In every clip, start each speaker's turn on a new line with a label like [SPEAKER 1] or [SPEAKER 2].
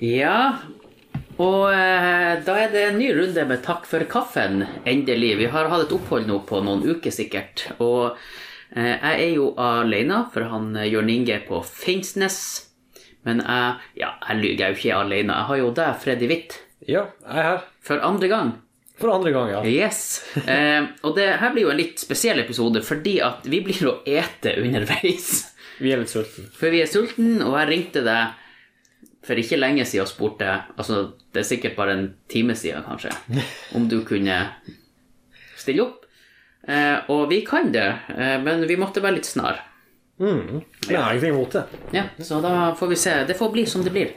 [SPEAKER 1] Ja, og eh, da er det en ny runde med takk for kaffen, endelig. Vi har hatt et opphold nå på noen uker sikkert. Og eh, jeg er jo alene, for han eh, Jørn Inge er på Finnsnes. Men jeg, ja, jeg lyver, jeg er jo ikke alene. Jeg har jo deg, Freddy Hvitt,
[SPEAKER 2] Ja, jeg er her.
[SPEAKER 1] for andre gang.
[SPEAKER 2] For andre gang, ja.
[SPEAKER 1] Yes. Eh, og det her blir jo en litt spesiell episode, fordi at vi blir å ete underveis.
[SPEAKER 2] Vi er litt sultne.
[SPEAKER 1] For vi er sulten, og jeg ringte deg for ikke lenge siden og spurte Altså, det er sikkert bare en time siden, kanskje, om du kunne stille opp. Eh, og vi kan det, eh, men vi måtte være litt snar.
[SPEAKER 2] Mm. Men jeg har ingenting imot det.
[SPEAKER 1] Ja, så da får vi se. Det får bli som det blir.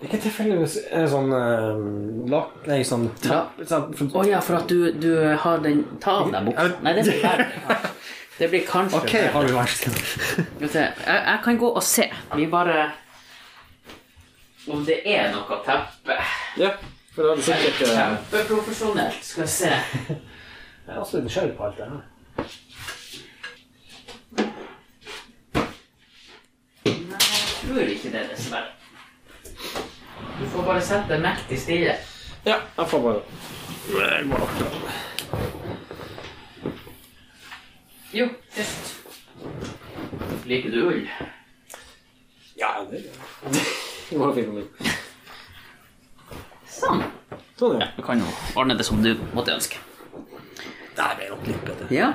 [SPEAKER 2] Ikke tilfeldigvis en sånn eh, lak... Nei, sånn
[SPEAKER 1] Ja.
[SPEAKER 2] sånn-
[SPEAKER 1] Å ja, for at du, du har den Ta av deg buksa. Nei, det blir verre. Det blir kanskje
[SPEAKER 2] Ok, har vi vært
[SPEAKER 1] Skal vi se. Jeg, jeg kan gå og se. Vi bare Om det er noe teppe.
[SPEAKER 2] Ja, for da er det sikkert eh,
[SPEAKER 1] Kjempeprofesjonelt. Skal vi se.
[SPEAKER 2] Jeg er også litt nysgjerrig på alt det her.
[SPEAKER 1] Jeg tror ikke det, dessverre. Du får bare sette deg mektig stille.
[SPEAKER 2] Ja, jeg får bare Jeg går nok til det.
[SPEAKER 1] Jo, tyst. Liker du ull?
[SPEAKER 2] Ja, det går jo fint. med det.
[SPEAKER 1] Sånn.
[SPEAKER 2] Sånn, ja.
[SPEAKER 1] Du kan jo ordne det som du måtte ønske.
[SPEAKER 2] Det her blir nok litt bedre.
[SPEAKER 1] Ja.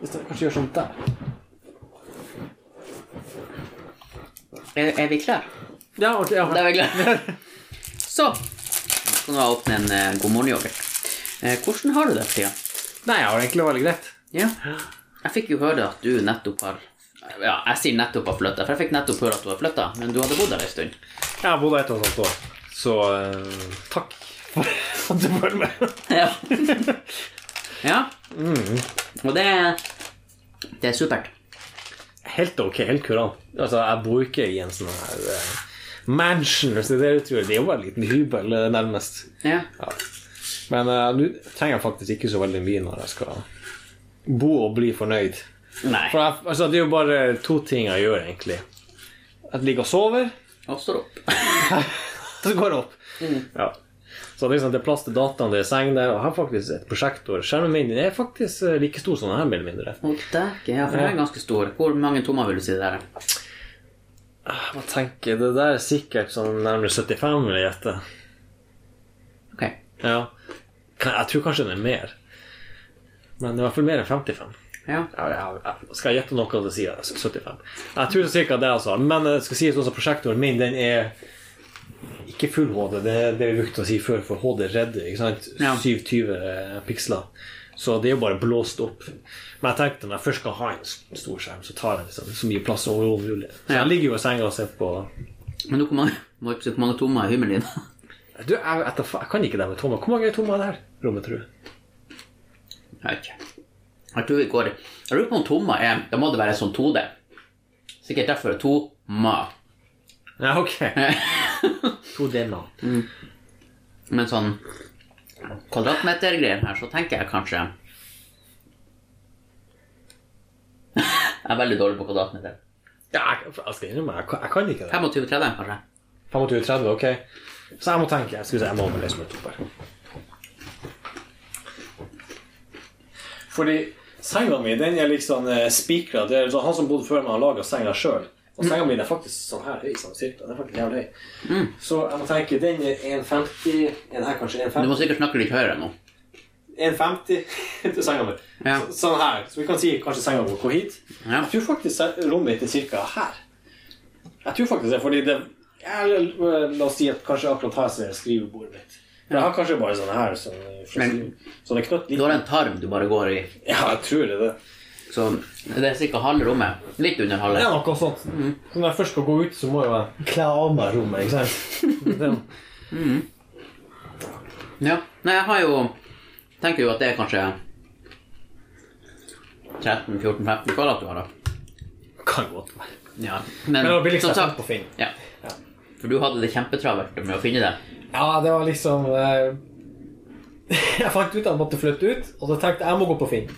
[SPEAKER 2] Hvis dere kanskje gjør sånn der.
[SPEAKER 1] Er, er vi klare?
[SPEAKER 2] Ja, ok. Ja.
[SPEAKER 1] Da er vi klare. Så. Nå skal du åpne en eh, god morgen-yoghurt. Eh, hvordan har du det for tida?
[SPEAKER 2] Nei, jeg har egentlig veldig greit.
[SPEAKER 1] Ja. Jeg fikk jo høre at du nettopp har Ja, jeg sier nettopp har flytta, for jeg fikk nettopp høre at du har flytta, men du hadde bodd der ei stund.
[SPEAKER 2] Jeg har bodd her et og et halvt år, så eh, takk for at du følger med.
[SPEAKER 1] Ja. ja. Mm. Og det er, det er supert.
[SPEAKER 2] Helt ok, helt kurant. Altså, jeg bor ikke i en sånn her eh, mansion, hvis det er det du tror. Det er jo bare en liten hybel, eh, nærmest.
[SPEAKER 1] Ja.
[SPEAKER 2] Ja. Men eh, nå trenger jeg faktisk ikke så veldig mye når jeg skal bo og bli fornøyd.
[SPEAKER 1] Nei.
[SPEAKER 2] For jeg, altså, det er jo bare to ting jeg gjør, egentlig. Jeg ligger og sover,
[SPEAKER 1] Og står opp.
[SPEAKER 2] så går det opp. Ja. Så det er, liksom, det er plass til dataen, det er seng der, og jeg har faktisk et prosjektor. Skjermen min er faktisk eh, like stor som den her, mer eller mindre.
[SPEAKER 1] Og dekke, ja, for den er ganske stor. Hvor mange tommer vil du si det er?
[SPEAKER 2] Ah, Hva tenker jeg? Det der er sikkert sånn nærmere 75, vil jeg gjette.
[SPEAKER 1] Ok.
[SPEAKER 2] Ja. Kan- Jeg tror kanskje den er mer. Men det er i hvert fall mer enn 55.
[SPEAKER 1] Ja.
[SPEAKER 2] Ja, jeg- jeg- Skal jeg gjette noe av det sier jeg 75? Jeg tror cirka det, altså. Men jeg skal si sånn som prosjektoren min, den er ikke full HD. Det er det vi brukte å si før, for HD redder, ikke sant?
[SPEAKER 1] Ja.
[SPEAKER 2] 27 piksler. Så det er jo bare blåst opp. Men jeg tenkte når jeg først skal ha en s- stor skjerm, så tar jeg liksom så mye plass som overhodet mulig. Så
[SPEAKER 1] Ja.
[SPEAKER 2] jeg ligger jo i senga og ser på
[SPEAKER 1] Men du, hvor mange, må ikke si hvor mange tommer er himmelen din?
[SPEAKER 2] Du, jeg, vet da fa- jeg kan ikke det med tommer. Hvor mange er tommer er det her rommet, tror du?
[SPEAKER 1] Jeg vet ikke. Jeg tror vi går i. Jeg lurer på om tommer er Da må det være sånn 2D. Sikkert derfor er tommer.
[SPEAKER 2] Ja, ok. to deler.
[SPEAKER 1] Men sånn kvadratmetergreier her, så tenker jeg kanskje Jeg er veldig dårlig på kvadratmeter.
[SPEAKER 2] Ja, jeg, jeg skal innrømme, jeg, kan- jeg kan ikke det.
[SPEAKER 1] 25-30, kanskje?
[SPEAKER 2] 25-30, ok. Så jeg må tenke. Jeg skulle si, jeg må vel liksom et opp her. Fordi senga mi, den er liksom eh, spikra. Det er sånn, han som bodde før meg, har laga senga sjøl. Og senga mi den er faktisk sånn her høy, sånn cirka. Den er faktisk jævlig høy. Så jeg må tenke, den er 1,50 Den her kanskje
[SPEAKER 1] Du
[SPEAKER 2] 1,50
[SPEAKER 1] må sikkert snakke litt høyere nå.
[SPEAKER 2] 1,50 til senga mi.
[SPEAKER 1] Ja.
[SPEAKER 2] Så- Sånn her. Så vi kan si kanskje senga vår går hit.
[SPEAKER 1] Ja.
[SPEAKER 2] Jeg tror faktisk se- rommet mitt er cirka her. Jeg tror faktisk det, fordi det ja, La oss si at kanskje akkurat her ser jeg skrivebordet mitt. Men jeg har kanskje bare sånne her. Sånn,
[SPEAKER 1] Men-
[SPEAKER 2] så det er knøtt
[SPEAKER 1] Du
[SPEAKER 2] litt.
[SPEAKER 1] har en tarm du bare går i.
[SPEAKER 2] Ja, jeg tror det. er det.
[SPEAKER 1] Så det er sikkert halve rommet. Litt under halve.
[SPEAKER 2] Det er noe sånt. Så når jeg først skal gå ut, så må jeg jo kle av meg rommet, ikke sant? Det-
[SPEAKER 1] Ja. Nei, jeg har jo Tenker jo at det er kanskje 13-14-15 kvadrat du har, da.
[SPEAKER 2] kan godt være.
[SPEAKER 1] Ja. Men,
[SPEAKER 2] det var billigst
[SPEAKER 1] som
[SPEAKER 2] jeg
[SPEAKER 1] sagt-
[SPEAKER 2] fant på Finn.
[SPEAKER 1] Ja.
[SPEAKER 2] Ja.
[SPEAKER 1] For du hadde det kjempetravelt med å finne det.
[SPEAKER 2] Ja, det var liksom eh, Jeg fant ut at jeg måtte flytte ut, og så tenkte jeg jeg må gå på Finn.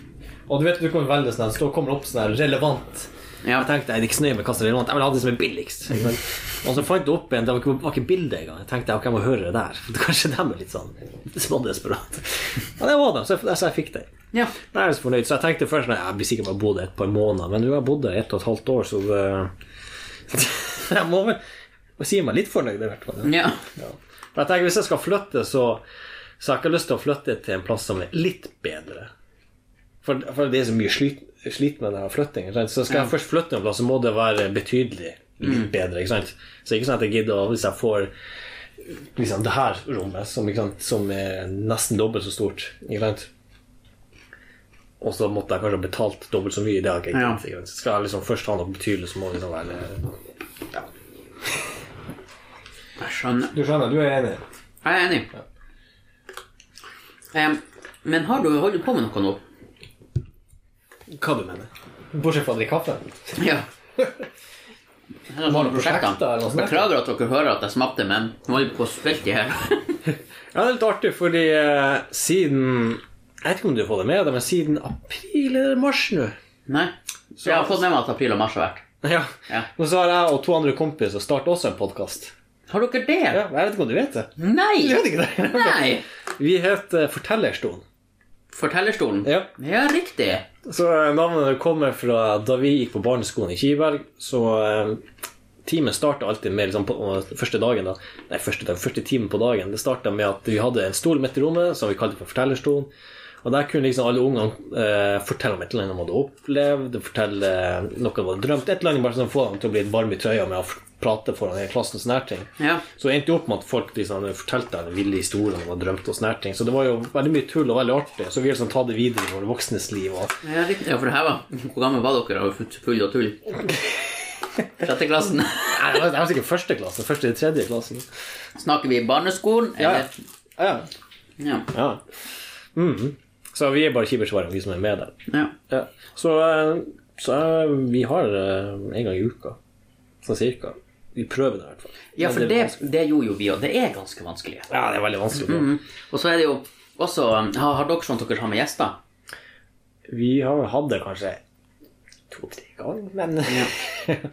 [SPEAKER 2] Og du vet du kommer veldig sånn, her, så kommer det opp sånn her relevant
[SPEAKER 1] Ja.
[SPEAKER 2] Jeg tenkte, jeg er ikke så nøye med hva som er relevant, jeg vil ha det som er billigst. ikke sant? Og så fant jeg opp en, det var ikke, var ikke bildet engang. Jeg tenkte ok, jeg må høre det der. Kanskje dem er litt sånn smådesperat. Ja, det var det, så jeg, så jeg fikk det.
[SPEAKER 1] Ja.
[SPEAKER 2] Da er jeg så fornøyd. Så jeg tenkte først nei, jeg blir sikkert bare bodd et par måneder, men nå har jeg bodd der ett og et halvt år, så det, jeg må vel må si meg litt fornøyd i hvert fall.
[SPEAKER 1] ja.
[SPEAKER 2] Ja. Men jeg tenker, hvis jeg skal flytte, så, så har jeg ikke lyst til å flytte til en plass som er litt bedre. For, for det er så mye slit, slit med denne flyttingen. Sant? Så skal jeg først flytte en plass, så må det være betydelig litt bedre. Ikke sant? Så ikke sånn at jeg gidder å Hvis jeg får liksom, det her rommet, som, ikke sant, som er nesten dobbelt så stort ikke sant? Og så måtte jeg kanskje ha betalt dobbelt så mye. Det har jeg ikke
[SPEAKER 1] Ja.
[SPEAKER 2] gitt. ikke sant? Så Skal jeg liksom først ha noe betydelig, så må det liksom være
[SPEAKER 1] Jeg skjønner.
[SPEAKER 2] Du skjønner, du er enig?
[SPEAKER 1] Jeg er enig. Em, men har du, holder du på med noe nå?
[SPEAKER 2] Hva du mener? Bortsett fra å drikke kaffe?
[SPEAKER 1] Ja. Eller har du
[SPEAKER 2] prosjekter
[SPEAKER 1] prosjekter?
[SPEAKER 2] eller noe sånt?
[SPEAKER 1] Beklager at dere hører at jeg smakte, men nå holder vi på å spilte i her.
[SPEAKER 2] Ja, det er litt artig, fordi eh, siden Jeg vet ikke om du har fått det med deg, men siden april eller mars nå
[SPEAKER 1] Nei. Så jeg har fått med meg at april og mars har vært.
[SPEAKER 2] ja.
[SPEAKER 1] Ja.
[SPEAKER 2] Men så har jeg og to andre kompiser startet også en podkast.
[SPEAKER 1] Har dere det?
[SPEAKER 2] Ja, jeg vet ikke om du vet det?
[SPEAKER 1] Nei!
[SPEAKER 2] Jeg vet ikke det.
[SPEAKER 1] Nei!
[SPEAKER 2] Vi heter Fortellerstolen.
[SPEAKER 1] Fortellerstolen?
[SPEAKER 2] Ja.
[SPEAKER 1] ja, riktig.
[SPEAKER 2] Så eh, navnet kommer fra da vi gikk på barneskolen i Kiberg, så eh, Timen starta alltid med liksom, på, og første dagen da, Nei, første, dag, første timen på dagen. Det starta med at vi hadde en stol midt i rommet som vi kalte for fortellerstolen. Og der kunne liksom alle ungene eh, fortelle om et eller annet de hadde opplevd, fortelle eh, noe de hadde drømt. Et eller annet bare sånn få dem til å bli varme i trøya med å f- prate foran hele klassen. Sånne her ting.
[SPEAKER 1] Ja.
[SPEAKER 2] Så det endte jo opp med at folk liksom fortalte en ville historie om de hadde drømt og sånne her ting. Så det var jo veldig mye tull og veldig artig. Så vi har liksom tatt det videre i våre voksnes liv. Og
[SPEAKER 1] ja, riktig. Ja, for det her var Hvor gammel var dere? Og full og tull? Sjette klassen.
[SPEAKER 2] Nei, det var- det var sikkert første klasse. Første til tredje klassen.
[SPEAKER 1] Snakker vi barneskolen, eller?
[SPEAKER 2] ja.
[SPEAKER 1] Ja.
[SPEAKER 2] ja. Mhm. Så vi er bare kibersvarere, vi som er med der.
[SPEAKER 1] ja.
[SPEAKER 2] Ja. Så, eh, så eh, vi har eh, en gang i uka, sånn cirka. Vi prøver det i hvert fall.
[SPEAKER 1] Ja,
[SPEAKER 2] Men
[SPEAKER 1] for det, det gjorde jo vi, og det er ganske vanskelig.
[SPEAKER 2] Ja, det er veldig vanskelig.
[SPEAKER 1] Og så er det jo også Har har dere sånn at dere har med gjester?
[SPEAKER 2] Vi har vel hatt det kanskje to-tre ganger, men
[SPEAKER 1] Er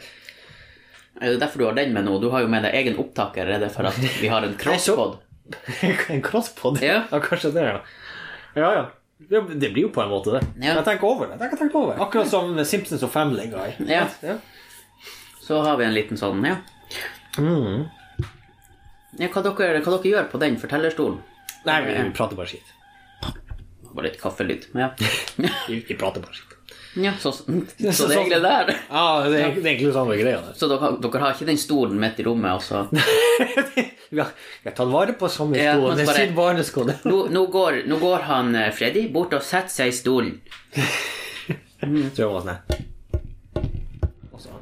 [SPEAKER 1] Eh, det derfor du har den med nå? Du har jo med deg egen opptaker. Er det for at vi har en crosspod?
[SPEAKER 2] En crosspod?
[SPEAKER 1] Ja.
[SPEAKER 2] ja, kanskje det, ja. Ja, ja. Det, det blir jo på en måte det.
[SPEAKER 1] Ja.
[SPEAKER 2] Men tenk over det. Tenk, tenk over. det. Akkurat som Simpsons og Family Guy.
[SPEAKER 1] Ja.
[SPEAKER 2] Ja.
[SPEAKER 1] Så har vi en liten sånn, ja.
[SPEAKER 2] Mm.
[SPEAKER 1] ja hva, dere, hva dere gjør på den fortellerstolen?
[SPEAKER 2] Nei, vi, vi prater bare skit.
[SPEAKER 1] Det var litt kaffelyd. Men ja.
[SPEAKER 2] Vi, vi prater bare skit.
[SPEAKER 1] ja så, så det er egentlig der.
[SPEAKER 2] Ja, det er egentlig- det er egentlig samme greia der.
[SPEAKER 1] Så dere, dere har ikke den stolen midt i rommet, altså?
[SPEAKER 2] Vi har, vi har tatt vare på samme
[SPEAKER 1] Ja,
[SPEAKER 2] sko.
[SPEAKER 1] men
[SPEAKER 2] Det er
[SPEAKER 1] bare-
[SPEAKER 2] sin barnesko. det.
[SPEAKER 1] Nå, nå, går, nå går han eh, Freddy bort og setter seg i stolen. Mm.
[SPEAKER 2] Så gjør man sånn her. Og så-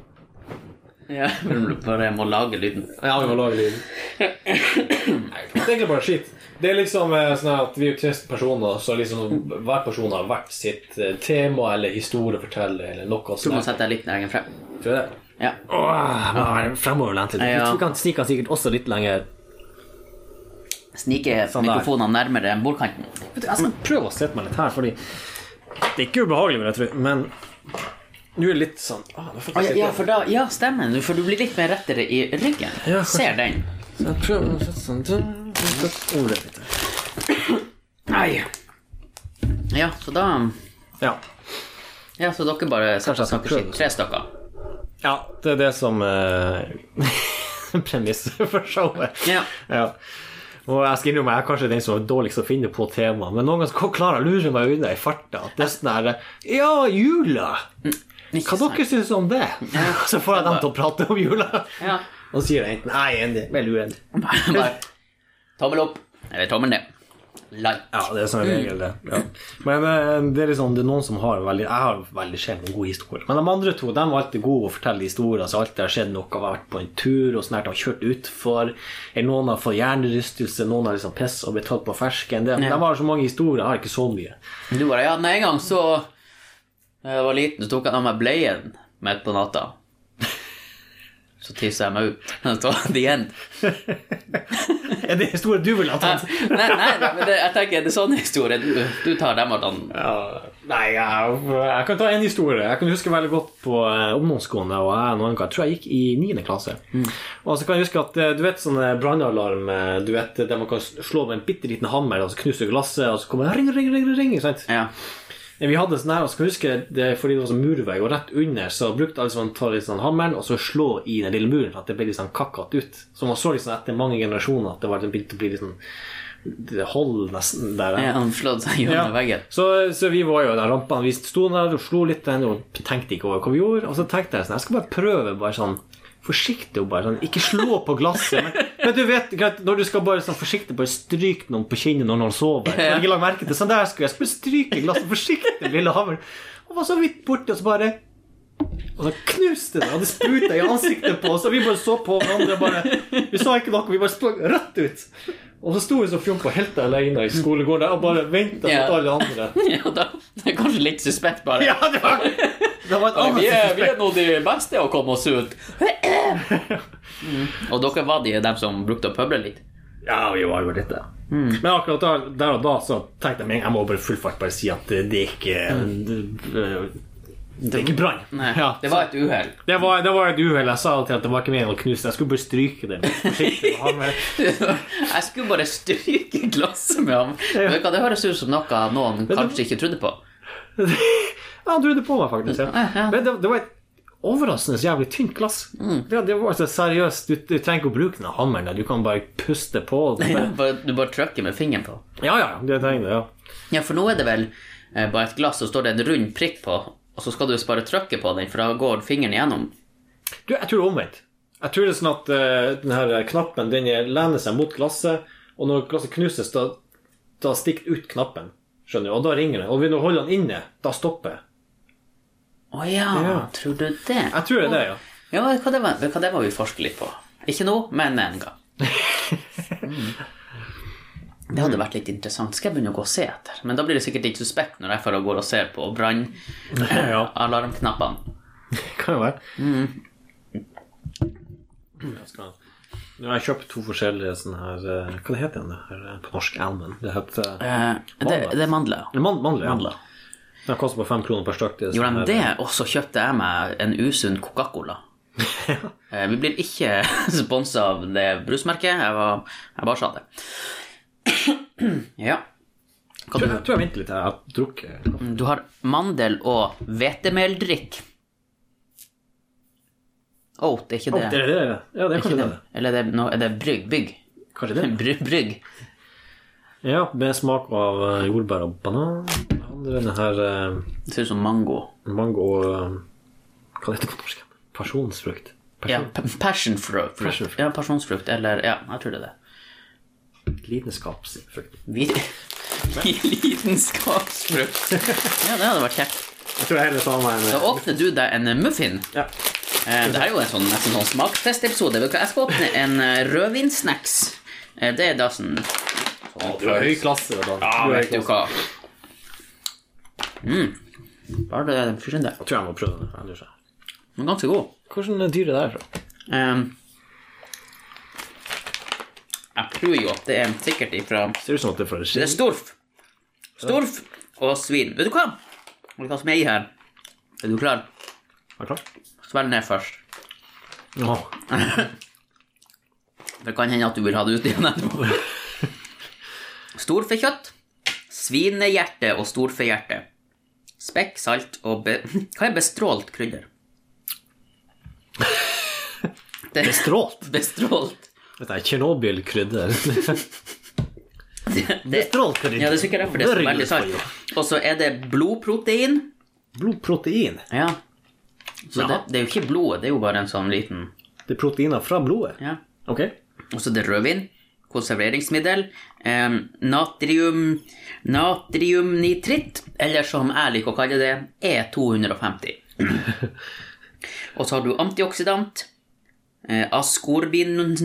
[SPEAKER 1] Ja, Bare jeg må lage lyden.
[SPEAKER 2] Ja, vi må lage lyd. Nei, det er egentlig bare skit. Det er liksom eh, sånn her at vi er tre personer, så liksom hver person har hvert sitt eh, tema eller historie å fortelle eller noe
[SPEAKER 1] Du må
[SPEAKER 2] sånt.
[SPEAKER 1] sette deg litt lenger frem.
[SPEAKER 2] Tror jeg det.
[SPEAKER 1] Ja.
[SPEAKER 2] Åh, må være fremoverlent.
[SPEAKER 1] Ja.
[SPEAKER 2] Jeg tror vi kan snike han sikkert også litt lenger.
[SPEAKER 1] Snike
[SPEAKER 2] Sånn der.
[SPEAKER 1] mikrofonene nærmere bordkanten.
[SPEAKER 2] Vet du, Jeg skal prøve å sette meg litt her, fordi det er ikke ubehagelig, vil jeg tro, men nå er det litt sånn ah, nå
[SPEAKER 1] Ah,
[SPEAKER 2] fikk
[SPEAKER 1] ja,
[SPEAKER 2] jeg
[SPEAKER 1] ja,
[SPEAKER 2] sitte-
[SPEAKER 1] for da, ja, stemmer. For du blir litt mer rettere i ryggen.
[SPEAKER 2] Ja,
[SPEAKER 1] Ser den.
[SPEAKER 2] Så jeg prøver å sette sånn sette over det litt.
[SPEAKER 1] Nei. Ja, så da
[SPEAKER 2] Ja.
[SPEAKER 1] Ja, så dere bare
[SPEAKER 2] Kanskje
[SPEAKER 1] setter
[SPEAKER 2] jeg skal
[SPEAKER 1] snakker skitt.
[SPEAKER 2] prøve.
[SPEAKER 1] Tre stykker.
[SPEAKER 2] ja, det er det som eh, premisset for showet.
[SPEAKER 1] Ja.
[SPEAKER 2] Ja. Og jeg skal innrømme jeg er kanskje den som er dårligst å finne på tema, men noen ganger klarer jeg å lure meg unna i farta. At det er sånn her Ja, jula! Hva dere syns om det? Så får jeg dem til å prate om jula.
[SPEAKER 1] Ja.
[SPEAKER 2] Og sier jeg enten nei, enig, veldig uenig.
[SPEAKER 1] Bare bare tommel opp. Eller tommel ned. Like.
[SPEAKER 2] Ja, det er som regel det. Ja. Men eh, det er liksom, det er noen som har veldig Jeg har veldig sjelden gode historier. Men de andre to de var alltid gode å fortelle historier. Så alltid har skjedd noe, har vært på en tur og snart har kjørt utfor. eller Noen har fått hjernerystelse, noen har liksom piss og blitt tatt på fersken. De, de har så mange historier, jeg har ikke så mye.
[SPEAKER 1] Du bare Ja, den en gang så Da jeg var liten, så tok han av meg bleien midt på natta. Så tisser jeg meg ut. Så, The end.
[SPEAKER 2] Er det historie du ville ha tatt?
[SPEAKER 1] Nei, nei, nei men det, jeg tenker, det er sånne historier. Du, du tar dem og den.
[SPEAKER 2] Ja,
[SPEAKER 3] Nei, jeg,
[SPEAKER 2] jeg kan ta en historie. Jeg kan huske veldig godt på eh, ungdomsskolen. Og jeg, noen ganger, jeg tror jeg gikk i 9. klasse. Og så kan jeg huske at eh, du vet sånne brannalarm eh, Du vet der man kan slå med en bitte liten hammer, og så knuser glasset, og så kommer det ring, ring, ring, ring, ring sant?
[SPEAKER 1] Ja.
[SPEAKER 2] Vi hadde sånn her, og så kan jeg huske det er fordi det var sånn murvegg, og rett under så brukte alle sånn, ta litt sånn hammeren og så slå i den lille muren for at det ble litt sånn kakkete ut. Så man så liksom etter mange generasjoner at det var det begynte å bli litt sånn det hold nesten der.
[SPEAKER 1] Ja, Han slått seg gjennom veggen.
[SPEAKER 2] Så, så vi var jo der rampene. Vi sto der og slo litt den, og tenkte ikke over hva vi gjorde. Og så tenkte jeg sånn Jeg skal bare prøve, bare sånn forsiktig og bare sånn Ikke slå på glasset. Men, men du vet, greit, når du skal bare sånn forsiktig Bare stryke noen på kinnet når noen sover.
[SPEAKER 1] Ja.
[SPEAKER 2] Bare Ikke lag merke til Sånn der skulle jeg skulle stryke glasset forsiktig, lille havren. Og var så vidt borti, og så bare og så knuste det, og det spruta i ansiktet på oss. Og vi bare så på hverandre. og Bare, vi sa ikke noe, vi bare sprang rett ut. Og så sto vi som fjomper helt alene i skolegården der og bare venta
[SPEAKER 1] Ja.
[SPEAKER 2] mot alle andre.
[SPEAKER 1] Ja, da, det er kanskje litt suspekt, bare.
[SPEAKER 2] Ja, det var, det var et
[SPEAKER 1] Ja,
[SPEAKER 2] annet
[SPEAKER 1] vi er, vi
[SPEAKER 2] suspekt.
[SPEAKER 1] er nå de beste å komme oss ut. Og dere var de dem som brukte å pøble litt?
[SPEAKER 2] Ja, vi var jo litt det.
[SPEAKER 1] Mm.
[SPEAKER 2] Men akkurat der, der og da så tenkte jeg meg jeg må bare full fart bare si at det er ikke Det, det er ikke brann.
[SPEAKER 1] Mm. Nei,
[SPEAKER 2] Ja,
[SPEAKER 1] det var et uhell.
[SPEAKER 2] det, var- det var et uhell. Jeg sa alltid at det var ikke meningen å knuse det. Jeg skulle bare stryke det. Forsiktig. Ha med-
[SPEAKER 1] Jeg skulle bare stryke glasset med ham. Vet du hva, Det høres ut som noe noen kanskje ikke trodde på.
[SPEAKER 2] Ja, han trodde på meg, faktisk. Ja.
[SPEAKER 1] ja. Mm.
[SPEAKER 2] Men det, det var et overraskende jævlig tynt glass. Det, det var altså seriøst, du, du trenger ikke å bruke den hammeren. der, Du kan bare puste på. og det-
[SPEAKER 1] Bare- Du bare trykker med fingeren på.
[SPEAKER 2] Ja, ja, det trenger det, ja.
[SPEAKER 1] Ja, for nå er det vel eh, bare et glass, og så står det en rund prikk på, og så skal du bare trykke på den, for da går fingeren igjennom.
[SPEAKER 2] Du, jeg tror det er omvendt. Jeg tror det er sånn at eh, den her knappen den er- lener seg mot glasset, og når glasset knuses, da, da stikker ut knappen. Skjønner du? Og da ringer den. Og når du holder den inne, da stopper
[SPEAKER 1] Å ja,
[SPEAKER 2] Ja.
[SPEAKER 1] tror du det?
[SPEAKER 2] Jeg tror det er det, ja.
[SPEAKER 1] Ja, vet du hva det var, vet du hva det var vi forsket litt på? Ikke nå, men en gang. Mm. Det hadde vært litt interessant. Skal jeg begynne å gå og se etter? Men da blir det sikkert litt suspekt når jeg får og går og ser på
[SPEAKER 2] ja.
[SPEAKER 1] brannalarmknappene.
[SPEAKER 2] Kan jo være.
[SPEAKER 1] Mm.
[SPEAKER 2] Mm. Jeg skal- Nå har jeg kjøpt to forskjellige sånne her eh, Hva det heter det her eh, på norsk? Almen? Det heter eh,
[SPEAKER 1] Eh, det,
[SPEAKER 2] Mandler.
[SPEAKER 1] det er mandler. ja.
[SPEAKER 2] man- Mandler.
[SPEAKER 1] Eh, Mandler.
[SPEAKER 2] Ja. De koster bare fem kroner per stykk. er
[SPEAKER 1] Gjorde
[SPEAKER 2] sånne
[SPEAKER 1] de
[SPEAKER 2] her-
[SPEAKER 1] det, og så kjøpte jeg meg en usunn Coca-Cola. Eh, Vi blir ikke sponsa av det brusmerket. Jeg, var, jeg bare sa det. Ja. Hva du
[SPEAKER 2] Jeg tror- Jeg tror jeg venter litt. Jeg har drukket kaffe.
[SPEAKER 1] Du har mandel- og hvetemeldrikk. Oat, det er ikke det?
[SPEAKER 2] Er det det? er det? Ja, det er
[SPEAKER 1] Ikke
[SPEAKER 2] kanskje
[SPEAKER 1] det.
[SPEAKER 2] det.
[SPEAKER 1] Eller er det, no, er det brygg? Bygg?
[SPEAKER 2] Kanskje det.
[SPEAKER 1] Bry- brygg.
[SPEAKER 2] Ja, med smak av eh, jordbær og banan. Det andre er den her eh,
[SPEAKER 1] Det ser ut som mango.
[SPEAKER 2] mango og eh, Hva heter det på norsk? Pasjonsfrukt.
[SPEAKER 1] Ja,
[SPEAKER 2] Pasjon.
[SPEAKER 1] pa- passion fruit.
[SPEAKER 2] Passion fruit.
[SPEAKER 1] Ja, pasjonsfrukt. Eller Ja, jeg tror det er det.
[SPEAKER 2] Lidenskapsfrukt.
[SPEAKER 1] Vi- Lidenskapsfrukt. Ja, det hadde vært kjekt.
[SPEAKER 2] Jeg tror jeg heller tar meg
[SPEAKER 1] Da
[SPEAKER 2] en eh,
[SPEAKER 1] åpner du deg en muffin.
[SPEAKER 2] ja.
[SPEAKER 1] Eh, Det her er jo en sånn, nesten sånn smakstestepisode. Vet du hva, Jeg skal åpne en eh, rødvinsnacks. Eh, Det er da sånn
[SPEAKER 2] Du er høy klasse. Da.
[SPEAKER 1] Ja,
[SPEAKER 2] Du er høy
[SPEAKER 1] vet du
[SPEAKER 2] klasse.
[SPEAKER 1] hva. Mm. Bare det den forsvinner der.
[SPEAKER 2] Jeg tror jeg må prøve den. Jeg lurer seg.
[SPEAKER 1] Den er ganske god.
[SPEAKER 2] Hvordan dyr er det derfra?
[SPEAKER 1] Ehm, jeg tror jo at det er sikkert ifra
[SPEAKER 2] Ser ut som at det er fra
[SPEAKER 1] Det er storf. Storf og svin. Vet du hva? Vet du hva som er i her? Er du klar?
[SPEAKER 2] Er du klar?
[SPEAKER 1] Svelg ned først.
[SPEAKER 2] Ja.
[SPEAKER 1] Det kan hende at du vil ha det ut igjen etterpå. Storfekjøtt, svinehjerte og storfehjerte. Spekk, salt og be... Hva er bestrålt krydder? Det er
[SPEAKER 2] Strålt.
[SPEAKER 1] bestrålt.
[SPEAKER 2] Dette er Tsjernobyl-krydder.
[SPEAKER 1] Det,
[SPEAKER 2] Bestrålt-krydder.
[SPEAKER 1] ja, det er sikkert derfor det er så veldig salt. Og så er det blodprotein.
[SPEAKER 2] Blodprotein.
[SPEAKER 1] Ja. Så det, det er jo ikke blodet, det er jo bare en sånn liten
[SPEAKER 2] Det er proteiner fra blodet.
[SPEAKER 1] Ja.
[SPEAKER 2] Ok.
[SPEAKER 1] Og så er det rødvin, konserveringsmiddel, eh, natrium, natriumnitritt, eller som jeg liker å kalle det, E E250. Og så har du antioksidant, eh, askorbin,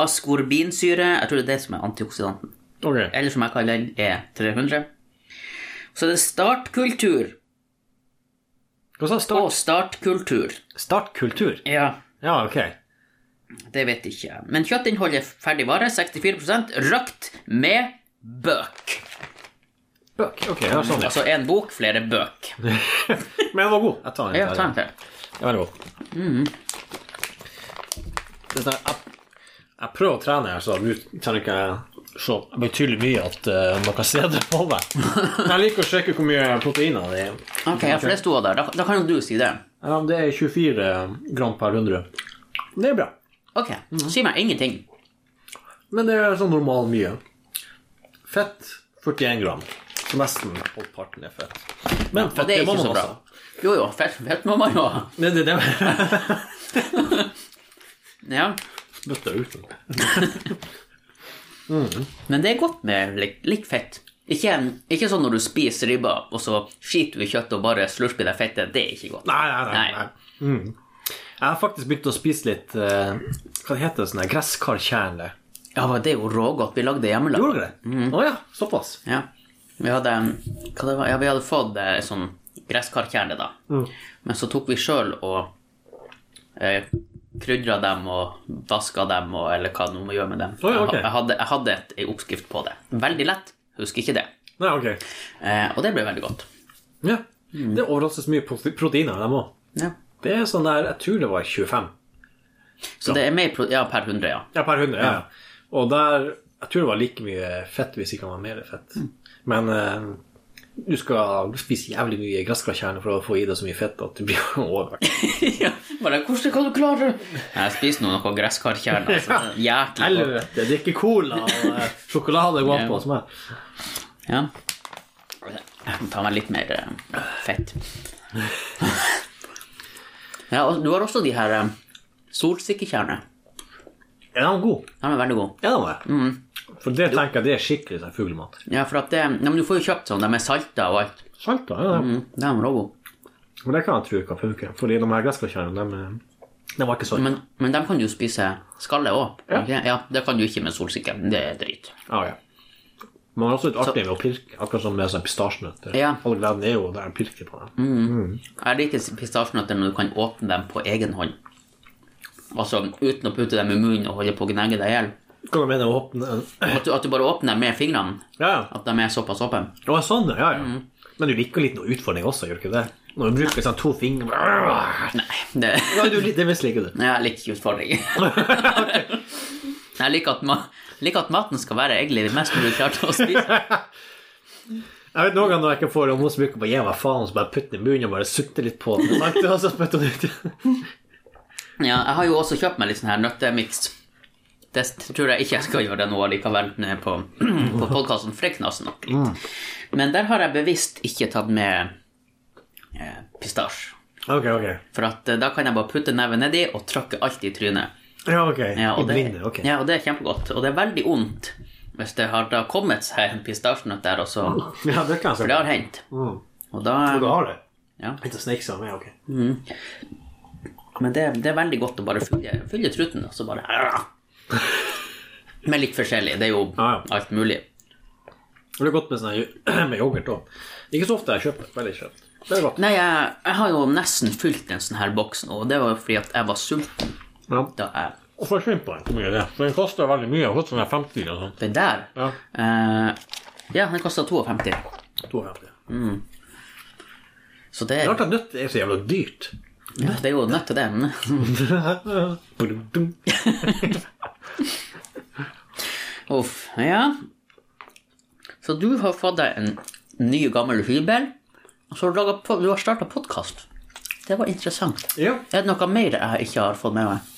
[SPEAKER 1] askorbinsyre, jeg tror det er det som er antioksidanten,
[SPEAKER 2] Ok.
[SPEAKER 1] eller som jeg kaller den, E300. Så det er startkultur,
[SPEAKER 2] Hva sa
[SPEAKER 1] og
[SPEAKER 2] start?
[SPEAKER 1] startkultur.
[SPEAKER 2] Startkultur.
[SPEAKER 1] Ja.
[SPEAKER 2] Ja, ok.
[SPEAKER 1] Det vet ikke jeg. Men kjøttinnholdet er ferdig vare, 64 røkt med bøk.
[SPEAKER 2] Bøk. Ok, ja, sånn, ja.
[SPEAKER 1] Altså én bok, flere bøk.
[SPEAKER 2] Men den var god. Jeg tar den.
[SPEAKER 1] Ja, ta en til.
[SPEAKER 2] Den var veldig god. Det er sånn, jeg, jeg prøver å trene her, så du kan ikke se betydelig mye at eh, man kan se det på deg. Men Jeg liker å sjekke hvor mye proteiner det er.
[SPEAKER 1] Ok, ja, for det sto der. Da, da kan jo du si det.
[SPEAKER 2] Ja, det er 24 gram per 100. Det er bra.
[SPEAKER 1] Ok,
[SPEAKER 2] Mhm.
[SPEAKER 1] si meg ingenting.
[SPEAKER 2] Men det er sånn normal mye. Fett 41 gram. Så nesten halvparten er fett. Men fett
[SPEAKER 1] Og det er
[SPEAKER 2] må
[SPEAKER 1] ikke så
[SPEAKER 2] man
[SPEAKER 1] bra.
[SPEAKER 2] også.
[SPEAKER 1] Jo jo, fett, fett må man jo ha.
[SPEAKER 2] Det, det, det
[SPEAKER 1] Ja.
[SPEAKER 2] bøtta ut.
[SPEAKER 1] Men det er godt med litt, litt fett. Ikke, en, ikke sånn når du spiser ribba, og så skiter du i kjøttet og bare slurper i deg fettet. Det er ikke godt.
[SPEAKER 2] Nei, nei, nei.
[SPEAKER 1] Nei.
[SPEAKER 2] nei. Mm. Jeg har faktisk begynt å spise litt eh, Hva det heter det? sånn der Gresskarkjerne.
[SPEAKER 1] Ja, men det er jo rågodt. Vi lagde hjemmelaga.
[SPEAKER 2] Gjorde dere det? Å ja, såpass.
[SPEAKER 1] Ja. Vi hadde, hva det var? Ja, vi hadde fått eh, sånn gresskarkjerne, da. Men så tok vi sjøl og eh, krydra dem og vaska dem, og, eller hva det nå må gjøre med dem.
[SPEAKER 2] Oi, ok.
[SPEAKER 1] jeg, ha- jeg hadde, jeg hadde et, en oppskrift på det. Veldig lett. Husker ikke det.
[SPEAKER 2] Nei, ok.
[SPEAKER 1] Eh, og det ble veldig godt.
[SPEAKER 2] Ja. Det er overraskende mye prote- proteiner, dem òg.
[SPEAKER 1] Ja.
[SPEAKER 2] Det er sånn der Jeg tror det var 25.
[SPEAKER 1] Så det er mer pro ja, per 100, ja.
[SPEAKER 2] Ja, per 100. Ja. ja. Og der Jeg tror det var like mye fett, hvis ikke det var mer fett. Men eh, du skal spise jævlig mye gresskarkjerne for å få i deg så mye fett at du blir overvekt.
[SPEAKER 1] ja, bare, hvordan kan du klare det? Jeg spiser nå noe gresskarkjerner. Altså, jæklig godt.
[SPEAKER 2] Helvete, drikke cola og eh, sjokolade går på hos meg.
[SPEAKER 1] Ja. Jeg må ta meg litt mer eh, fett. ja, og du har også de her eh, solsikkekjernene.
[SPEAKER 2] Er den god?
[SPEAKER 1] De er veldig gode.
[SPEAKER 2] Er den det? For det tenker jeg det er skikkelig sånn fuglemat.
[SPEAKER 1] Ja, for at det, ja, men du får jo kjøpt sånn, de er salta og alt.
[SPEAKER 2] Sant, da. Ja.
[SPEAKER 1] Mm, de er også gode.
[SPEAKER 2] Men det kan jeg tro kan funke. Fordi de her gresskarkjernene, de, eh, de var ikke sånn.
[SPEAKER 1] Men, men de kan du jo spise skalle òg.
[SPEAKER 2] Ja.
[SPEAKER 1] ja, det kan du ikke med solsikke. Det er drit.
[SPEAKER 2] Ah, ja. Man har også litt artig med å pirke, akkurat som med sånn pistasjenøtter.
[SPEAKER 1] Ja.
[SPEAKER 2] All gleden er jo der en pirker på dem.
[SPEAKER 1] Jeg liker pistasjenøtter når du kan åpne dem på egen hånd. Altså uten å putte dem i munnen og holde på å gnegge deg i hjel.
[SPEAKER 2] Hva du mener å åpne
[SPEAKER 1] At, du- at du bare åpner dem med fingrene.
[SPEAKER 2] Ja, ja.
[SPEAKER 1] At de er såpass åpne.
[SPEAKER 2] Å, sånn, ja, ja. Men du liker litt noe utfordring også, gjør du ikke det? Når du bruker sånn to fingre Nei,
[SPEAKER 1] Nei, det
[SPEAKER 2] du, det misliker du.
[SPEAKER 1] Nei, Jeg liker ikke utfordringer. Jeg liker at, ma liker at maten skal være egentlig det mest mulig klart å spise.
[SPEAKER 2] Jeg vet noen ganger når jeg ikke får noen som bruker på å gi meg faen, så bare putter den i munnen og bare sutter litt på den. Sant? Og så spytter den ut.
[SPEAKER 1] Ja, jeg har jo også kjøpt meg litt sånn her nøttemiks. Det tror jeg ikke jeg skal gjøre nå likevel nede på, på podkasten, for det knaser nok litt.
[SPEAKER 2] Mm.
[SPEAKER 1] Men der har jeg bevisst ikke tatt med eh, pistasje.
[SPEAKER 2] Ok, ok.
[SPEAKER 1] For at eh, da kan jeg bare putte neven nedi og trykke alt i trynet.
[SPEAKER 2] Ja, ok.
[SPEAKER 1] Ja, og
[SPEAKER 2] I
[SPEAKER 1] det,
[SPEAKER 2] blinde, ok.
[SPEAKER 1] ja, og det er kjempegodt. Og det er veldig ondt hvis det har da kommet seg en pistasjenøtt der, og så
[SPEAKER 2] Ja, det kan jeg
[SPEAKER 1] For
[SPEAKER 2] se.
[SPEAKER 1] det har hendt.
[SPEAKER 2] Mm.
[SPEAKER 1] Og da
[SPEAKER 2] Du har det?
[SPEAKER 1] Ja.
[SPEAKER 2] Litt å snike seg med, ok.
[SPEAKER 1] Men det, det er veldig godt å bare fylle, fylle truten, og så bare Men litt forskjellig. Det er jo
[SPEAKER 2] Ja, ja.
[SPEAKER 1] alt mulig.
[SPEAKER 2] Og det er godt med, sånn her- med yoghurt òg. Ikke så ofte jeg kjøper. Veldig kjøpt. Det er godt.
[SPEAKER 1] Nei, jeg, jeg har jo nesten fylt en sånn her boks nå, og det var jo fordi at jeg var sulten
[SPEAKER 2] Ja.
[SPEAKER 1] da jeg
[SPEAKER 2] Og forsvinn på den. Hvor mye er det? For den koster veldig mye. Den koster sånn her 50 eller noe sånt.
[SPEAKER 1] Den der
[SPEAKER 2] Ja.
[SPEAKER 1] eh, Ja, den kosta 52.
[SPEAKER 2] 52.
[SPEAKER 1] Så det,
[SPEAKER 2] Det er rart at nøtt er så jævla dyrt.
[SPEAKER 1] ja, det er jo nødt til det. men-
[SPEAKER 2] Badum-dum.
[SPEAKER 1] Uff. Ja. Så du har fått deg en ny, gammel hybel, og så har du, laget po- du har starta podkast. Det var interessant.
[SPEAKER 2] Ja.
[SPEAKER 1] Er det noe mer jeg ikke har fått med meg?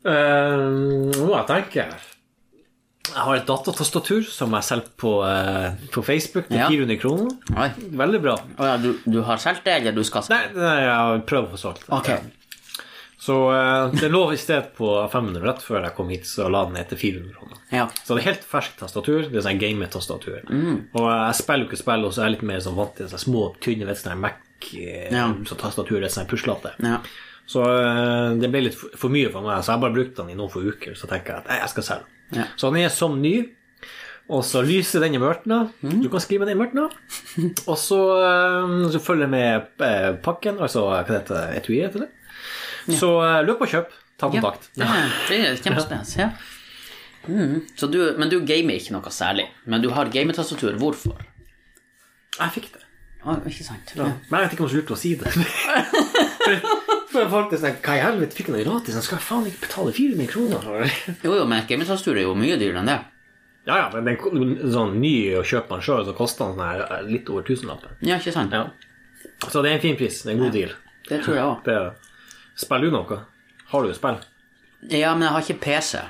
[SPEAKER 2] Uh, jeg tenker Jeg har et datatastatur som jeg selger på, eh, på Facebook til
[SPEAKER 1] Ja.
[SPEAKER 2] 400 kroner.
[SPEAKER 1] Oi.
[SPEAKER 2] Veldig bra.
[SPEAKER 1] Å ja, du, du har solgt det, eller du skal
[SPEAKER 2] Nei,
[SPEAKER 1] selge det?
[SPEAKER 2] det er jeg prøver å få solgt. det.
[SPEAKER 1] Ok.
[SPEAKER 2] Så eh, det lå i sted på 500 rett før jeg kom hit, så la den ned til 400 kroner.
[SPEAKER 1] Ja.
[SPEAKER 2] Så det er helt ferskt tastatur. Det er sånn game-tastatur.
[SPEAKER 1] Mm.
[SPEAKER 2] Og jeg spiller jo ikke spill, og så er jeg litt mer sånn vant til sånne små, tynne vet, du, sånne Mac eh,
[SPEAKER 1] Ja.
[SPEAKER 2] så tastatur, det er sånn puslete.
[SPEAKER 1] ja.
[SPEAKER 2] Så eh, det ble litt for for mye for meg, så jeg har bare brukt den i noen få uker. Så tenker jeg at nei, jeg skal selge den.
[SPEAKER 1] Ja.
[SPEAKER 2] Så den er som ny. Og så lyser den i mørtna. Du kan skrive den i mørtna. Og så, eh, så følger med eh, pakken, altså hva heter det, etui heter det. Så eh, løp og kjøp. Ta
[SPEAKER 1] Ja,
[SPEAKER 2] kontakt.
[SPEAKER 1] det er, det er kjempespennende. Ja. Mm. Så du, men du gamer ikke noe særlig. Men du har gametastatur. Hvorfor?
[SPEAKER 2] Jeg fikk det.
[SPEAKER 1] Å, ikke sant?
[SPEAKER 2] Ja. Men jeg vet ikke om det er så lurt å si det. For- For folk er sånn Hva i helvete, fikk jeg noe gratis? Jeg skal faen ikke betale 400 kroner for det.
[SPEAKER 1] Jo, jo, men gametastatur er jo mye dyrere enn det.
[SPEAKER 2] Ja, ja, men den den sånn ny å kjøpe den sjøl, så koster den sånn her, eh, litt over tusenlappen.
[SPEAKER 1] Ja, ikke sant?
[SPEAKER 2] Ja. Så det er en fin pris. Det er en god deal.
[SPEAKER 1] Det tror jeg òg.
[SPEAKER 2] Det er, spiller du noe? Har du spill?
[SPEAKER 1] Ja, men jeg har ikke PC.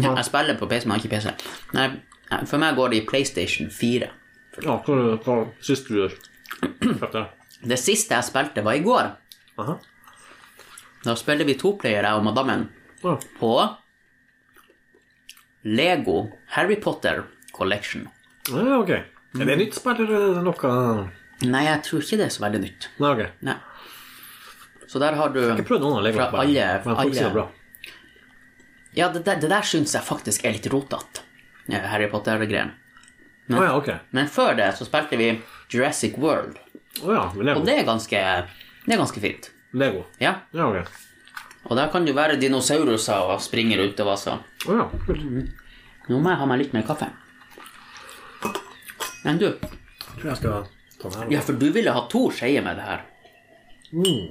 [SPEAKER 1] Jeg spiller på PC, men jeg har ikke PC. Nei, for meg går det i PlayStation 4.
[SPEAKER 2] Ja, hva, hva syns du kjøpte?
[SPEAKER 1] Det siste jeg spilte, var i går.
[SPEAKER 2] Aha.
[SPEAKER 1] Da spilte vi toplayer, jeg og madammen,
[SPEAKER 2] Ja.
[SPEAKER 1] på Lego Harry Potter Collection.
[SPEAKER 2] ja, ok. Er det nytt spill, eller er det noe
[SPEAKER 1] Nei, jeg tror ikke det er så veldig nytt.
[SPEAKER 2] Nei, ok. Jeg
[SPEAKER 1] Nei. Så der har du
[SPEAKER 2] har ikke prøvd noen av
[SPEAKER 1] Fra
[SPEAKER 2] Lego-spillene.
[SPEAKER 1] alle-
[SPEAKER 2] men folk sier det er bra.
[SPEAKER 1] Ja, det der, det der syns jeg faktisk er litt rotete, eh, Harry Potter-greien.
[SPEAKER 2] Å ja, ok.
[SPEAKER 1] Men før det så spilte vi Jurassic World,
[SPEAKER 2] Å ja, men Lego.
[SPEAKER 1] og det er ganske, det er ganske fint.
[SPEAKER 2] Lego.
[SPEAKER 1] Ja,
[SPEAKER 2] Ja, ok.
[SPEAKER 1] Og der kan det jo være dinosauruser og springe rundt og vasse.
[SPEAKER 2] Å ja, kult.
[SPEAKER 1] Nå må jeg ha meg litt mer kaffe. Men du,
[SPEAKER 2] Jeg tror jeg skal ta den her.
[SPEAKER 1] ja, for du ville ha to skeier med det her.
[SPEAKER 2] Jeg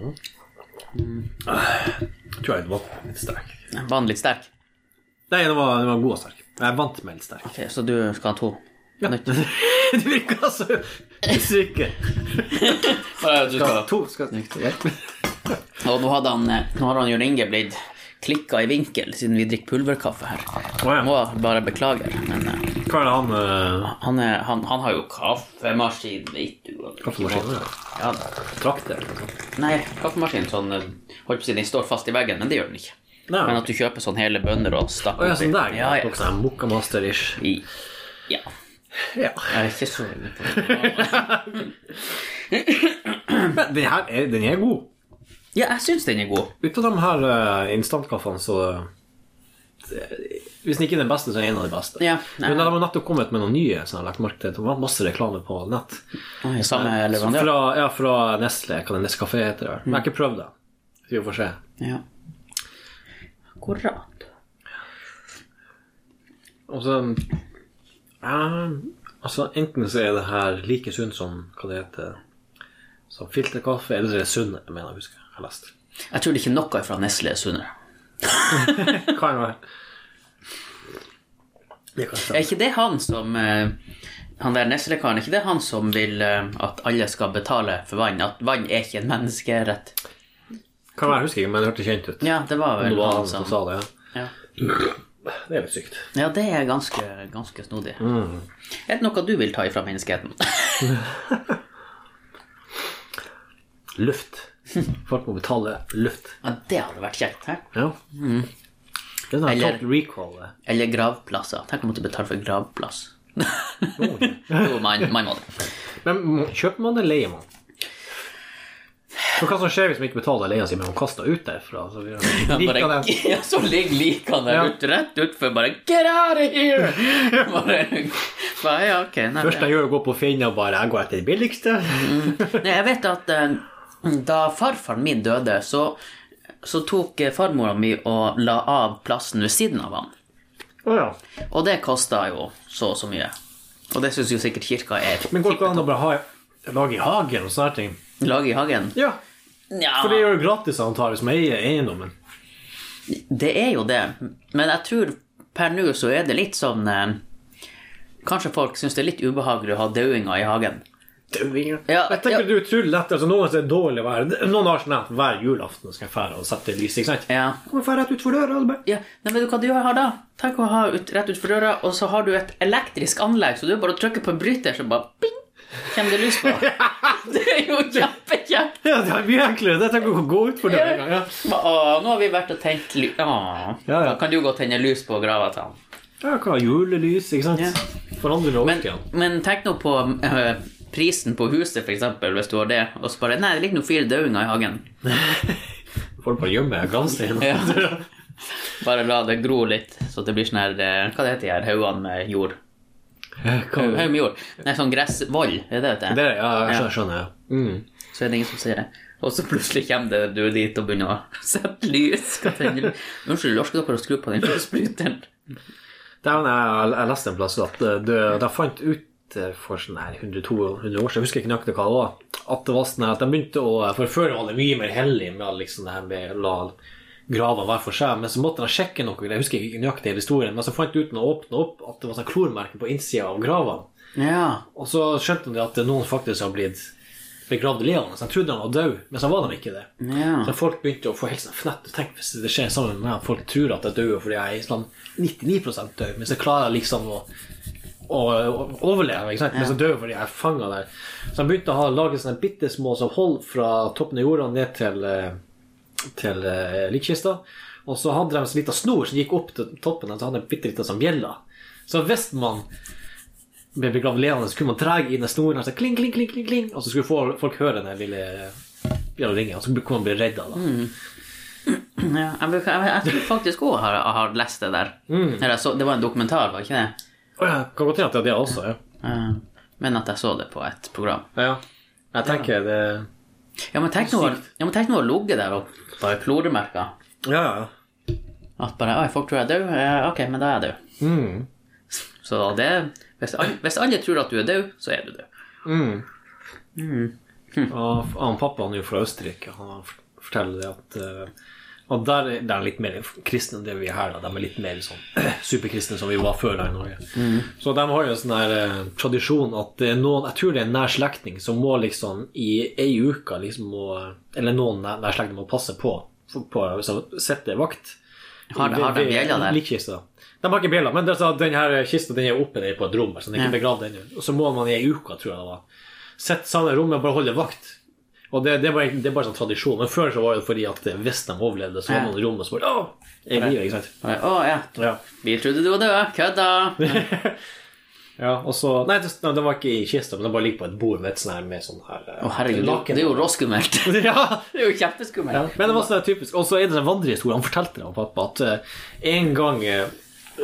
[SPEAKER 2] tror jeg den var litt sterk.
[SPEAKER 1] Var den litt sterk?
[SPEAKER 2] Nei, den var, den var god og sterk. Jeg er vant med litt sterk.
[SPEAKER 1] Ok, Så du skal ha to?
[SPEAKER 2] Ja.
[SPEAKER 1] Nytt.
[SPEAKER 2] du virker altså så syk. To skal
[SPEAKER 1] Og nå hadde han, eh, nå har han Jørn Inge blitt klikka i vinkel siden vi drikker pulverkaffe her.
[SPEAKER 2] Å ja.
[SPEAKER 1] Jeg må bare beklage, men eh,
[SPEAKER 2] Hva er det han uh,
[SPEAKER 1] han, er, han, han har jo kaffemaskin, vet du. og-
[SPEAKER 2] Kaffemaskinen?
[SPEAKER 1] Ja, da.
[SPEAKER 2] Trakter?
[SPEAKER 1] nei, kaffemaskin sånn eh, Holdt på å si den står fast i veggen, men det gjør den ikke.
[SPEAKER 2] Nei.
[SPEAKER 1] Men at du kjøper sånn hele bønder og stakker
[SPEAKER 2] Å ja, sånn der.
[SPEAKER 1] Ja, ja.
[SPEAKER 2] Sånn Mokkamaster-ish.
[SPEAKER 1] I, ja.
[SPEAKER 2] Ja.
[SPEAKER 1] Jeg er ikke så
[SPEAKER 2] Men den her er, den er god.
[SPEAKER 1] Ja, jeg syns den er god.
[SPEAKER 2] Ut av de her eh, instantkaffene, så eh, Hvis den ikke er den beste, så er den en av de beste.
[SPEAKER 1] Ja, nei.
[SPEAKER 2] Men de har nettopp kommet med noen nye. Sånn, jeg har lagt merke til. det. Det var masse reklame på nett.
[SPEAKER 1] Oi, Samme
[SPEAKER 2] Så
[SPEAKER 1] leverandør.
[SPEAKER 2] Fra, ja, fra Nestle. Hva det Nescafé heter. det. Men jeg har ikke prøvd det. Så vi får se.
[SPEAKER 1] Ja. Akkurat.
[SPEAKER 2] Og så eh, Altså, enten så er det her like sunt som hva det heter Som filterkaffe, eller så er det sunnere, mener jeg å huske. Jeg har lest.
[SPEAKER 1] Jeg tror det ikke er noe fra Nesle er sunnere.
[SPEAKER 2] Kan være. Det kan
[SPEAKER 1] Er
[SPEAKER 2] stemme.
[SPEAKER 1] ikke det han som eh, Han der Nesle-karen, er ikke det han som vil eh, at alle skal betale for vann? At vann er ikke en menneskerett?
[SPEAKER 2] Kan være, jeg husker ikke, men det hørtes kjent ut.
[SPEAKER 1] Ja, det var
[SPEAKER 2] Det
[SPEAKER 1] vel
[SPEAKER 2] var
[SPEAKER 1] han
[SPEAKER 2] han som
[SPEAKER 1] som
[SPEAKER 2] sa det,
[SPEAKER 1] Ja,
[SPEAKER 2] ja. Det er litt sykt.
[SPEAKER 1] ja det er ganske, ganske snodig.
[SPEAKER 2] Mm.
[SPEAKER 1] Er det noe du vil ta ifra menneskeheten?
[SPEAKER 2] Luft. Folk må betale luft.
[SPEAKER 1] Ja, det hadde vært kjekt. Hæ?
[SPEAKER 2] Ja. Det er sånn
[SPEAKER 1] Mm. Eller-
[SPEAKER 2] her Total recall. det.
[SPEAKER 1] Eller gravplasser. Tenk å måtte betale for gravplass.
[SPEAKER 2] Oh.
[SPEAKER 1] jo, man, man må det.
[SPEAKER 2] Men må- kjøper man det, leier man? For hva som skjer hvis man ikke betaler leia si, men man kaster ut derfra? Så vi
[SPEAKER 1] Han
[SPEAKER 2] liker
[SPEAKER 1] bare,
[SPEAKER 2] det.
[SPEAKER 1] ja, så ligger likene der
[SPEAKER 2] Ja.
[SPEAKER 1] ute, rett utfor, bare Get out of here! Bare, bare ja, ok. Nei,
[SPEAKER 2] Først jeg gjør, er å gå på Finn og bare Jeg går etter det billigste.
[SPEAKER 1] Nei, jeg vet at eh, da farfaren min døde, så, så tok eh, farmora mi og la av plassen ved siden av han.
[SPEAKER 2] Å ja.
[SPEAKER 1] Og det kosta jo så og så mye. Og det syns jo sikkert kirka er
[SPEAKER 2] Men går det ikke an å bare ha lag i hagen og sånne ting?
[SPEAKER 1] laget i hagen.
[SPEAKER 2] Ja,
[SPEAKER 1] Nja,
[SPEAKER 2] for det gjør jo gratis antakeligvis med eier eiendommen.
[SPEAKER 1] det er jo det. Men jeg tror per nå så er det litt sånn eh, Kanskje folk syns det er litt ubehagelig å ha dauinger i hagen. Ja,
[SPEAKER 2] jeg tenker
[SPEAKER 1] ja.
[SPEAKER 2] det er utrolig lett. Altså, noen er dårlig vær. Noen har sånn at hver julaften skal jeg fære og sette lys, ikke sant?
[SPEAKER 1] Ja.
[SPEAKER 2] Kommer fære rett utfor døra og så bare
[SPEAKER 1] Ja, nei, men hva du har da? Tenk å ha ut, rett utfor døra, og så har du et elektrisk anlegg, så du bare trykker på en bryter, så bare bing, kommer det lys på. Det er jo kjempekjekt.
[SPEAKER 2] Ja, det er mye enklere. Jeg tenker å gå utfor døra en gang. Ja.
[SPEAKER 1] Å, nå har vi vært og tent lys. Å,
[SPEAKER 2] Ja, ja.
[SPEAKER 1] da kan du gå og tenne lys på grava til han.
[SPEAKER 2] Ja, hva, julelys, ikke sant?
[SPEAKER 1] Ja.
[SPEAKER 2] Forandrer det
[SPEAKER 1] Men,
[SPEAKER 2] ofte igjen.
[SPEAKER 1] men tenk nå på øh, prisen på huset, for eksempel, hvis du har det, og så bare, nei, det ligger noen fire dødinger i hagen.
[SPEAKER 2] Folk bare gjemmer gransteinen.
[SPEAKER 1] Ja. Bare la det gro litt, så det blir sånn her, eh, hva det heter de her, haugene med jord. Kom, haug med jord. Nei, sånn gressvoll, er det det
[SPEAKER 2] Det
[SPEAKER 1] heter?
[SPEAKER 2] er, ja, jeg skjønner, skjønner jeg. Mm.
[SPEAKER 1] Så er det ingen som sier det. Og så plutselig kommer det du dit og begynner å sette lys. Hva tenker du? Unnskyld, orker dere å skru på den spruteren?
[SPEAKER 2] Det er, jo- jeg, jeg leste en plass at eh, det, de fant ut eh, for sånn her 100-200 år siden, jeg husker ikke nøyaktig hva det var, at det var sånn her at de begynte å For før var det mye mer hellig med liksom det her med å la gravene være for seg, men så måtte de sjekke noe, jeg husker ikke nøyaktig hele historien, men så fant de ut når de åpna opp, at det var sånn klormerke på innsida av gravene.
[SPEAKER 1] Ja.
[SPEAKER 2] Og så skjønte de at noen faktisk har blitt begravd levende. Så de trodde han var død, men så var de ikke det.
[SPEAKER 1] Ja.
[SPEAKER 2] Så folk begynte å få helt sånn fnett. Tenk hvis det skjer sammen med meg at folk tror at jeg dør fordi jeg er sånn 99 død, men så klarer jeg liksom å å å overleve, ikke sant? men så dør jeg fordi jeg er fanga der. Så de begynte å ha- lage sånne bitte små som hold fra toppen av jorda ned til eh, til eh, likkista. Og så hadde de en liten snor som gikk opp til toppen, og så hadde de en bitte liten sånn bjelle. Så hvis man ble begravd levende, så kunne man dra i den snoren, og så kling, kling, kling, kling, kling, og så skulle få- folk høre den lille bjella ringe, og så kunne man bli redd av det.
[SPEAKER 1] Ja, jeg, bruker- jeg, jeg tror faktisk òg har, jeg har lest det der. Eller jeg så, det var en dokumentar, var ikke det?
[SPEAKER 2] Å ja, kan godt hende at det er det også, ja.
[SPEAKER 1] Eh, Men at jeg så det på et program.
[SPEAKER 2] Ja, ja. Jeg tenker det
[SPEAKER 1] Ja, men tenk nå å- ja, men tenk nå å ligge der og bare kloremerka.
[SPEAKER 2] Ja, ja.
[SPEAKER 1] At bare Oi, folk tror jeg er død. Eh, Ok, men da er jeg død.
[SPEAKER 2] Mm.
[SPEAKER 1] Så det hvis alle, hvis alle tror at du er død, så er du død.
[SPEAKER 2] Mm. Og f- han pappa han er jo fra Østerrike. Han f- forteller det at eh, Og der er de litt mer kristne enn det vi er her. da De er litt mer sånn superkristne som vi var før her i Norge.
[SPEAKER 1] Mm.
[SPEAKER 2] Så de har jo en sånn her eh, tradisjon at det er noen Jeg tror det er en nær slektning som må liksom i ei uke liksom må Eller noen nær nær slektninger må passe på, på, på så sette vakt.
[SPEAKER 1] Har- har de
[SPEAKER 2] Ved- ved
[SPEAKER 1] bjella der?
[SPEAKER 2] Likkista. De har ikke bjella, men det er sånn at den her kista den er oppe nede på et rom. Så den er ikke begravd ennå. Og så må man i ei uke, tror jeg det var, sitte samme rommet og bare holde vakt. Og det, det, er bare, det er bare sånn tradisjon. Men før så var det fordi at eh, hvis de overlevde, så var
[SPEAKER 1] Ja.
[SPEAKER 2] noen i rommet som bare Å, jeg er i live, ikke sant?
[SPEAKER 1] Bare, Å ja,
[SPEAKER 2] Ja.
[SPEAKER 1] vi trodde du var død. Kødda.
[SPEAKER 2] ja. Og så Nei, det, nei, det var ikke i kista, men det bare ligger på et bord med et sånn her med sånn her eh,
[SPEAKER 1] Å herregud, det
[SPEAKER 2] laken.
[SPEAKER 1] er jo råskummelt.
[SPEAKER 2] ja.
[SPEAKER 1] Det er jo kjempeskummelt.
[SPEAKER 2] Ja. Men det var sånn typisk. Og så er det en vandrehistorie. Han fortalte det om pappa at eh, en gang eh,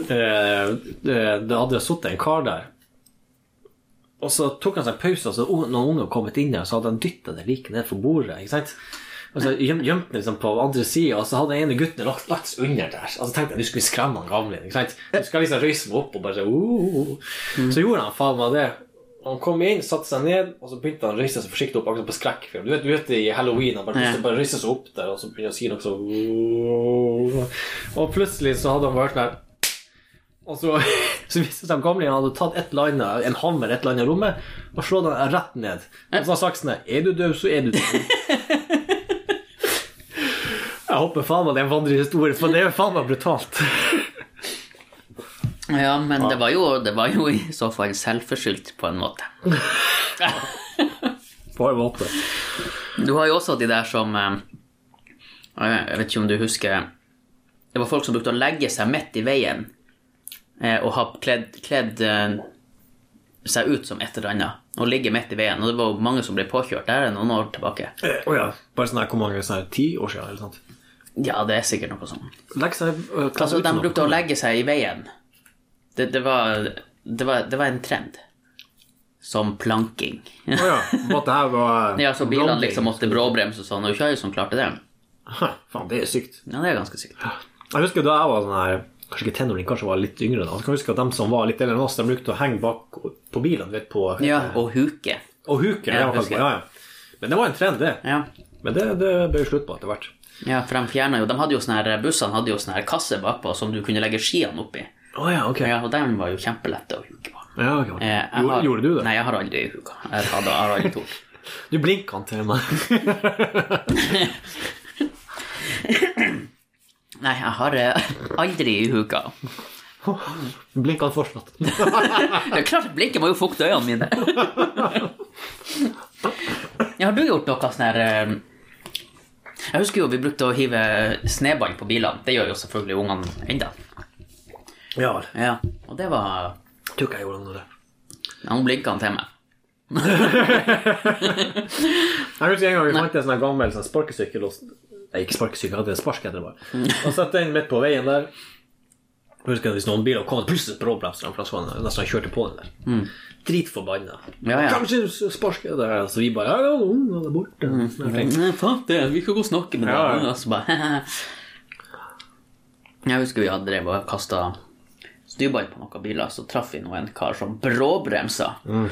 [SPEAKER 2] eh, det hadde sittet en kar der. Og så tok han seg en pause, og så un- noen unger kommet inn der, så hadde han dytta det like ned for bordet. ikke sant? Og så gjem- gjemte han liksom på andre sida, og så hadde den ene gutten lagt, lagt seg under der. Og så tenkte jeg du skulle skremme han gamle. ikke sant? Du skal liksom røyse meg opp og bare så, uh, uh, uh. Så gjorde han faen meg det. Han kom inn, satte seg ned, og så begynte han å røyse seg forsiktig opp. akkurat på skrekkfilm. Du vet, du vet i halloween han bare,
[SPEAKER 1] Ja.
[SPEAKER 2] plutselig bare røyser seg opp der og så begynner han å si noe sånn Og plutselig så hadde han vært der Og så, så viste det seg at gamlingen hadde tatt et eller annet, en hammer et eller annet i rommet og slått den rett ned. Og så har saksen der Er du død, så er du død. Jeg håper faen meg det er en vandrehistorie, for det er jo faen meg brutalt.
[SPEAKER 1] Ja, men Det, var jo, det var jo i så fall selvforskyldt, på en måte.
[SPEAKER 2] På en måte.
[SPEAKER 1] Du har jo også de der som eh, Jeg vet ikke om du husker Det var folk som brukte å legge seg midt i veien eh, og ha kledd, kledd eh, seg ut som et eller annet. Og ligge midt i veien. Og det var jo mange som ble påkjørt der noen år tilbake.
[SPEAKER 2] Å ja. Bare sånn her, hvor mange sånn her, ti år siden, eller sånt.
[SPEAKER 1] Ja, det er sikkert noe sånt.
[SPEAKER 2] Legg seg øh, kle
[SPEAKER 1] Altså,
[SPEAKER 2] ut
[SPEAKER 1] de
[SPEAKER 2] som noe.
[SPEAKER 1] brukte å legge seg i veien. Det, det, var, det, var, det var en trend. Som planking.
[SPEAKER 2] Å ja. På at det her var
[SPEAKER 1] Ja, så bilene
[SPEAKER 2] Blonding.
[SPEAKER 1] liksom måtte bråbremse og sånn, og ikke alle som klarte det.
[SPEAKER 2] Hæ, Faen, det er sykt.
[SPEAKER 1] Ja, det er ganske sykt.
[SPEAKER 2] Jeg husker da jeg var sånn her Kanskje ikke tenåring, kanskje jeg var litt yngre. da Jeg kan huske at dem som var litt eldre enn oss, de brukte å henge bak på bilen. Vet, på,
[SPEAKER 1] Ja, og huke.
[SPEAKER 2] Og huke.
[SPEAKER 1] Ja,
[SPEAKER 2] Ja, kanskje,
[SPEAKER 1] husker jeg.
[SPEAKER 2] ja, ja. Men det var en trend, det.
[SPEAKER 1] Ja.
[SPEAKER 2] Men det, det ble jo slutt på etter hvert.
[SPEAKER 1] ja, for de fjernet jo De hadde jo sånne her, bussene hadde jo sånne her kasse bakpå som du kunne legge skiene oppi.
[SPEAKER 2] Å ja, ok. Ja,
[SPEAKER 1] Ja, og dem var jo kjempelette å huke på.
[SPEAKER 2] ok.
[SPEAKER 1] Eh, jeg
[SPEAKER 2] Gjorde,
[SPEAKER 1] har-
[SPEAKER 2] gjorde du det?
[SPEAKER 1] Nei, jeg har aldri huka. Jeg hadde, har aldri tort.
[SPEAKER 2] Du blinka han til meg.
[SPEAKER 1] Nei, jeg har eh, aldri huka.
[SPEAKER 2] Blinka han fortsatt.
[SPEAKER 1] Det er klart at blinket må jo fukte øynene mine. ja, har du gjort noe sånn her eh, Jeg husker jo vi brukte å hive snøball på bilene. Det gjør jo selvfølgelig ungene ennå.
[SPEAKER 2] Ja vel.
[SPEAKER 1] Ja, og det var
[SPEAKER 2] Tror ikke jeg gjorde noe av det.
[SPEAKER 1] ja, Hun blinka han til meg.
[SPEAKER 2] Jeg husker en gang vi fant en sånn her gammel sånn sparkesykkel og Nei, ikke sparkesykkel, jeg hadde en spark heter det bare. Og satte den midt på veien der. Jeg husker at Hvis noen biler kom plutselig bråbremser han, for han så- nesten han kjørte på den der. Dritforbanna.
[SPEAKER 1] Mm. Ja, ja.
[SPEAKER 2] Kanskje du sparker der, så vi bare Ja, ja, ungen er borte.
[SPEAKER 1] Mm.
[SPEAKER 2] Sånne ting.
[SPEAKER 1] Nei, Fuck det, vi kan gå og snakke med
[SPEAKER 2] Ja, ja.
[SPEAKER 1] deg. Og så altså bare Jeg husker vi hadde drevet og kasta styrball på noen biler, så traff vi nå en kar som bråbremsa.
[SPEAKER 2] Mm.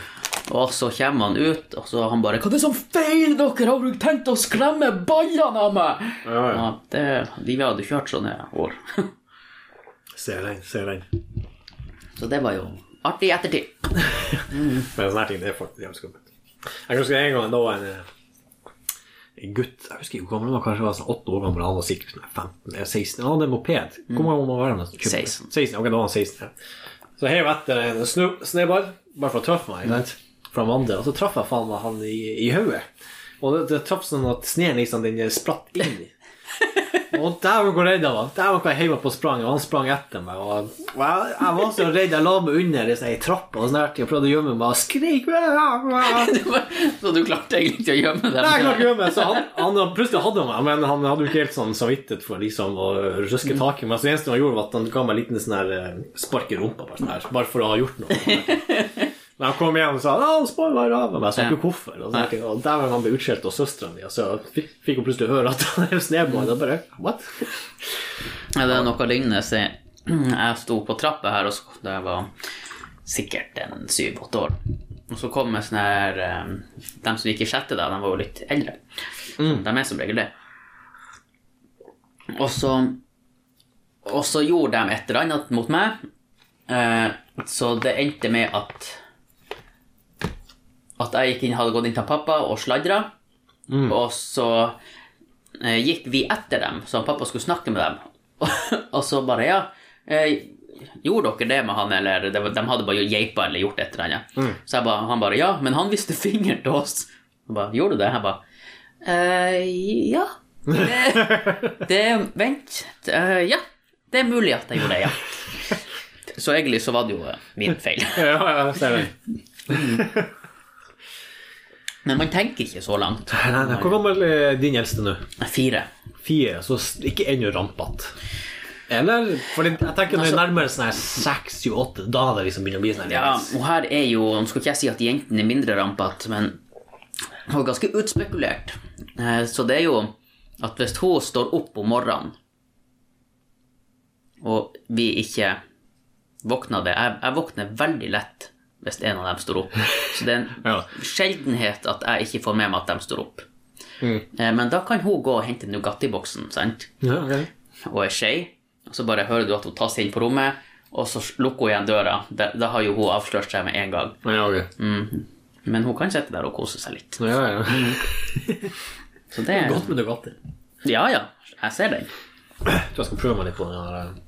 [SPEAKER 1] Og så kommer han ut, og så han bare 'Hva er det som feiler dere? Har dere tenkt å skremme ballene av meg?'
[SPEAKER 2] Ja, ja.
[SPEAKER 1] det, vi hadde kjørt sånne år.
[SPEAKER 2] Ser den, ser den.
[SPEAKER 1] så det var jo artig i ettertid.
[SPEAKER 2] Men sånne her ting, det er faktisk jævlig skummelt. Jeg husker en gang det var en, eh, en gutt, jeg husker ikke hvor gammel han var, kanskje han var sånn åtte år gammel, han var sikkert sånn 15, eller 16, han hadde en moped. Hvor mange år må han være? nesten?
[SPEAKER 1] 16.
[SPEAKER 2] 16, ok, da var han 16, ja. Så heiv jeg etter en snu- snøball, bare for å treffe meg, ikke sant? Fra Amanda, og så traff jeg faen meg han i, i høyet. Og det, det traff sånn at sneen liksom, den spratt inn i. Og dæven hvor redd jeg var. Dæven hvor jeg heiv meg på sprang, og han sprang etter meg. Og og jeg, jeg var så redd. Jeg la meg under ei sånn, ei trapp og sånn her, og prøvde å gjemme meg og skreik. Jeg
[SPEAKER 1] Det var- så du klarte egentlig ikke å gjemme dem?
[SPEAKER 2] klarte ikke å gjemme meg, så han, han plutselig hadde han meg, men han hadde jo ikke helt sånn samvittighet for liksom å røske tak i meg. Så det eneste han gjorde, var at han ga meg en liten sånn her eh, spark i rumpa, bare, sånn her, bare for å ha gjort noe. Men han kom hjem og sa «Ja, han spar bare av meg, jeg sa ikke hvorfor. Og, sånne ting, og dæven, han ble utskjelt av søstera mi, og så fikk, fikk hun plutselig høre at han er snedball. Og bare What?
[SPEAKER 1] Ja, det er noe lignende. Så jeg- jeg sto på trappa her, og så, da jeg var sikkert en syv-åtte år. Og så kom jeg sånn her eh, De som gikk i sjette da, de var jo litt eldre. De er som regel det. Og så Og så gjorde de et eller annet mot meg, eh, så det endte med at At jeg gikk inn, hadde gått inn til pappa og sladra, og så eh, gikk vi etter dem, så han pappa skulle snakke med dem. og så bare, ja, eh, gjorde dere det med han, eller det var- de hadde bare geipa eller gjort et eller annet. Så jeg ba, han bare, ja, men han viste fingeren til oss. Jeg ba, gjorde du det? Jeg ba, eh, ja. Det, det, vent, eh, ja, det er mulig at jeg gjorde det, ja. Så egentlig så var det jo eh, min feil.
[SPEAKER 2] Ja, ja, ser den.
[SPEAKER 1] Men man tenker ikke så langt.
[SPEAKER 2] Nei, nei, nei. Hvor gammel er din eldste nå?
[SPEAKER 1] Fire.
[SPEAKER 2] Fire, så s- ikke ennå rampete. Eller? For jeg tenker når det er nærmere sånn her seks, sju, åtte, da det liksom begynner å bli sånn her.
[SPEAKER 1] Ja, og her er jo Nå skal ikke jeg si at jentene er mindre rampete, men hun er ganske utspekulert. Eh, Så det er jo at hvis hun står opp om morgenen, og vi ikke våkner det Jeg, jeg våkner veldig lett hvis en av dem står opp. Så det er en
[SPEAKER 2] Ja.
[SPEAKER 1] sjeldenhet at jeg ikke får med meg at de står opp. Eh, Men da kan hun gå og hente Nugatti-boksen, sant?
[SPEAKER 2] Ja, ok.
[SPEAKER 1] og er skei, og så bare hører du at hun tas inn på rommet, og så lukker hun igjen døra. Da, da har jo hun avslørt seg med en gang.
[SPEAKER 2] Ja, ok.
[SPEAKER 1] Men hun kan sitte der og kose seg litt.
[SPEAKER 2] Ja, ja.
[SPEAKER 1] Så det er
[SPEAKER 2] Mm. Godt med Nugatti.
[SPEAKER 1] Ja, ja. Jeg ser den.
[SPEAKER 2] Tror jeg skal prøve meg litt på den her. eh.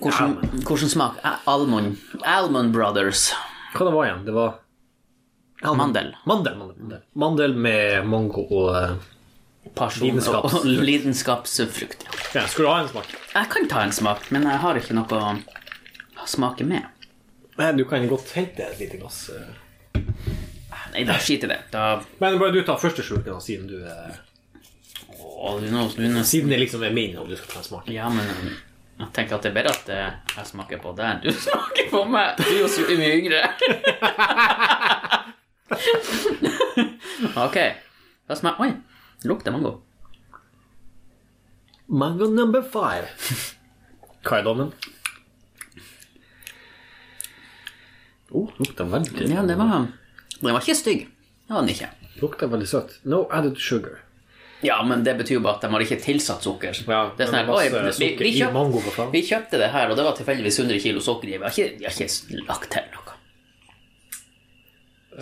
[SPEAKER 1] Hvordan, hvordan smak? Al- Almond, Almond Brothers.
[SPEAKER 2] Hva det var igjen? Det var
[SPEAKER 1] Mandel.
[SPEAKER 2] mandel. Mandel, mandel. mandel med mango og eh,
[SPEAKER 1] Pasjon og,
[SPEAKER 2] Lidenskaps-
[SPEAKER 1] og lidenskapsfrukt. ja.
[SPEAKER 2] Ja, skulle du ha en smak?
[SPEAKER 1] Jeg kan ta en smak, men jeg har ikke noe å smake med.
[SPEAKER 2] Nei, du kan godt hente et lite glass. eh.
[SPEAKER 1] Nei, da skit i det. Da
[SPEAKER 2] Men bare du tar første slurken, da, siden du eh,
[SPEAKER 1] Å, du, nå, du, nå
[SPEAKER 2] Siden det liksom er min, og du skal ta en smak.
[SPEAKER 1] Ja, men jeg tenker at det er bedre at eh, jeg smaker på deg enn du smaker på meg. Du er jo så mye yngre. ok. Da smaker Oi, det lukter mango.
[SPEAKER 2] Mango number five. Hva er dommen? Oh, lukta veldig
[SPEAKER 1] Ja, det var Den var ikke stygg. Det var den ikke.
[SPEAKER 2] Lukta veldig søtt. No added sugar.
[SPEAKER 1] Ja, men det betyr jo bare at de har ikke tilsatt sukker.
[SPEAKER 2] Ja,
[SPEAKER 1] det er sånn
[SPEAKER 2] men
[SPEAKER 1] her,
[SPEAKER 2] masse
[SPEAKER 1] oi, vi,
[SPEAKER 2] sukker
[SPEAKER 1] vi,
[SPEAKER 2] i mango, for
[SPEAKER 1] kjøpt,
[SPEAKER 2] faen.
[SPEAKER 1] vi kjøpte det her, og det var tilfeldigvis 100 kilo sukker i. Vi har ikke, vi har ikke lagt til noe.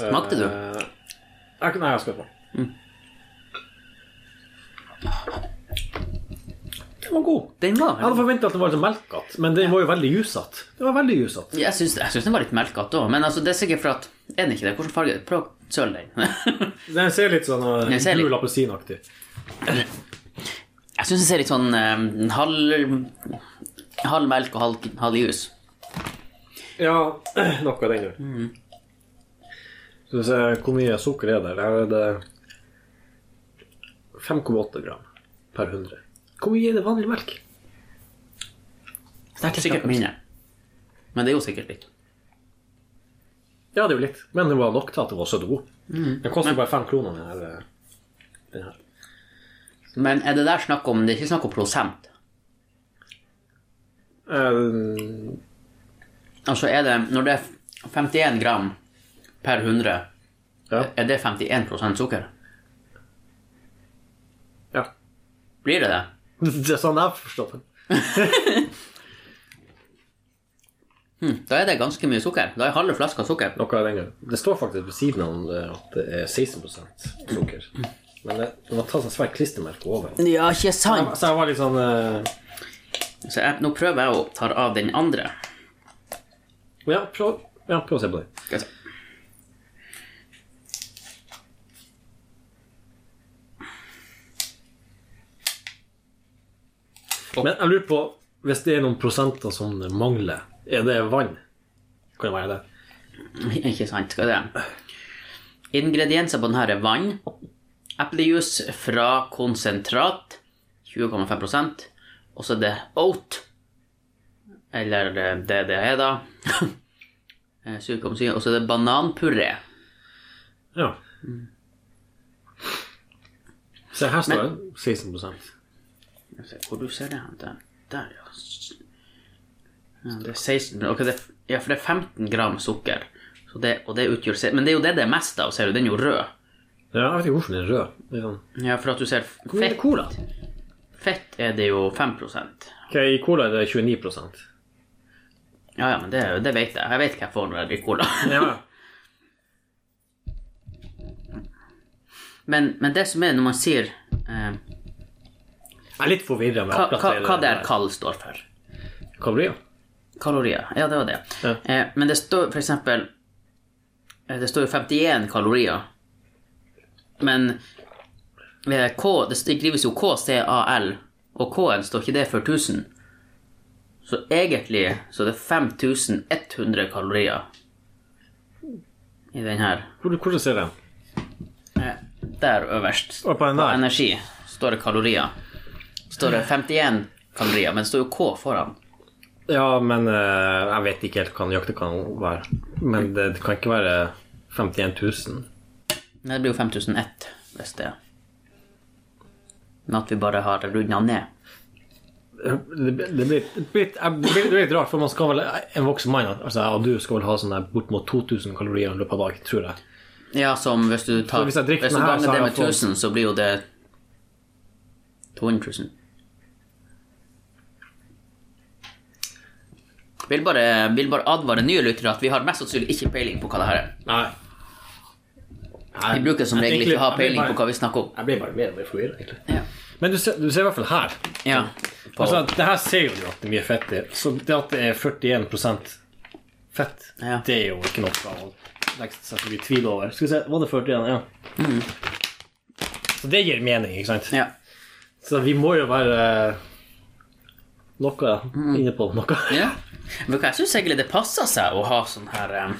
[SPEAKER 1] Smakte du? Mm.
[SPEAKER 2] Eh, jeg, nei, jeg skal på. Den var god.
[SPEAKER 1] Den var
[SPEAKER 2] Jeg hadde forventa at den var litt melkete, men den var jo veldig jusete. Den var veldig jusete.
[SPEAKER 1] Jeg syns, jeg syns den var litt melkete òg, men altså, det er sikkert for at Er den ikke det? Hvilken farge? Prøv å søle den.
[SPEAKER 2] Den ser litt sånn eh,
[SPEAKER 1] Den ser litt-
[SPEAKER 2] gul appelsinaktig
[SPEAKER 1] jeg syns den ser litt sånn eh, halv, halv melk og halv, halv jus.
[SPEAKER 2] Ja, noe av den gjør. Mm. Skal vi se hvor mye sukker er der. Her er det 5,8 gram per 100. Hvor mye er det vanlig melk?
[SPEAKER 1] Sikkert mindre. Men det er jo sikkert litt.
[SPEAKER 2] Ja, det er jo litt. Men det var nok til at det var 70 god. Den koster bare 5 kroner, den her. eh, Den her.
[SPEAKER 1] Men er det der snakk om Det er ikke snakk om prosent.
[SPEAKER 2] Eh,
[SPEAKER 1] Altså er det Når det er 51 gram per 100,
[SPEAKER 2] ja.
[SPEAKER 1] er det 51 sukker?
[SPEAKER 2] ja.
[SPEAKER 1] Blir det det?
[SPEAKER 2] Det er sånn jeg har forstått den.
[SPEAKER 1] Hm, Da er det ganske mye sukker. Da er halve flaska sukker.
[SPEAKER 2] Noe av den gangen. Det står faktisk ved siden av det at det er 16 sukker. Men det, det må tas en svær klistremerke over.
[SPEAKER 1] Ja, ikke sant?
[SPEAKER 2] Så jeg var litt sånn eh,
[SPEAKER 1] Så jeg, nå prøver jeg å ta av den andre.
[SPEAKER 2] ja, prøv, ja, prøv å se på det.
[SPEAKER 1] Skal jeg se.
[SPEAKER 2] Men jeg lurer på, hvis det er noen prosenter som mangler, er det vann? Kan det være det?
[SPEAKER 1] Ikke sant, skal det. Ingredienser på denne er vann, eplejus fra konsentrat, 20,5 og så er det oat, eller det- det det er da, Eh, 7,7, og så er det bananpuré.
[SPEAKER 2] Ja. Se, her står det 16
[SPEAKER 1] Skal vi se, Hvor du ser det hen? Der, der ja. ja. Det er 16, ok, det, ja, for det er 15 gram sukker, så det, og det utgjør, se- men det er jo det det er mest av, ser du, den er jo rød.
[SPEAKER 2] Ja, jeg vet ikke hvorfor den er rød. Det er sånn.
[SPEAKER 1] Ja, for at du ser
[SPEAKER 2] Hvor mye er
[SPEAKER 1] fett,
[SPEAKER 2] det cola?
[SPEAKER 1] fett er det jo 5
[SPEAKER 2] Ok, I cola er det 29
[SPEAKER 1] Ja, ja, men det, det vet jeg. Jeg vet hva jeg får når jeg drikker cola.
[SPEAKER 2] Ja.
[SPEAKER 1] Men, men det som er når man sier eh,
[SPEAKER 2] Jeg er litt forvirra med
[SPEAKER 1] hva,
[SPEAKER 2] akkurat
[SPEAKER 1] hva, hva det
[SPEAKER 2] der.
[SPEAKER 1] er kall står for.
[SPEAKER 2] Kalorier?
[SPEAKER 1] Kalorier. Ja, det var det.
[SPEAKER 2] Ja.
[SPEAKER 1] Eh, men det står for eksempel eh, Det står jo 51 kalorier. Men eh, K, det skrives jo KCAL, og K-en står ikke det for 1000. Så egentlig så er det 5100 kalorier i den her.
[SPEAKER 2] Hvor, hvordan ser den?
[SPEAKER 1] Eh, Der øverst.
[SPEAKER 2] Og på den der.
[SPEAKER 1] energi står det kalorier. Står det 51 kalorier, men det står jo K foran.
[SPEAKER 2] Ja, men eh, jeg vet ikke helt hva nøyaktig kan være. Men det, det kan ikke være 51 000.
[SPEAKER 1] Men det blir jo 5001 hvis det Men at vi bare har runda ned.
[SPEAKER 2] Det, blir- det, blir, det, blir, det, blir, det blir litt rart, for man skal vel, en voksen mann altså, jeg og du skal vel ha sånn der bortimot 2000 kalorier i løpet av dag, tror jeg.
[SPEAKER 1] Ja, som hvis du tar
[SPEAKER 2] Så hvis jeg drikker
[SPEAKER 1] du
[SPEAKER 2] den her, så
[SPEAKER 1] ganger
[SPEAKER 2] har
[SPEAKER 1] det
[SPEAKER 2] jeg
[SPEAKER 1] med
[SPEAKER 2] fått-
[SPEAKER 1] 1000, så blir jo det 200 000. Vil bare, vil bare advare nye lyttere at vi har mest sannsynlig ikke peiling på hva det her er.
[SPEAKER 2] Nei.
[SPEAKER 1] Vi bruker som regel ikke å ha peiling på hva vi snakker om.
[SPEAKER 2] Jeg blir bare mer og mer forvirra, egentlig.
[SPEAKER 1] Ja.
[SPEAKER 2] Men du ser, du ser i hvert fall her.
[SPEAKER 1] Ja. På,
[SPEAKER 2] Altså, det her ser jo du at det er mye fett i. Så det at det er 41 fett,
[SPEAKER 1] Ja.
[SPEAKER 2] det er jo ikke noe å legge seg så mye tvil over. Skal vi se, var det 41? Ja.
[SPEAKER 1] Mm.
[SPEAKER 2] Så det gir mening, ikke sant?
[SPEAKER 1] ja.
[SPEAKER 2] Så vi må jo være eh, noe inne på noe.
[SPEAKER 1] ja. Men hva, jeg syns egentlig det passer seg å ha sånn her eh,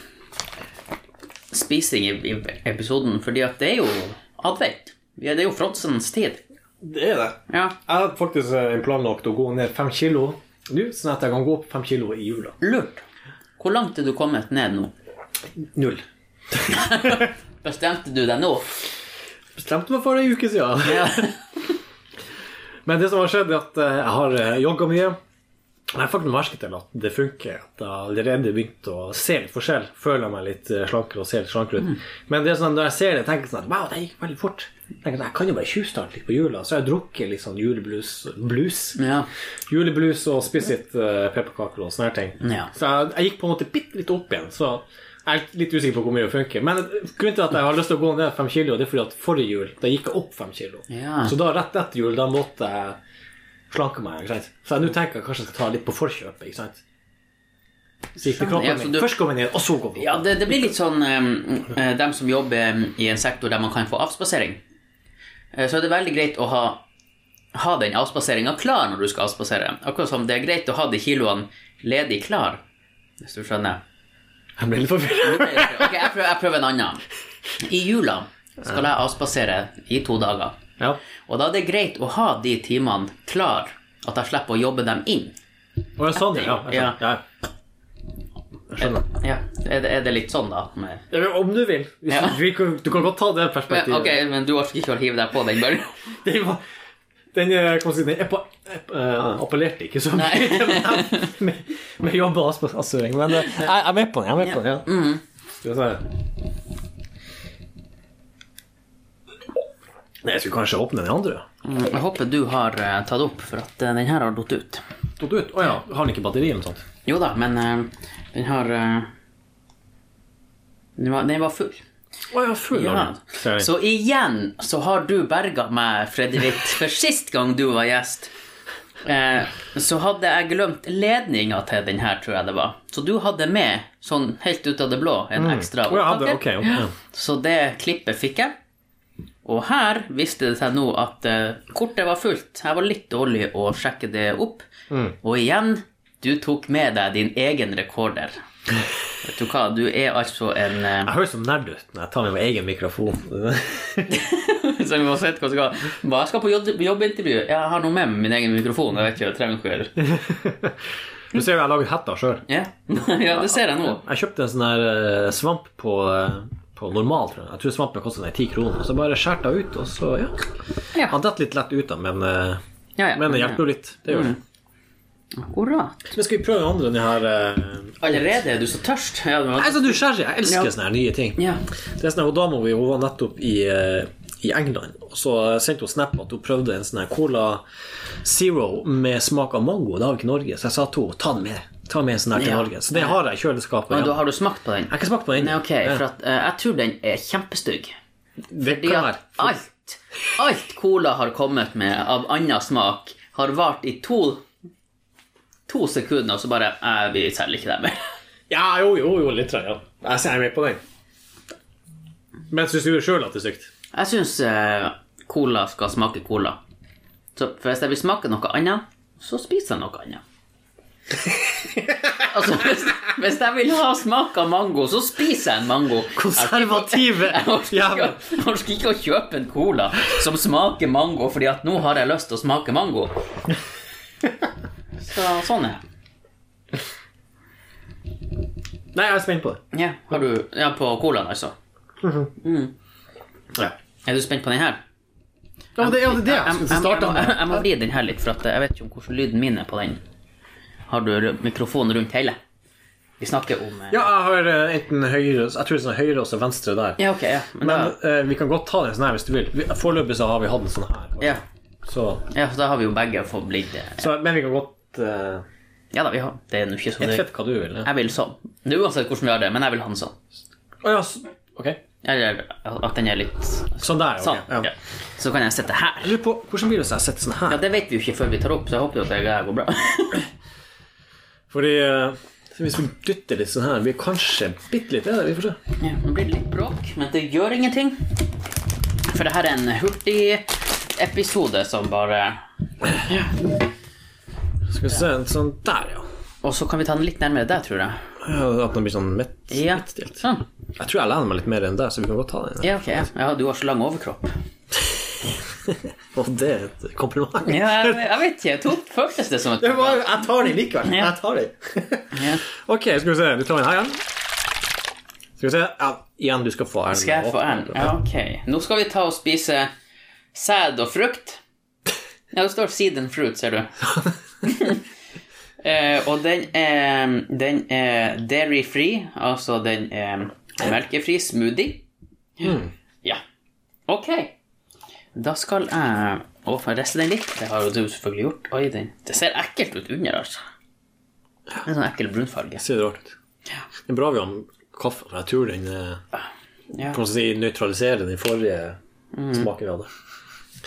[SPEAKER 1] spising i, i episoden, fordi at det er jo advent. Vi er- Det er jo fronsens tid.
[SPEAKER 2] Det er det.
[SPEAKER 1] Ja.
[SPEAKER 2] Jeg hadde faktisk eh, planlagt å gå ned fem kilo nå, sånn at jeg kan gå opp fem kilo i jula.
[SPEAKER 1] Lurt. Hvor langt er du kommet ned nå?
[SPEAKER 2] Null.
[SPEAKER 1] Bestemte du deg nå?
[SPEAKER 2] Bestemte meg for det en uke siden.
[SPEAKER 1] Ja.
[SPEAKER 2] Men det som har skjedd er at eh, jeg har eh, jogget mye. Jeg har faktisk merket til at det funker. At jeg har allerede begynt å se litt forskjell. Føler meg litt eh, slankere og ser litt slankere
[SPEAKER 1] Mm.
[SPEAKER 2] ut. Men det er sånn, når jeg ser det, tenker jeg sånn at wow, det gikk veldig fort. Jeg tenker sånn, jeg kan jo bare tjuvstarte litt på jula. Så jeg har drukket litt sånn juleblus, blues.
[SPEAKER 1] ja.
[SPEAKER 2] juleblus og spist litt eh, pepperkaker og sånne her ting.
[SPEAKER 1] Ja.
[SPEAKER 2] Så jeg, jeg gikk på en måte bitte litt opp igjen. Så jeg er litt usikker på hvor mye det funker. Men grunnen til at jeg har lyst til å gå ned fem kilo, det er fordi at forrige jul da gikk jeg opp fem kilo.
[SPEAKER 1] Ja.
[SPEAKER 2] Så da rett etter jul da måtte jeg slanke meg. ikke sant? Så jeg nå tenker jeg kanskje jeg skal ta litt på forkjøpet. ikke sant? Så gikk det kroppen
[SPEAKER 1] Ja, så
[SPEAKER 2] min.
[SPEAKER 1] du-
[SPEAKER 2] Først kom jeg ned, og så kom jeg opp.
[SPEAKER 1] ja det, det blir litt sånn eh, eh, Dem som jobber eh, i en sektor der man kan få avspasering, eh, så er det veldig greit å ha, ha den avspaseringa klar når du skal avspasere. Akkurat som det er greit å ha de kiloene ledig klar, hvis du skjønner.
[SPEAKER 2] Jeg ble litt forvirra.
[SPEAKER 1] Ok, jeg prøver, jeg prøver en annen. I jula skal jeg avspasere i to dager.
[SPEAKER 2] Ja.
[SPEAKER 1] Og da er det greit å ha de timene klar, at jeg slipper å jobbe dem inn.
[SPEAKER 2] Og jeg sa det, ja. Jeg sa, ja. Skjønner.
[SPEAKER 1] Ja. Er det, er det litt sånn, da? Med...
[SPEAKER 2] Ja, men Om du vil. Hvis
[SPEAKER 1] Ja.
[SPEAKER 2] du, vi kan- du kan godt ta det
[SPEAKER 1] Men,
[SPEAKER 2] perspektivet.
[SPEAKER 1] ok, men du orker ikke å hive deg på den, bare?
[SPEAKER 2] Den var den, eh, kan man si, den epa, ep, eh, appellerte ikke så
[SPEAKER 1] Nei.
[SPEAKER 2] mye til meg med, med jobb og avspasering, men eh, jeg jeg er med på den. Jeg er med på den, ja.
[SPEAKER 1] Mm.
[SPEAKER 2] Skal vi se Nei, Jeg skulle kanskje åpne den andre.
[SPEAKER 1] Mm, Jeg håper du har eh, tatt opp, for at eh, den her har datt ut.
[SPEAKER 2] Tatt ut? Å ja, har den ikke batteri eller noe sånt?
[SPEAKER 1] Jo da, men eh, den har eh, den, var, den var full.
[SPEAKER 2] Å ja, full
[SPEAKER 1] Ja.
[SPEAKER 2] av den. Så-
[SPEAKER 1] Så igjen så har du berga meg, Fredrik, for sist gang du var gjest. Eh, så hadde jeg glemt ledninga til den her, tror jeg det var. Så du hadde med, sånn helt ut av det blå, en ekstra
[SPEAKER 2] Mm. Å, jeg hadde-
[SPEAKER 1] opptaker.
[SPEAKER 2] ok, ok, ja.
[SPEAKER 1] Så det klippet fikk jeg. Og her viste det seg nå at eh, kortet var fullt. Jeg var litt dårlig å sjekke det opp.
[SPEAKER 2] Mm.
[SPEAKER 1] Og igjen, du tok med deg din egen rekorder. Vet du hva, du er altså en eh,
[SPEAKER 2] Jeg høres som nerd ut når jeg tar med min egen mikrofon.
[SPEAKER 1] Så vi må sette hva som skal Hva jeg skal på jobb- jobbintervju? Ja, Jeg har noe med meg min egen mikrofon. Jeg vet ikke, jeg trenger ikke å gjøre det.
[SPEAKER 2] Du ser jo jeg lager hetta sjøl.
[SPEAKER 1] Ja. ja, det ser jeg nå.
[SPEAKER 2] Jeg kjøpte en sånn her eh, svamp på, eh, på normal, tror jeg. Jeg tror svampen kostet sånn 10 kroner. Så bare skjærte jeg ut, og så ja.
[SPEAKER 1] Ja.
[SPEAKER 2] Han detter litt lett ut, da, men, eh,
[SPEAKER 1] Ja, ja.
[SPEAKER 2] men det hjelper jo litt. Det
[SPEAKER 1] Mm.
[SPEAKER 2] gjør det.
[SPEAKER 1] Akkurat.
[SPEAKER 2] Men skal vi prøve den andre, den her eh,
[SPEAKER 1] Allerede er du så tørst. Ja, du må...
[SPEAKER 2] Jeg er så nysgjerrig. Jeg elsker
[SPEAKER 1] Ja.
[SPEAKER 2] sånne her nye ting.
[SPEAKER 1] ja.
[SPEAKER 2] Det er sånn her, og Dama mi hun var nettopp i, eh, i England, og så eh, sendte hun snap at hun prøvde en sånn her Cola Zero med smak av mango. Det har vi ikke i Norge, så jeg sa til henne ta den med. Ta med en sånn her til
[SPEAKER 1] Ja.
[SPEAKER 2] Norge. Så det har jeg i kjøleskapet.
[SPEAKER 1] Men
[SPEAKER 2] Ja.
[SPEAKER 1] da har du smakt på den?
[SPEAKER 2] Jeg har ikke smakt på den.
[SPEAKER 1] Nei, ok, for at, eh, jeg tror den er kjempestygg.
[SPEAKER 2] det
[SPEAKER 1] Fordi at
[SPEAKER 2] kan være.
[SPEAKER 1] alt, alt cola har kommet med av annen smak, har vart i to To sekunder, og så bare eh, Vi selger ikke det mer.
[SPEAKER 2] Ja, jo, jo, jo litt trøya. Jeg ser med på den. Men syns du sjøl at det er stygt?
[SPEAKER 1] Jeg syns cola skal smake cola. Så for hvis jeg vil smake noe annet, så spiser jeg noe annet. altså, hvis, hvis jeg vil ha smak av mango, så spiser jeg en mango.
[SPEAKER 2] Konservative
[SPEAKER 1] Jeg orker ikke,
[SPEAKER 2] jævla
[SPEAKER 1] jeg orker ikke å kjøpe en cola som smaker mango, fordi at nå har jeg lyst til å smake mango. Så, sånn er det.
[SPEAKER 2] Nei, jeg er spent på det.
[SPEAKER 1] Ja, har du, ja, på colaen, altså.
[SPEAKER 2] Ja.
[SPEAKER 1] Er du spent på den her?
[SPEAKER 2] men det er jo det jeg
[SPEAKER 1] Jeg,
[SPEAKER 2] skulle
[SPEAKER 1] jeg, jeg,
[SPEAKER 2] starte
[SPEAKER 1] må-
[SPEAKER 2] med.
[SPEAKER 1] jeg, jeg må vri den her litt, for at jeg vet ikke om hvordan lyden min er på den. Har du r- mikrofonen rundt hele? Vi snakker om eh,
[SPEAKER 2] Ja, jeg har eh, enten høyre Jeg tror det er sånn høyre og så venstre der.
[SPEAKER 1] ja, ok, ja. Men
[SPEAKER 2] Men
[SPEAKER 1] da,
[SPEAKER 2] eh, vi kan godt ta den sånn her hvis du vil. Vi- Foreløpig så har vi hatt en sånn her.
[SPEAKER 1] ja,
[SPEAKER 2] Så,
[SPEAKER 1] ja, så da har vi jo begge fått blitt eh,
[SPEAKER 2] så, men vi kan godt uh,
[SPEAKER 1] Ja da, vi har Det er nå ikke så
[SPEAKER 2] Jeg
[SPEAKER 1] nøye.
[SPEAKER 2] vet hva du vil. ja.
[SPEAKER 1] Jeg vil sånn. Det er uansett hvordan vi har det, men jeg vil ha den sånn.
[SPEAKER 2] Å ja, så, ok.
[SPEAKER 1] Eller at den er litt
[SPEAKER 2] Sånn der, ok.
[SPEAKER 1] sånn.
[SPEAKER 2] Ja.
[SPEAKER 1] Ja. Så kan jeg sitte her.
[SPEAKER 2] Jeg lurer på hvordan blir det hvis jeg setter sånn her?
[SPEAKER 1] Ja, Det vet vi jo ikke før vi tar opp, så jeg håper jo at det her går bra.
[SPEAKER 2] Fordi eh, hvis vi dytter litt sånn her, blir kanskje bitte litt bedre. Vi får se.
[SPEAKER 1] Ja, Nå blir det litt bråk, men det gjør ingenting. For det her er en hurtig episode som bare
[SPEAKER 2] Skal vi se, sånn der, ja.
[SPEAKER 1] Og så kan vi ta den litt nærmere deg, tror jeg.
[SPEAKER 2] ja at den blir sånn midt,
[SPEAKER 1] Ja,
[SPEAKER 2] midtstilt.
[SPEAKER 1] sånn.
[SPEAKER 2] Jeg tror jeg lener meg litt mer enn deg, så vi kan godt ta den.
[SPEAKER 1] Ja, ok. Ja. ja, du har så lang overkropp.
[SPEAKER 2] Og det er et kompliment.
[SPEAKER 1] Ja, jeg, jeg vet ikke. Jeg tok, føltes det som et
[SPEAKER 2] jeg tar den likevel.
[SPEAKER 1] Ja.
[SPEAKER 2] Jeg tar den.
[SPEAKER 1] Ja.
[SPEAKER 2] ok, skal vi se. Du tar den her igjen. Skal vi se. Ja, igjen, du skal få æren.
[SPEAKER 1] Skal jeg få æren? Ja, ok. Nå skal vi ta og spise sæd og frukt. Ja, det står seed and fruit, ser du. eh, og den er, den er dairy free, altså den er melkefri smoothie. Ja. Ok. Da skal jeg Å, får jeg riste den litt? Det har jo du selvfølgelig gjort. Oi, den Det ser ekkelt ut under, altså. En sånn ekkel brunfarge.
[SPEAKER 2] Ser det rart ut. Det er bra vi har kaffe, for jeg tror den eh,
[SPEAKER 1] Ja.
[SPEAKER 2] kan man si, nøytraliserer den forrige
[SPEAKER 1] Mm.
[SPEAKER 2] smaken vi hadde.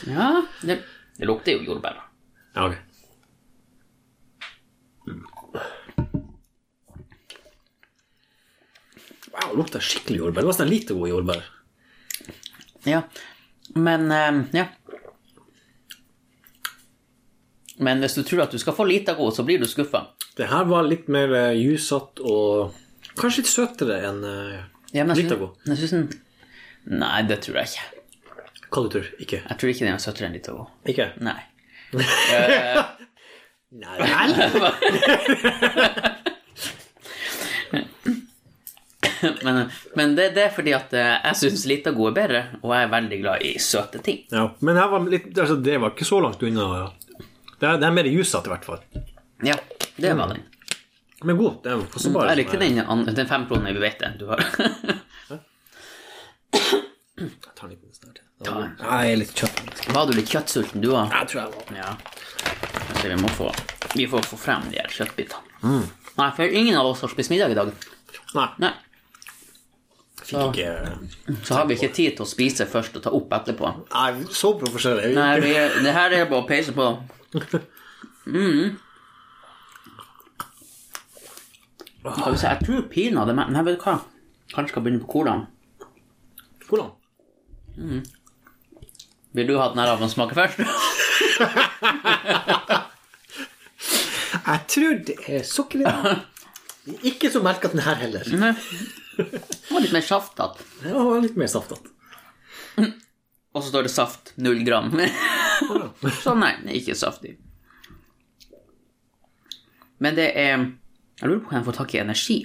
[SPEAKER 1] ja det, det lukter jo jordbær. da.
[SPEAKER 2] Ja, ok. Wow, det lukter skikkelig jordbær. Det var nesten lite god jordbær.
[SPEAKER 1] Ja, men eh, ja. Men hvis du tror at du skal få lite god, så blir du skuffa.
[SPEAKER 2] Det her var litt mer eh, jusete og kanskje litt søtere enn
[SPEAKER 1] Ja,
[SPEAKER 2] uh,
[SPEAKER 1] men jeg
[SPEAKER 2] litt
[SPEAKER 1] syns-
[SPEAKER 2] av god.
[SPEAKER 1] jeg syns den- Nei, det tror jeg ikke.
[SPEAKER 2] Hva du tror? Ikke?
[SPEAKER 1] Jeg tror ikke den er søtere enn litt god.
[SPEAKER 2] Ikke?
[SPEAKER 1] Nei.
[SPEAKER 2] Nei vel?
[SPEAKER 1] men men det, det er fordi at eh, jeg syns lita god er bedre, og jeg er veldig glad i søte ting.
[SPEAKER 2] Ja, men her var litt, altså, det var ikke så langt unna. Det er, det er mer jusete, i hvert fall.
[SPEAKER 1] Ja, det var den.
[SPEAKER 2] Men god. Det er kostbar.
[SPEAKER 1] Jeg likte den, an- den femkronen vi vet det du har.
[SPEAKER 2] Jeg tar den litt snart. Ja, jeg er litt kjøtt.
[SPEAKER 1] Var du litt kjøttsulten, du òg?
[SPEAKER 2] Jeg tror jeg var
[SPEAKER 1] Ja. Kanskje vi må få Vi får få frem de her kjøttbitene. Nei, for ingen av oss har spist middag i dag.
[SPEAKER 2] Nei,
[SPEAKER 1] Nei,
[SPEAKER 2] fikk ikke eh,
[SPEAKER 1] Så har vi ikke tid til å spise først og ta opp etterpå.
[SPEAKER 2] Nei, så profesjonell er vi
[SPEAKER 1] Nei,
[SPEAKER 2] ikke.
[SPEAKER 1] vi, det her er bare å peise på. Mm. Skal vi se, jeg tror pinadø meg Nei, vet du hva? Kanskje skal begynne på hvordan.
[SPEAKER 2] Hvordan?
[SPEAKER 1] Vil du ha den her av å smake først?
[SPEAKER 2] Jeg tror det er sukker i Mm. den. Ikke så merket den her heller.
[SPEAKER 1] Nei. Det var litt mer saftete.
[SPEAKER 2] Den var litt mer saftete.
[SPEAKER 1] Og så står det saft. Null gram. Så nei, den er ikke saftig. Men det er Jeg lurer på hvordan jeg får tak i energi.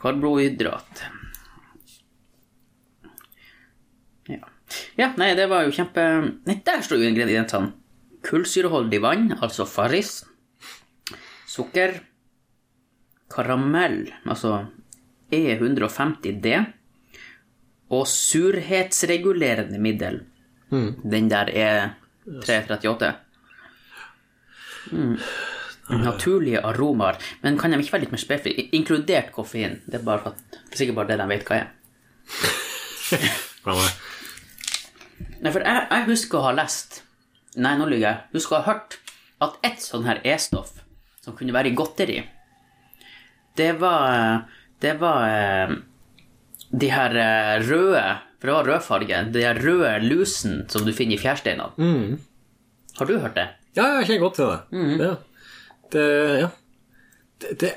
[SPEAKER 1] Karbohydrat. Ja. ja, nei, det var jo kjempe Nei, der står jo ingrediensene. Kullsyreholdig vann, altså Farris. Sukker. Karamell, altså E150D og surhetsregulerende middel. Den der er 338. Mm. Naturlige aromaer. Men kan de ikke være litt mer spesifikke? I- Inkludert koffein. Det er, bare at, det er sikkert bare det de vet hva er.
[SPEAKER 2] Bra med.
[SPEAKER 1] Nei, for jeg, jeg husker å ha lest Nei, nå lyver jeg. Husker å ha hørt at ett sånn her E-stoff som kunne være i godteri, det var Det var eh, de her eh, røde For det var rødfarge. De her røde lusen som du finner i fjærsteinene. Har du hørt det?
[SPEAKER 2] Ja, jeg kjenner godt til det. Ja. Det, ja. Det, det,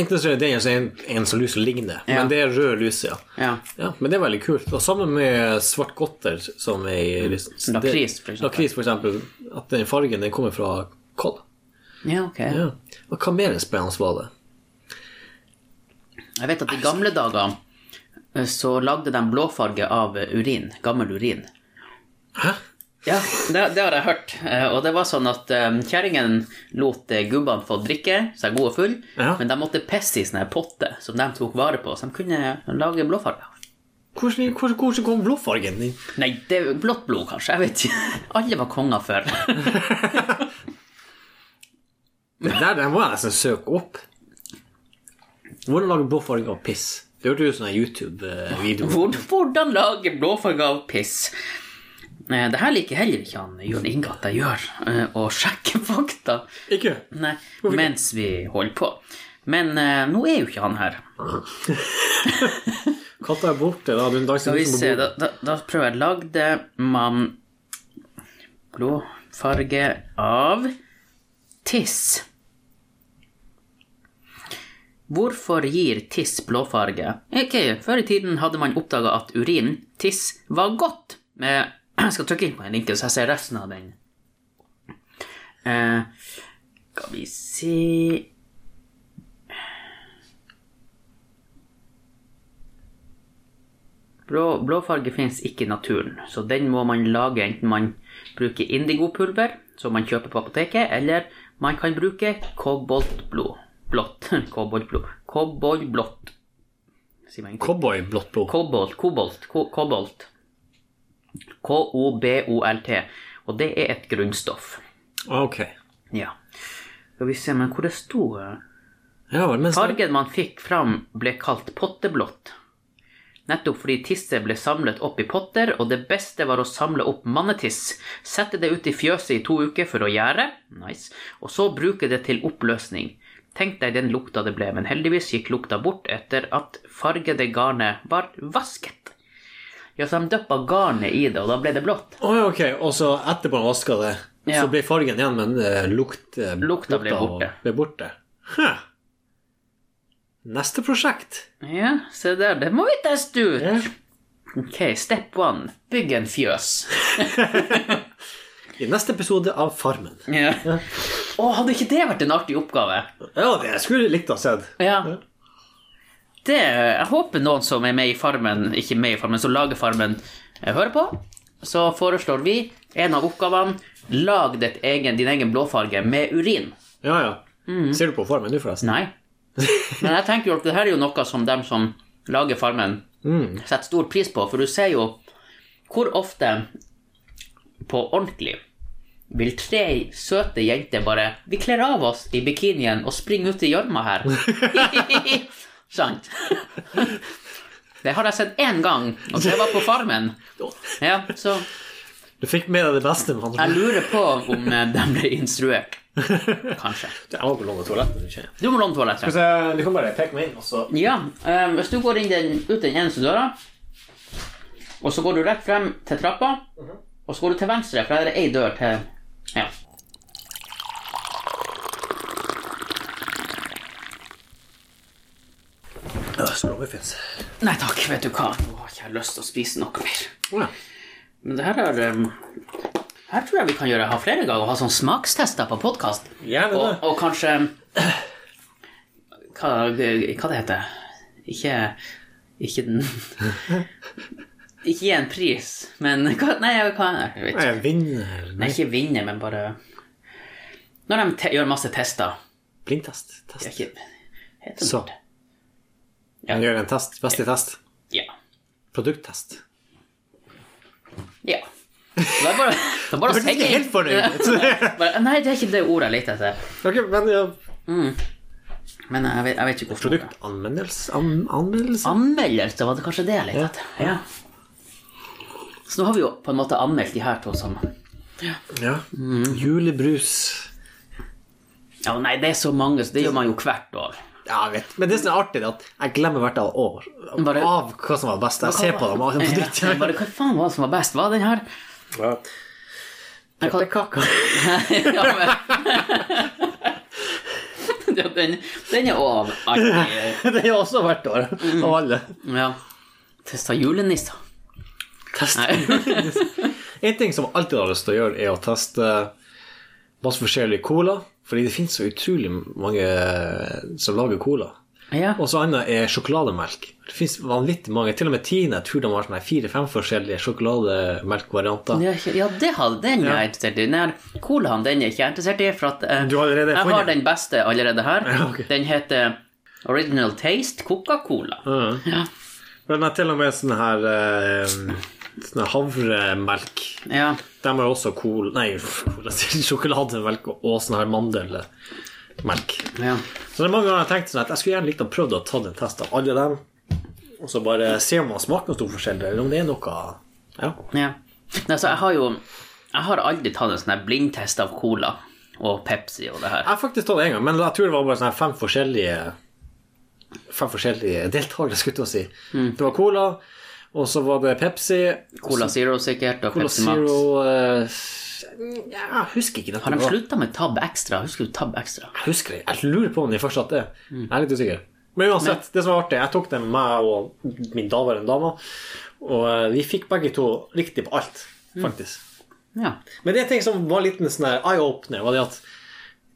[SPEAKER 2] enten så er det den, så er en, en som lus ligner,
[SPEAKER 1] Ja.
[SPEAKER 2] men det er rød lus, ja.
[SPEAKER 1] Ja.
[SPEAKER 2] ja. Men det er veldig kult. Og sammen med svart godter, som er i lysen. Så det-
[SPEAKER 1] Lakris, for eksempel.
[SPEAKER 2] Mm. Lakris, for eksempel. At den fargen den kommer fra kål.
[SPEAKER 1] Ja, ok.
[SPEAKER 2] Ja. Og hva mer spennende var det?
[SPEAKER 1] Jeg vet at i gamle dager eh, så lagde de blåfarge av eh, urin. Gammel urin.
[SPEAKER 2] Hæ?
[SPEAKER 1] Ja, det, det har jeg hørt. Eh, Og det var sånn at eh, kjerringen lot eh, gubbene få drikke seg god og full,
[SPEAKER 2] Ja.
[SPEAKER 1] men de måtte pisse i sånne her potter som de tok vare på, så de kunne lage blåfarge.
[SPEAKER 2] Hvordan, hvordan, hvordan kom blåfargen inn?
[SPEAKER 1] Nei, det er blått blod, kanskje. Jeg vet ikke. Alle var konger før.
[SPEAKER 2] Det der den må jeg nesten søke opp. Hvordan lage blåfarge av piss? Det hørtes ut som en sånn YouTube-video.
[SPEAKER 1] Hvor- Hvordan lage blåfarge av piss? Eh, Det her liker heller ikke han Jon Inge at jeg gjør, eh, å sjekke fakta.
[SPEAKER 2] Ikke?
[SPEAKER 1] Nei, mens vi holder på. Men eh, nå er jo ikke han her.
[SPEAKER 2] Katta er borte, da. Den
[SPEAKER 1] Skal
[SPEAKER 2] danser
[SPEAKER 1] Altså, vi
[SPEAKER 2] liksom på
[SPEAKER 1] se, da,
[SPEAKER 2] bordet.
[SPEAKER 1] da, da prøver jeg. Lagde man blåfarge av tiss? Hvorfor gir tiss blåfarge? Ok, Før i tiden hadde man oppdaga at urin, tiss, var godt. Eh, Jeg skal trykke inn på den linken, så jeg ser resten av den. Eh, skal vi se Blå, blåfarge finnes ikke i naturen, så den må man lage enten man bruker indigopulver, som man kjøper på apoteket, eller man kan bruke koboltblod. Blått. Koboltblod. Koboltblått. Sier man
[SPEAKER 2] Cowboy blått blod.
[SPEAKER 1] Kobolt, kobolt, ko- kobolt. K-O-B-O-L-T. Og det er et grunnstoff.
[SPEAKER 2] Ah, Ok.
[SPEAKER 1] Ja. Skal vi se, men hvor det sto eh?
[SPEAKER 2] Ja vel, men så-
[SPEAKER 1] Fargen man fikk fram ble kalt potteblått. Nettopp fordi tisset ble samlet opp i potter, og det beste var å samle opp mannetiss, sette det ut i fjøset i to uker for å gjære, nice, og så bruke det til oppløsning. Tenk deg den lukta det ble, men heldigvis gikk lukta bort etter at fargede garnet var vasket. Ja, så de døppa garnet i det, og da ble det blått.
[SPEAKER 2] Å, ja, ok. Og så etterpå han vaska det,
[SPEAKER 1] Ja.
[SPEAKER 2] så ble fargen igjen, men eh, lukt, eh,
[SPEAKER 1] Lukta ble
[SPEAKER 2] og-
[SPEAKER 1] borte.
[SPEAKER 2] Ble borte. Hæ. Neste prosjekt.
[SPEAKER 1] Ja, se der, det må vi teste ut!
[SPEAKER 2] Ja.
[SPEAKER 1] Ok, step one, bygg en fjøs.
[SPEAKER 2] I neste episode av Farmen.
[SPEAKER 1] Ja. Å, hadde ikke det vært en artig oppgave?
[SPEAKER 2] Ja, det skulle jeg likt å ha sett.
[SPEAKER 1] Ja. Det, jeg håper noen som er med i Farmen, ikke med i Farmen, som lager Farmen, eh, hører på. Så foreslår vi en av oppgavene. Lag ditt egen, din egen blåfarge med urin.
[SPEAKER 2] Ja, ja.
[SPEAKER 1] Mm.
[SPEAKER 2] Ser du på formen nå, forresten?
[SPEAKER 1] Nei. Men jeg tenker jo at det her er jo noe som dem som lager Farmen, setter stor pris på. For du ser jo hvor ofte på ordentlig vil tre søte jenter bare Vi kler av oss i bikinien og springer ut i gjørma her. Sant? Det har jeg sett én gang, og det var på Farmen. Ja, så
[SPEAKER 2] Du fikk med deg det beste. med andre
[SPEAKER 1] jeg
[SPEAKER 2] ord.
[SPEAKER 1] lurer på om eh, de ble instruert. Kanskje.
[SPEAKER 2] Jeg må på låne toalettet. kjenner jeg.
[SPEAKER 1] Du må låne toalettet.
[SPEAKER 2] Altså,
[SPEAKER 3] Så Du kan bare peke meg inn, og så
[SPEAKER 1] Ja, eh, hvis du går inn den, ut den eneste døra, og så går du rett frem til trappa, og så går du til venstre, for der er det ei dør til Ja.
[SPEAKER 2] Ja, Strawberryfins.
[SPEAKER 1] Nei takk, vet du hva, nå har ikke jeg lyst til å spise noe mer.
[SPEAKER 2] Å, ja.
[SPEAKER 1] Men det her er eh, Her tror jeg vi kan gjøre ha flere ganger, og ha sånn smakstester på podkast.
[SPEAKER 2] Gjerne det.
[SPEAKER 1] Og, og kanskje Hva, hva det heter Ikke Ikke den Ikke gi en pris, men hva, Nei, jeg, hva, jeg vet ikke.
[SPEAKER 2] Nei, jeg vinner eller
[SPEAKER 1] Nei,
[SPEAKER 2] nei.
[SPEAKER 1] ikke vinne, men bare Når de te gjør masse tester
[SPEAKER 2] Blindtest.
[SPEAKER 1] det er
[SPEAKER 2] Test.
[SPEAKER 1] ikke... Heter det
[SPEAKER 2] Så.
[SPEAKER 1] det? Ja.
[SPEAKER 2] Man gjør en test. Beste test.
[SPEAKER 1] Ja.
[SPEAKER 2] Produkttest.
[SPEAKER 1] ja. Det er bare, det er bare å
[SPEAKER 2] Du er
[SPEAKER 1] sende
[SPEAKER 2] ikke helt fornøyd.
[SPEAKER 1] Bare, Nei, det er ikke det ordet jeg leter etter.
[SPEAKER 2] Ok, men ja,
[SPEAKER 1] Men eh, jeg vet, jeg vet ikke hvorfor.
[SPEAKER 2] produktanmeldelse? An anmeldelse?
[SPEAKER 1] Anmeldelse var det kanskje det jeg lette etter. Ja. Så nå har vi jo på en måte anmeldt de her to sammen.
[SPEAKER 2] Ja. Mm. Julebrus.
[SPEAKER 1] Ja, nei, det er så mange, så det gjør man jo hvert år.
[SPEAKER 2] Ja, jeg vet. Men det som er artig, er at jeg glemmer hvert av år
[SPEAKER 1] Bare-
[SPEAKER 2] av hva som var best. Jeg ser på dem og på nytt.
[SPEAKER 1] Ja, bare, hva faen var det som var best? Var den her?
[SPEAKER 2] Ja. Pepperkaker.
[SPEAKER 1] ja, men... Ja, den, den er òg artig.
[SPEAKER 2] Det er jo også hvert år, av alle.
[SPEAKER 1] Ja. Testa julenisser.
[SPEAKER 2] Test.
[SPEAKER 1] Nei.
[SPEAKER 2] En ting som jeg alltid har lyst til å gjøre, er å teste masse forskjellig cola. Fordi det finnes så utrolig mange som lager cola.
[SPEAKER 1] Ja.
[SPEAKER 2] Og så annet er sjokolademelk. Det finnes vanvittig mange. Til og med Tine jeg tror de har sånn her fire-fem forskjellige sjokolademelkvarianter.
[SPEAKER 1] Det er ikke- ja, det har den jeg er interessert i. Den her colaen den er ikke jeg interessert i, for at eh,
[SPEAKER 2] Du har allerede
[SPEAKER 1] jeg har
[SPEAKER 2] funnet den.
[SPEAKER 1] den beste allerede her.
[SPEAKER 2] Ja, ok.
[SPEAKER 1] Den heter Original Taste Coca-Cola.
[SPEAKER 2] Mhm.
[SPEAKER 1] Ja.
[SPEAKER 2] Men det er til og med sånn her eh, sånn her havremelk.
[SPEAKER 1] ja.
[SPEAKER 2] De har også cola Nei, cola, sier jeg, sjokolademelk og sånn her mandelmelk.
[SPEAKER 1] ja.
[SPEAKER 2] Så det er mange ganger jeg har tenkt sånn at jeg skulle gjerne likt å prøve å ta en test av alle dem, og så bare se om man smaker noe stor forskjell, eller om det er noe Ja.
[SPEAKER 1] Ja. Nei, så jeg har jo Jeg har aldri tatt en sånn her blindtest av cola og Pepsi og det her.
[SPEAKER 2] Jeg har faktisk tatt det en gang, men jeg tror det var bare sånn her fem forskjellige Fem forskjellige deltakere, skulle jeg til å si.
[SPEAKER 1] Mm.
[SPEAKER 2] Det var cola, og så var det Pepsi,
[SPEAKER 1] Cola Zero sikkert, og
[SPEAKER 2] Cola
[SPEAKER 1] Pepsi Max.
[SPEAKER 2] Zero eh, ja, Jeg husker ikke.
[SPEAKER 1] Har de slutta med Tab Extra? Husker du Tab Extra?
[SPEAKER 2] Jeg husker det. Jeg lurer på om de fortsatt er. Jeg er litt usikker. Mm. Men uansett, det som var artig, jeg tok den med meg og min daværende dame, og eh, vi fikk begge to riktig på alt, faktisk.
[SPEAKER 1] Ja.
[SPEAKER 2] Men det er en ting som var litt en sånn her eye-opener, var det at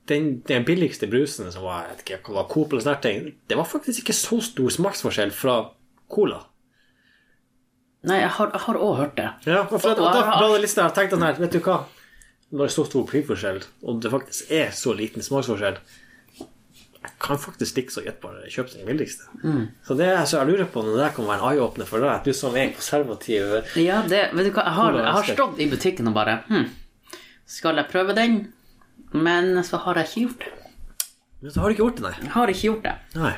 [SPEAKER 2] den, den billigste brusen som var, jeg vet ikke, hva det var Coop eller sånne ting, det var faktisk ikke så stor smaksforskjell fra Cola.
[SPEAKER 1] Nei, jeg har, jeg har også hørt det.
[SPEAKER 2] Ja, og for, og
[SPEAKER 1] Og-
[SPEAKER 2] da ble det litt sånn her, tenkte jeg sånn her, vet du hva, når det er så stor prisforskjell, og det faktisk er så liten smaksforskjell, jeg kan faktisk ikke så gjett bare kjøpe den billigste. Så det er så jeg lurer på om det der kan være en eye-åpner for deg, at du som er konservativ.
[SPEAKER 1] Ja, det, vet du hva, jeg har,
[SPEAKER 2] Cola
[SPEAKER 1] jeg har
[SPEAKER 2] Extra.
[SPEAKER 1] stått i butikken og bare hm, Skal jeg prøve den? Men så har jeg ikke gjort det.
[SPEAKER 2] Men så har du ikke gjort det, nei.
[SPEAKER 1] Jeg har ikke gjort det.
[SPEAKER 2] Nei.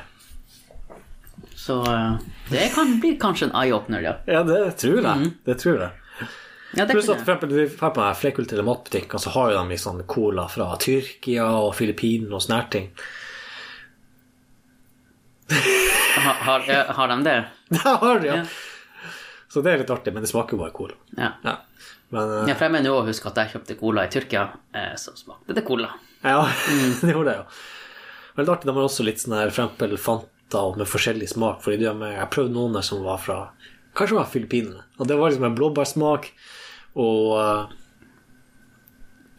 [SPEAKER 1] Så eh, det kan bli kanskje en eye-opener, ja.
[SPEAKER 2] Ja, det tror jeg. Det tror jeg.
[SPEAKER 1] ja det
[SPEAKER 2] Pluss at
[SPEAKER 1] kunne.
[SPEAKER 2] for eksempel, for eksempel her flerkulturelle matbutikker, så har jo de liksom cola fra Tyrkia og Filippinene og sånne her ting.
[SPEAKER 1] jeg. Ha, har, ja, har de det?
[SPEAKER 2] Der har de, ja.
[SPEAKER 1] Ja.
[SPEAKER 2] Så det er litt artig, men det smaker jo bare cola.
[SPEAKER 1] Ja.
[SPEAKER 2] Ja. Men eh,
[SPEAKER 1] ja for jeg mener jo å huske at jeg kjøpte cola i Tyrkia, eh, så smakte det cola.
[SPEAKER 2] Ja,
[SPEAKER 1] Mm.
[SPEAKER 2] det gjorde jeg jo. Veldig artig. De har også litt sånn her for eksempel Fanta med forskjellig smak. Fordi de er, jeg prøvde noen der som var fra Kanskje var Filippinene. Og det var liksom en blåbærsmak og eh,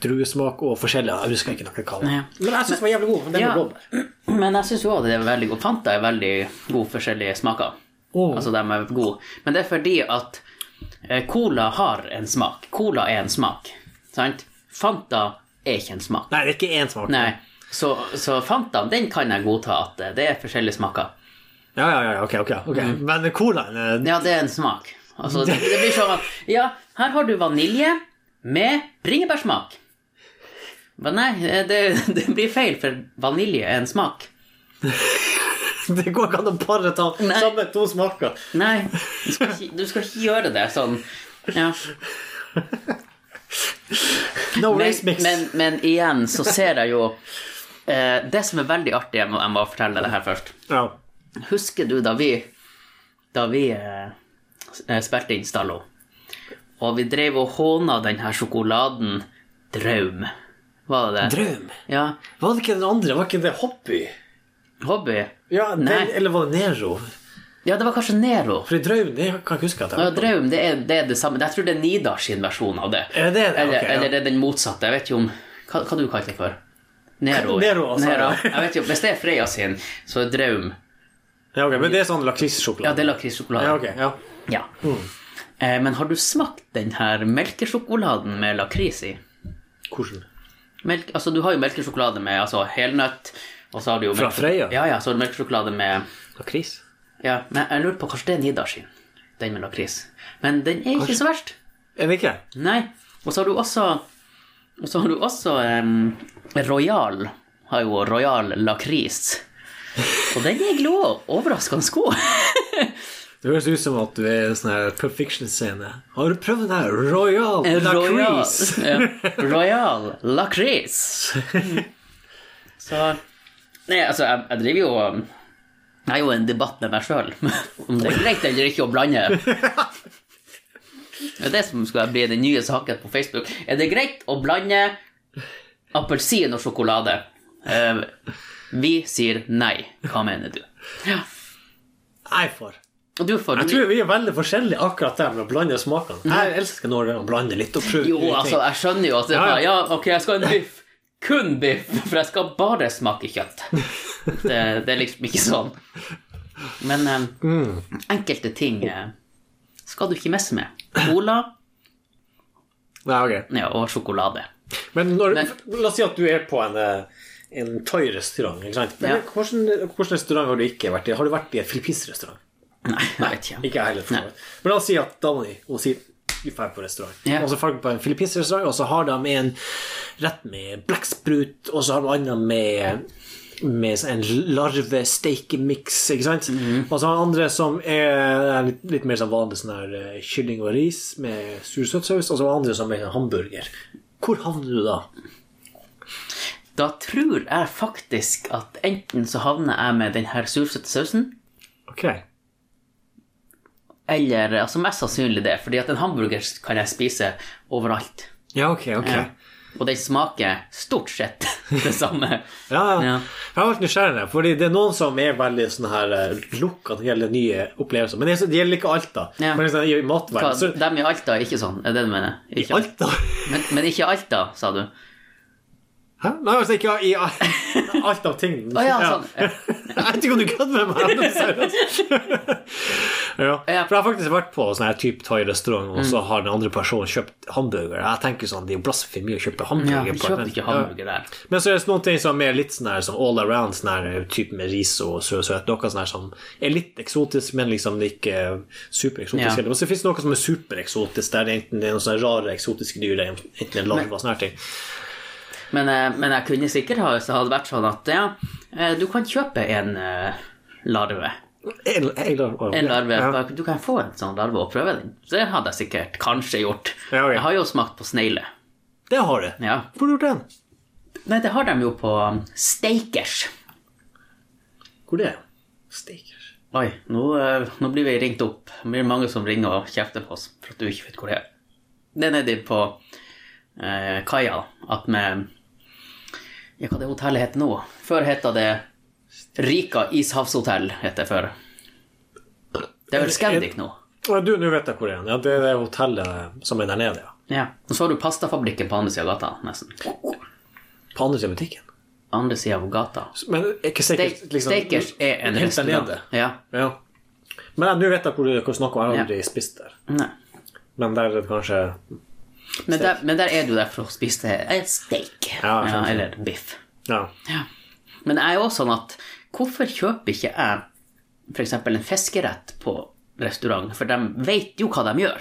[SPEAKER 2] druesmak og forskjellig. Jeg husker ikke noe hva det
[SPEAKER 1] Ja.
[SPEAKER 2] var. Men jeg syns den var jævlig god. for Den
[SPEAKER 1] Ja.
[SPEAKER 2] med blåbær.
[SPEAKER 1] Men jeg syns òg det er veldig god. Fanta er veldig god forskjellige smaker.
[SPEAKER 2] Åh.
[SPEAKER 1] Altså, de er gode. Men det er fordi at eh, cola har en smak. Cola er en smak, sant? Fanta er ikke en smak.
[SPEAKER 2] Nei, det er ikke én smak.
[SPEAKER 1] Nei. Så, så Fantaen, den kan jeg godta at eh, det er forskjellige smaker.
[SPEAKER 2] Ja, ja, ja, ok, ok. ok.
[SPEAKER 1] Mm.
[SPEAKER 2] Men colaen eh,
[SPEAKER 1] Ja, det er en smak. Altså, det, det blir sånn at Ja, her har du vanilje med bringebærsmak. Men nei, eh, det, det blir feil, for vanilje er en smak.
[SPEAKER 2] Det går ikke an å bare ta
[SPEAKER 1] Nei.
[SPEAKER 2] sammen to smaker.
[SPEAKER 1] Nei, du skal ikke, du skal ikke gjøre det sånn. Ja.
[SPEAKER 2] No
[SPEAKER 1] Men,
[SPEAKER 2] race mix.
[SPEAKER 1] men, men igjen så ser jeg jo eh, Det som er veldig artig, jeg må, jeg må fortelle det her først.
[SPEAKER 2] Ja.
[SPEAKER 1] Husker du da vi Da vi eh, s- eh, spilte inn Stallo, og vi drev og håna den her sjokoladen Draum? Var det det?
[SPEAKER 2] Drøm.
[SPEAKER 1] Ja.
[SPEAKER 2] Var det ikke den andre? Var ikke det Hobby?
[SPEAKER 1] Hobby?
[SPEAKER 2] Ja, den,
[SPEAKER 1] Nei.
[SPEAKER 2] Eller var det Nero?
[SPEAKER 1] Ja, det var kanskje Nero.
[SPEAKER 2] For i Drøm det kan jeg ikke huske at
[SPEAKER 1] Ja,
[SPEAKER 2] jeg
[SPEAKER 1] Draum, det er, det er det samme. Jeg tror det er Nidars sin versjon av det.
[SPEAKER 2] Er det det?
[SPEAKER 1] Eller,
[SPEAKER 2] Ok, ja.
[SPEAKER 1] eller det er den motsatte. Jeg vet ikke om Hva, hva du kalte det for? Nero.
[SPEAKER 2] Nero, altså.
[SPEAKER 1] Jeg vet ikke, om- Hvis det er Freya sin, så er Draum
[SPEAKER 2] ja, ok, Men det er sånn
[SPEAKER 1] Ja,
[SPEAKER 2] lakrissjokolade?
[SPEAKER 1] det er lakrissjokolade.
[SPEAKER 2] Ja, ok, Mm. ja.
[SPEAKER 1] Ja. Eh, Men har du smakt den her melkesjokoladen med lakris i?
[SPEAKER 2] Hvordan?
[SPEAKER 1] Melk, altså, du har jo melkesjokolade med altså, helnøtt, og så har du jo
[SPEAKER 2] Fra
[SPEAKER 1] melke-
[SPEAKER 2] Freia?
[SPEAKER 1] Ja, ja, så har du melkesjokolade med
[SPEAKER 2] Lakris?
[SPEAKER 1] Ja, men jeg lurer på kanskje det er Nidar sin, den med lakris. Men den er ikke så verst.
[SPEAKER 2] Er det ikke?
[SPEAKER 1] Nei. Og så har du også Og så har du også um, Royal. Har jo Royal lakris. Og den er glå. Overraskende god.
[SPEAKER 2] Det høres ut som at du er i en sånn her Pulp Fiction-scene. Har du prøvd den her? Royal Lacrease?
[SPEAKER 1] Royal, ja. Royal lakris. Så Nei, altså, jeg, jeg driver jo um, Jeg er jo i en debatt med meg sjøl om det er greit eller ikke å blande. Det er det som skal bli den nye saken på Facebook. Er det greit å blande appelsin og sjokolade? Eh, vi sier nei. Hva mener du? Ja.
[SPEAKER 2] Nei, for.
[SPEAKER 1] Og du får
[SPEAKER 2] Jeg tror vi er veldig forskjellige akkurat der med å blande smakene. Jeg elsker når det er å blande litt og prøve
[SPEAKER 1] Mm. Jo,
[SPEAKER 2] nye ting.
[SPEAKER 1] altså, jeg skjønner jo at det,
[SPEAKER 2] Ja,
[SPEAKER 1] ja,
[SPEAKER 2] ja.
[SPEAKER 1] ok, jeg skal ha en biff. Kun biff, for jeg skal bare smake kjøtt. Det, det er liksom ikke sånn. Men eh,
[SPEAKER 2] Mm.
[SPEAKER 1] enkelte ting eh, skal du ikke messe med. Cola
[SPEAKER 2] Nei, ok.
[SPEAKER 1] ja, og sjokolade.
[SPEAKER 2] Men når,
[SPEAKER 1] Men-
[SPEAKER 2] la oss si at du er på en, eh, en thai-restaurant. ikke sant? Men
[SPEAKER 1] Ja.
[SPEAKER 2] Hvordan, hvordan restaurant har du ikke vært i? Har du vært i en filippinsk restaurant?
[SPEAKER 1] Nei, jeg vet ikke.
[SPEAKER 2] Ikke jeg heller. for så vidt. Men la oss si at Danny hun sier vi drar på restaurant.
[SPEAKER 1] Ja.
[SPEAKER 2] Og så drar vi på en filippinsk restaurant, og så har de en rett med blekksprut, og så har de andre med med sånn en larve-steikemix, ikke sant?
[SPEAKER 1] Mhm.
[SPEAKER 2] Og så har de andre som er litt, litt mer sånn vanlig sånn her eh, kylling og ris med sur søtsaus, og så har de andre som er en hamburger. Hvor havner du da?
[SPEAKER 1] Da tror jeg faktisk at enten så havner jeg med den her sursøte sausen,
[SPEAKER 2] Ok.
[SPEAKER 1] eller altså mest sannsynlig det, fordi at en hamburger kan jeg spise overalt.
[SPEAKER 2] Ja, ok, ok.
[SPEAKER 1] Ja. Og den smaker stort sett det samme.
[SPEAKER 2] Ja, ja.
[SPEAKER 1] Ja.
[SPEAKER 2] Jeg har vært nysgjerrig, der, fordi det er noen som er veldig sånn her eh, lukka når det gjelder nye opplevelser. Men det er så- det gjelder ikke alt, da.
[SPEAKER 1] Ja.
[SPEAKER 2] Men liksom, I
[SPEAKER 1] Hva,
[SPEAKER 2] matverden så
[SPEAKER 1] dem i Alta er ikke sånn, er det det du mener?
[SPEAKER 2] I
[SPEAKER 1] Ikke,
[SPEAKER 2] alt, da?
[SPEAKER 1] men, men ikke Alta, sa du? Å
[SPEAKER 2] Hæ? Nei, altså ikke i al- alt av ting.
[SPEAKER 1] ja, sånn.
[SPEAKER 2] Ja. Jeg vet ikke om du kødder med meg. ja.
[SPEAKER 1] Ja. Mm.
[SPEAKER 2] For jeg har faktisk vært på sånn her type thai-restaurant, og så har den andre personen kjøpt hamburger. Jeg tenker sånn, Det er jo blasfemi å kjøpe hamburger.
[SPEAKER 1] Ja, vi
[SPEAKER 2] på-
[SPEAKER 1] kjøper ikke
[SPEAKER 2] Ja.
[SPEAKER 1] hamburger der.
[SPEAKER 2] Men så er det noen ting som er litt sånn her som all around, sånn her type med ris og søt søt, noe sånn her som er litt eksotisk, men liksom ikke supereksotisk.
[SPEAKER 1] Ja.
[SPEAKER 2] heller. Men så finnes det noe som er supereksotisk, der det enten det er noen sånne rare eksotiske dyr, eller enten en larve og sånne her ting.
[SPEAKER 1] Men, eh, men jeg kunne sikkert ha hvis det hadde vært sånn at ja, eh, du kan kjøpe en eh, larve.
[SPEAKER 2] En, en larve.
[SPEAKER 1] En larve.
[SPEAKER 2] Ja.
[SPEAKER 1] Du kan få en sånn larve og prøve den. Så det hadde jeg sikkert kanskje gjort.
[SPEAKER 2] Ja, ok.
[SPEAKER 1] Jeg har jo smakt på snegle.
[SPEAKER 2] Det har du.
[SPEAKER 1] Ja.
[SPEAKER 2] Hvor har du gjort den?
[SPEAKER 1] Nei, det har de jo på um, Steikers.
[SPEAKER 2] Hvor det er? Stekers.
[SPEAKER 1] Oi, nå, eh, nå blir vi ringt opp. Det blir mange som ringer og kjefter på oss for at du ikke vet hvor det er. Det er nedi på eh, kaia at med Ja, hva det hotellet heter nå? Før heta det Rika ishavshotell, het det før. Det er vel Scandic nå?
[SPEAKER 2] Du, nå vet jeg hvor det er. Ja, det er det hotellet som er der nede, ja.
[SPEAKER 1] Ja. Og så har du pastafabrikken på andre sida av gata, nesten.
[SPEAKER 2] På andre siden av butikken.
[SPEAKER 1] Andre sida av gata.
[SPEAKER 2] Men er ikke sikkert liksom.
[SPEAKER 1] Steak- Steakers er en
[SPEAKER 2] Helt
[SPEAKER 1] restaurant.
[SPEAKER 2] alene.
[SPEAKER 1] Ja.
[SPEAKER 2] Ja. Men jeg- nå vet jeg hvor du hvor du snakker om. Jeg har aldri
[SPEAKER 1] Ja.
[SPEAKER 2] spist der.
[SPEAKER 1] Nei.
[SPEAKER 2] Men der er det kanskje
[SPEAKER 1] Men, der, men der er du der for å spise eh, steak.
[SPEAKER 2] Ja, sant, sant.
[SPEAKER 1] eller biff.
[SPEAKER 2] Ja.
[SPEAKER 1] Ja. Men jeg er jo sånn at hvorfor kjøper ikke jeg f.eks. en fiskerett på restaurant, for de vet jo hva de gjør.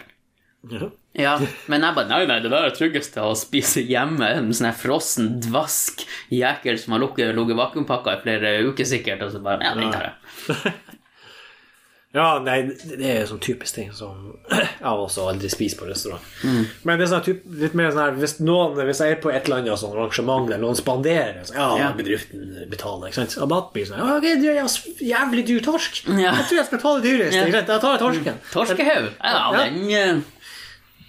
[SPEAKER 2] ja.
[SPEAKER 1] Ja, men jeg bare Nei, nei, det der er tryggest å spise hjemme. En sånn her frossen dvask jekel som har lukket- ligget vakuumpakka i flere uker sikkert, og så bare mm, Ja, den tar jeg.
[SPEAKER 2] Ja, nei, det er sånn typisk ting som jeg har også aldri spiser på restaurant. Men det er sånn typ, litt mer sånn her hvis, noen, hvis jeg er på et eller annet sånn arrangement der noen spanderer, så ja,
[SPEAKER 1] Ja.
[SPEAKER 2] bedriften betaler, ikke sant. Rabatt blir sånn Ja, ok, det er jævs- jævlig dyr torsk.
[SPEAKER 1] Ja.
[SPEAKER 2] Jeg tror jeg skal ta det dyreste,
[SPEAKER 1] Ja.
[SPEAKER 2] ikke sant. Jeg tar torsken.
[SPEAKER 1] Torskehaug! Ja,
[SPEAKER 2] Mm. Ja.
[SPEAKER 1] den eh,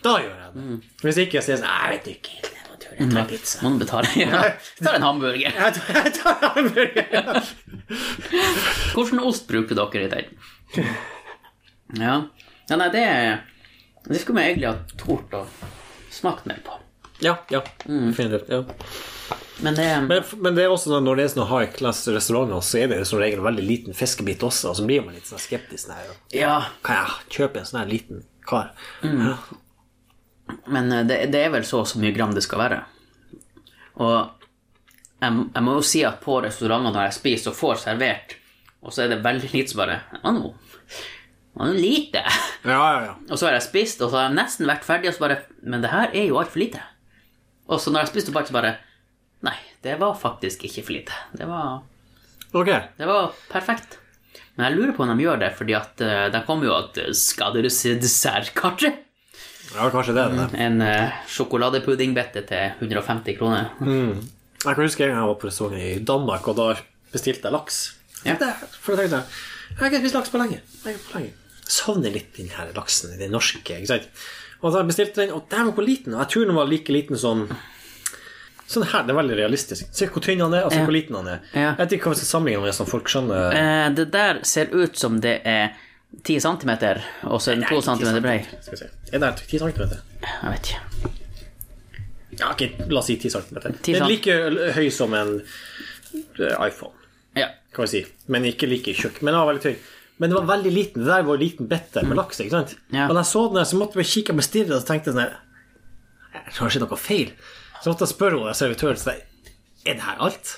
[SPEAKER 2] Da gjør jeg det. Hvis ikke, så er jeg sånn Jeg vet ikke helt, jeg må tørre, jeg tar pizza.
[SPEAKER 1] må du betale. Ja. Jeg tar en hamburger.
[SPEAKER 2] Jeg tar, jeg tar hamburger.
[SPEAKER 1] Hvordan ost bruker dere i den? Ja. ja nei, det Det skulle vi egentlig ha tort å smake mer på.
[SPEAKER 2] Ja, ja. Definitivt. Ja.
[SPEAKER 1] Men det
[SPEAKER 2] Men, men det er også sånn, når det er sånne high class restauranter, så er det som regel en veldig liten fiskebit også, og så blir man litt sånn skeptisk. Nei, ja.
[SPEAKER 1] Ja,
[SPEAKER 2] kan jeg kjøpe en sånn her liten kar? Ja.
[SPEAKER 1] men eh, det, det er vel så og så mye gram det skal være. Og jeg, jeg må jo si at på restauranter når jeg spiser og får servert, og så er det veldig lite som bare Det var noe det var noe lite.
[SPEAKER 2] ja, ja, ja.
[SPEAKER 1] Og så har jeg spist, og så har jeg nesten vært ferdig, og så bare Men det her er jo altfor lite. Og så når jeg spiste tilbake, så bare Nei, det var faktisk ikke for lite. Det var
[SPEAKER 2] Ok.
[SPEAKER 1] Det var perfekt. Men jeg lurer på om de gjør det, fordi at eh, der kommer jo at eh, Skal dere se dessertkartet?
[SPEAKER 2] Ja, kanskje det er det.
[SPEAKER 1] En uh, sjokoladepuddingbette til 150 kroner.
[SPEAKER 2] Jeg kan huske en gang jeg var på restaurant i Danmark, og da bestilte jeg laks.
[SPEAKER 1] Ja.
[SPEAKER 2] Det- For da tenkte jeg, jeg har ikke spist laks på lenge. Jeg har på lenge. Savner litt den her laksen, den norske, ikke sant? Og da bestilte jeg den, og den var på liten, og jeg tror den var like liten som... Sånn her, det er veldig realistisk. Se hvor tynn han er, og se
[SPEAKER 1] Ja.
[SPEAKER 2] hvor liten han er.
[SPEAKER 1] Ja.
[SPEAKER 2] Jeg vet ikke hva vi skal sammenligne med, sånn folk skjønner...
[SPEAKER 1] Eh, det der ser ut som det er 10 cm, og så er den 2 cm brei.
[SPEAKER 2] Skal vi se. Er det her 10 centimeter?
[SPEAKER 1] Jeg vet ikke.
[SPEAKER 2] Ja, ok, la oss si 10 centimeter.
[SPEAKER 1] 10
[SPEAKER 2] Det er like høy som en eh, iPhone,
[SPEAKER 1] Ja.
[SPEAKER 2] kan vi si. Men ikke like tjukk. Men den var veldig tynn. Men det var veldig liten. Det der var en liten bitte med laks. ikke sant?
[SPEAKER 1] Mm. Ja.
[SPEAKER 2] Og da jeg så den, her, så måtte jeg kikke på stirret og så tenkte jeg sånn her, Er det kanskje noe feil? Så måtte jeg spørre henne, servitøren så jeg, er det her alt?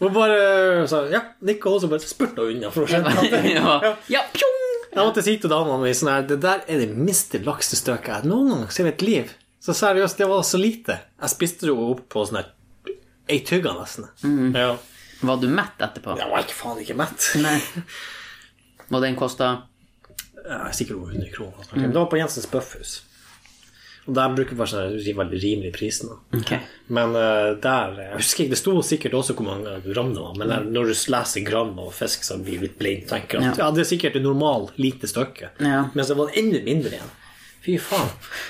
[SPEAKER 2] Hun bare eh, sa ja. Nikka og så bare spurte hun unna. for å skjønne
[SPEAKER 1] ja. ja. pjong!
[SPEAKER 2] jeg måtte si til damene mine sånn her Det der er det minste laksestøket jeg noen gang har sett i mitt liv. Så seriøst, det var så lite. Jeg spiste det jo opp på sånn her ei tygga, nesten. Ja.
[SPEAKER 1] Var du mett etterpå?
[SPEAKER 2] Jeg var ikke faen ikke mett.
[SPEAKER 1] Mm. Nei. Og den kosta
[SPEAKER 2] Jeg er sikkert over 100 kroner.
[SPEAKER 1] Mm.
[SPEAKER 2] Men Det var på Jensens Bøffhus. Og der bruker vi sånn her veldig rimelig prisen. Da.
[SPEAKER 1] Ok.
[SPEAKER 2] Men eh, der Jeg husker ikke, det sto sikkert også hvor mange gram det var, men der, når du leser gram og fisk, så blir du litt blind. Tenker at ja. det er sikkert et normalt lite stykke.
[SPEAKER 1] Ja.
[SPEAKER 2] Men så var det enda mindre igjen. Fy faen.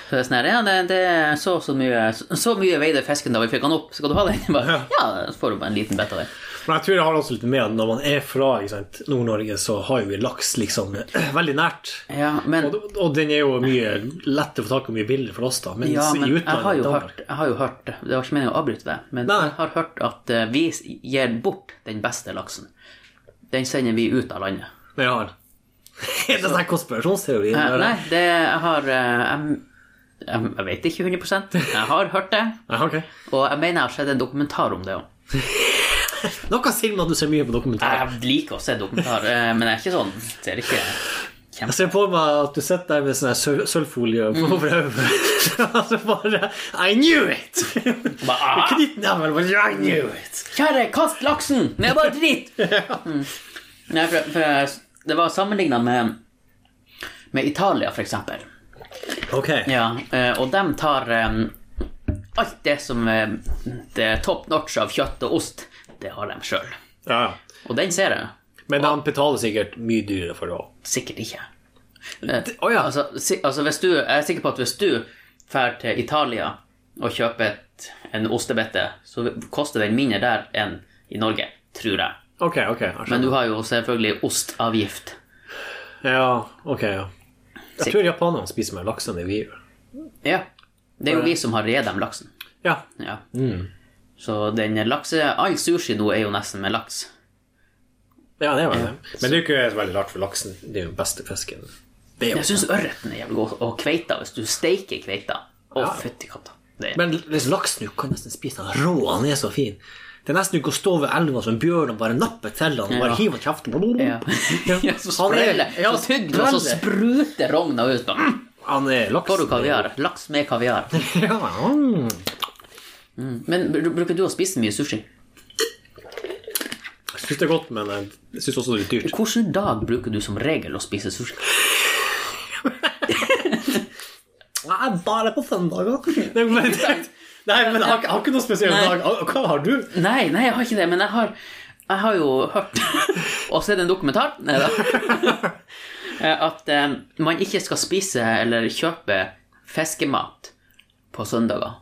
[SPEAKER 1] Så det er sånn her, ja, det, det er så, så mye Så mye veide fisken da vi fikk han opp, skal du ha den? Jeg Bare, ja, så får du bare en liten bit av den.
[SPEAKER 2] Men jeg tror det har også litt med at når man er fra ikke sant, Nord-Norge, så har jo vi laks liksom veldig nært.
[SPEAKER 1] Ja, men
[SPEAKER 2] Og, og den er jo mye lett å få tak i og mye billigere for oss, da. Mens
[SPEAKER 1] Ja, men
[SPEAKER 2] i
[SPEAKER 1] jeg
[SPEAKER 2] utlandet
[SPEAKER 1] har jo
[SPEAKER 2] Danmark-
[SPEAKER 1] hørt, jeg har jo hørt Det var ikke meningen å avbryte deg, men
[SPEAKER 2] Nei.
[SPEAKER 1] jeg har hørt at eh, vi gir bort den beste laksen. Den sender vi ut av landet.
[SPEAKER 2] Men jeg har. det er sånn konspirasjonsteori.
[SPEAKER 1] Eh,
[SPEAKER 2] der.
[SPEAKER 1] Nei, det jeg har eh, jeg, jeg, jeg vet ikke 100 Jeg har hørt det,
[SPEAKER 2] Ja, ok.
[SPEAKER 1] og jeg mener jeg har sett en dokumentar om det òg.
[SPEAKER 2] Noe sier meg at du ser mye på dokumentarer.
[SPEAKER 1] Jeg liker å se dokumentar, eh, men jeg er ikke sånn Ser ikke
[SPEAKER 2] Jeg ser på meg at du sitter der med sånn her søl- sølvfolie over hodet. Og så Altså, bare I knew it!
[SPEAKER 1] Bare, ah!
[SPEAKER 2] Knyttneven bare I knew it!
[SPEAKER 1] Kjære, kast laksen! Men jeg bare drit! Mm. Nei, for, for jeg- det var sammenligna med, med Italia, for eksempel.
[SPEAKER 2] Ok.
[SPEAKER 1] Ja, eh, og dem tar eh, alt det som er det er top notch av kjøtt og ost, det har de sjøl.
[SPEAKER 2] Ja.
[SPEAKER 1] Og den ser jeg
[SPEAKER 2] Men han betaler sikkert mye dyrere for det òg.
[SPEAKER 1] sikkert ikke. Eh,
[SPEAKER 2] Å ja.
[SPEAKER 1] Altså, si, altså hvis du, jeg er sikker på at hvis du drar til Italia og kjøper et, en ostebete, så koster den mindre der enn i Norge, tror jeg.
[SPEAKER 2] Ok, ok. jeg skjønner.
[SPEAKER 1] Men du har jo selvfølgelig ostavgift.
[SPEAKER 2] Ja, Mm. ok, ja. Jeg tror japanerne spiser mer laks enn det vi gjør.
[SPEAKER 1] Ja. Det er jo vi som har revet dem laksen.
[SPEAKER 4] Ja.
[SPEAKER 1] Ja. Så den lakse All sushi nå er jo nesten med laks.
[SPEAKER 2] Ja, det var det. Men det er jo ikke så veldig rart, for laksen det er jo den beste fisken. Det er
[SPEAKER 1] Jeg
[SPEAKER 2] jo.
[SPEAKER 1] syns ørreten er jævlig god, og kveita, hvis du steiker kveita. Å, fytti katta. Det er
[SPEAKER 2] Men liksom, laksen du kan nesten spise den rå, han er så fin. Det er nesten du kan stå ved elva som en bjørn og bare nappe til han og bare
[SPEAKER 1] Ja.
[SPEAKER 2] hive han i kjeften.
[SPEAKER 1] ja. Ja, så
[SPEAKER 2] Han er-
[SPEAKER 1] spreller,
[SPEAKER 2] ja,
[SPEAKER 1] så tygger du, og så spruter rogna ut. og, Mm,
[SPEAKER 2] Han er
[SPEAKER 1] får du
[SPEAKER 2] laksen.
[SPEAKER 1] kaviar? Laks med kaviar.
[SPEAKER 2] Ja, mm.
[SPEAKER 1] Men br- bruker du å spise mye sushi?
[SPEAKER 2] Jeg syns det er godt, men jeg syns også det er litt dyrt.
[SPEAKER 1] Hvilken dag bruker du som regel å spise sushi?
[SPEAKER 2] Nei, bare på søndager.
[SPEAKER 4] Nei, men, nei, men jeg har, ikke- jeg har ikke noe spesiell
[SPEAKER 1] Nei.
[SPEAKER 4] dag. Hva har du?
[SPEAKER 1] Nei, nei, jeg har ikke det, men jeg har, jeg har jo hørt Og sett en dokumentar nei da, at eh, man ikke skal spise eller kjøpe fiskemat på søndager.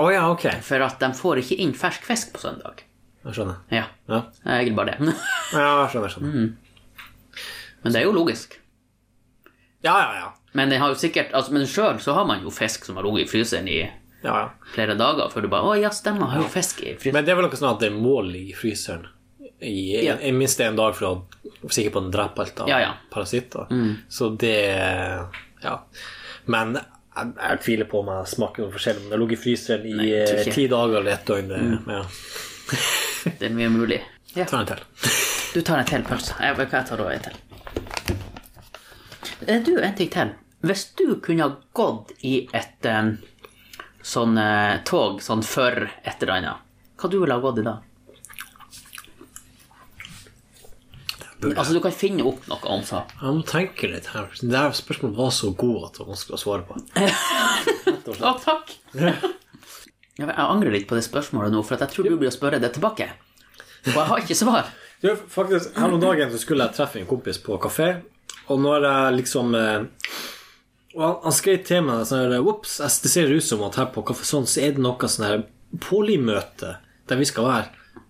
[SPEAKER 2] Å ja, ok.
[SPEAKER 1] For at de får ikke inn fersk fisk på søndag.
[SPEAKER 2] Jeg skjønner.
[SPEAKER 1] Ja,
[SPEAKER 2] Ja,
[SPEAKER 1] jeg vil bare det.
[SPEAKER 2] ja jeg skjønner. jeg skjønner.
[SPEAKER 1] Mm. Men det er jo logisk.
[SPEAKER 2] Ja, ja, ja.
[SPEAKER 1] Men den har jo sikkert altså, Men sjøl så har man jo fisk som har ligget i fryseren i
[SPEAKER 2] ja, ja.
[SPEAKER 1] flere dager før du bare Å ja, stemmer, jeg har jo fisk i fryseren.
[SPEAKER 2] Men det er vel noe sånn at det må ligge i fryseren i
[SPEAKER 1] Ja.
[SPEAKER 2] i minst en dag for å være sikker på at den dreper alt av
[SPEAKER 1] Ja, Mm. ja.
[SPEAKER 2] parasitter. Så det Ja. Men jeg, jeg tviler på om jeg smaker noe forskjell. Om det har ligget i fryseren i
[SPEAKER 1] jeg tror
[SPEAKER 2] eh,
[SPEAKER 1] ikke. Mm.
[SPEAKER 2] ti dager eller ett døgn. det- Ja.
[SPEAKER 1] Det er mye mulig. Ja.
[SPEAKER 2] Ta en til.
[SPEAKER 1] Du tar en til pølse. Jeg, jeg tar da en til. Eh, Du, en ting til. Hvis du kunne ha gått i et eh, sånn eh, tog sånn for et eller annet, hva du ville ha gått i da? Altså, du kan finne opp noe om så.
[SPEAKER 2] Jeg må tenke litt her. Det her spørsmålet var så god at det var vanskelig å svare på.
[SPEAKER 1] Å, takk! Jeg, jeg angrer litt på det spørsmålet nå, for at jeg tror du blir å spørre det tilbake. Og jeg har ikke svar.
[SPEAKER 2] Du, faktisk, her om dagen så skulle jeg treffe en kompis på kafé, og når jeg liksom eh, Og han, han skrev til meg sånn her Ops, jeg- det ser ut som at her på Kafé Sånn så er det noe sånn her polymøte der vi skal være.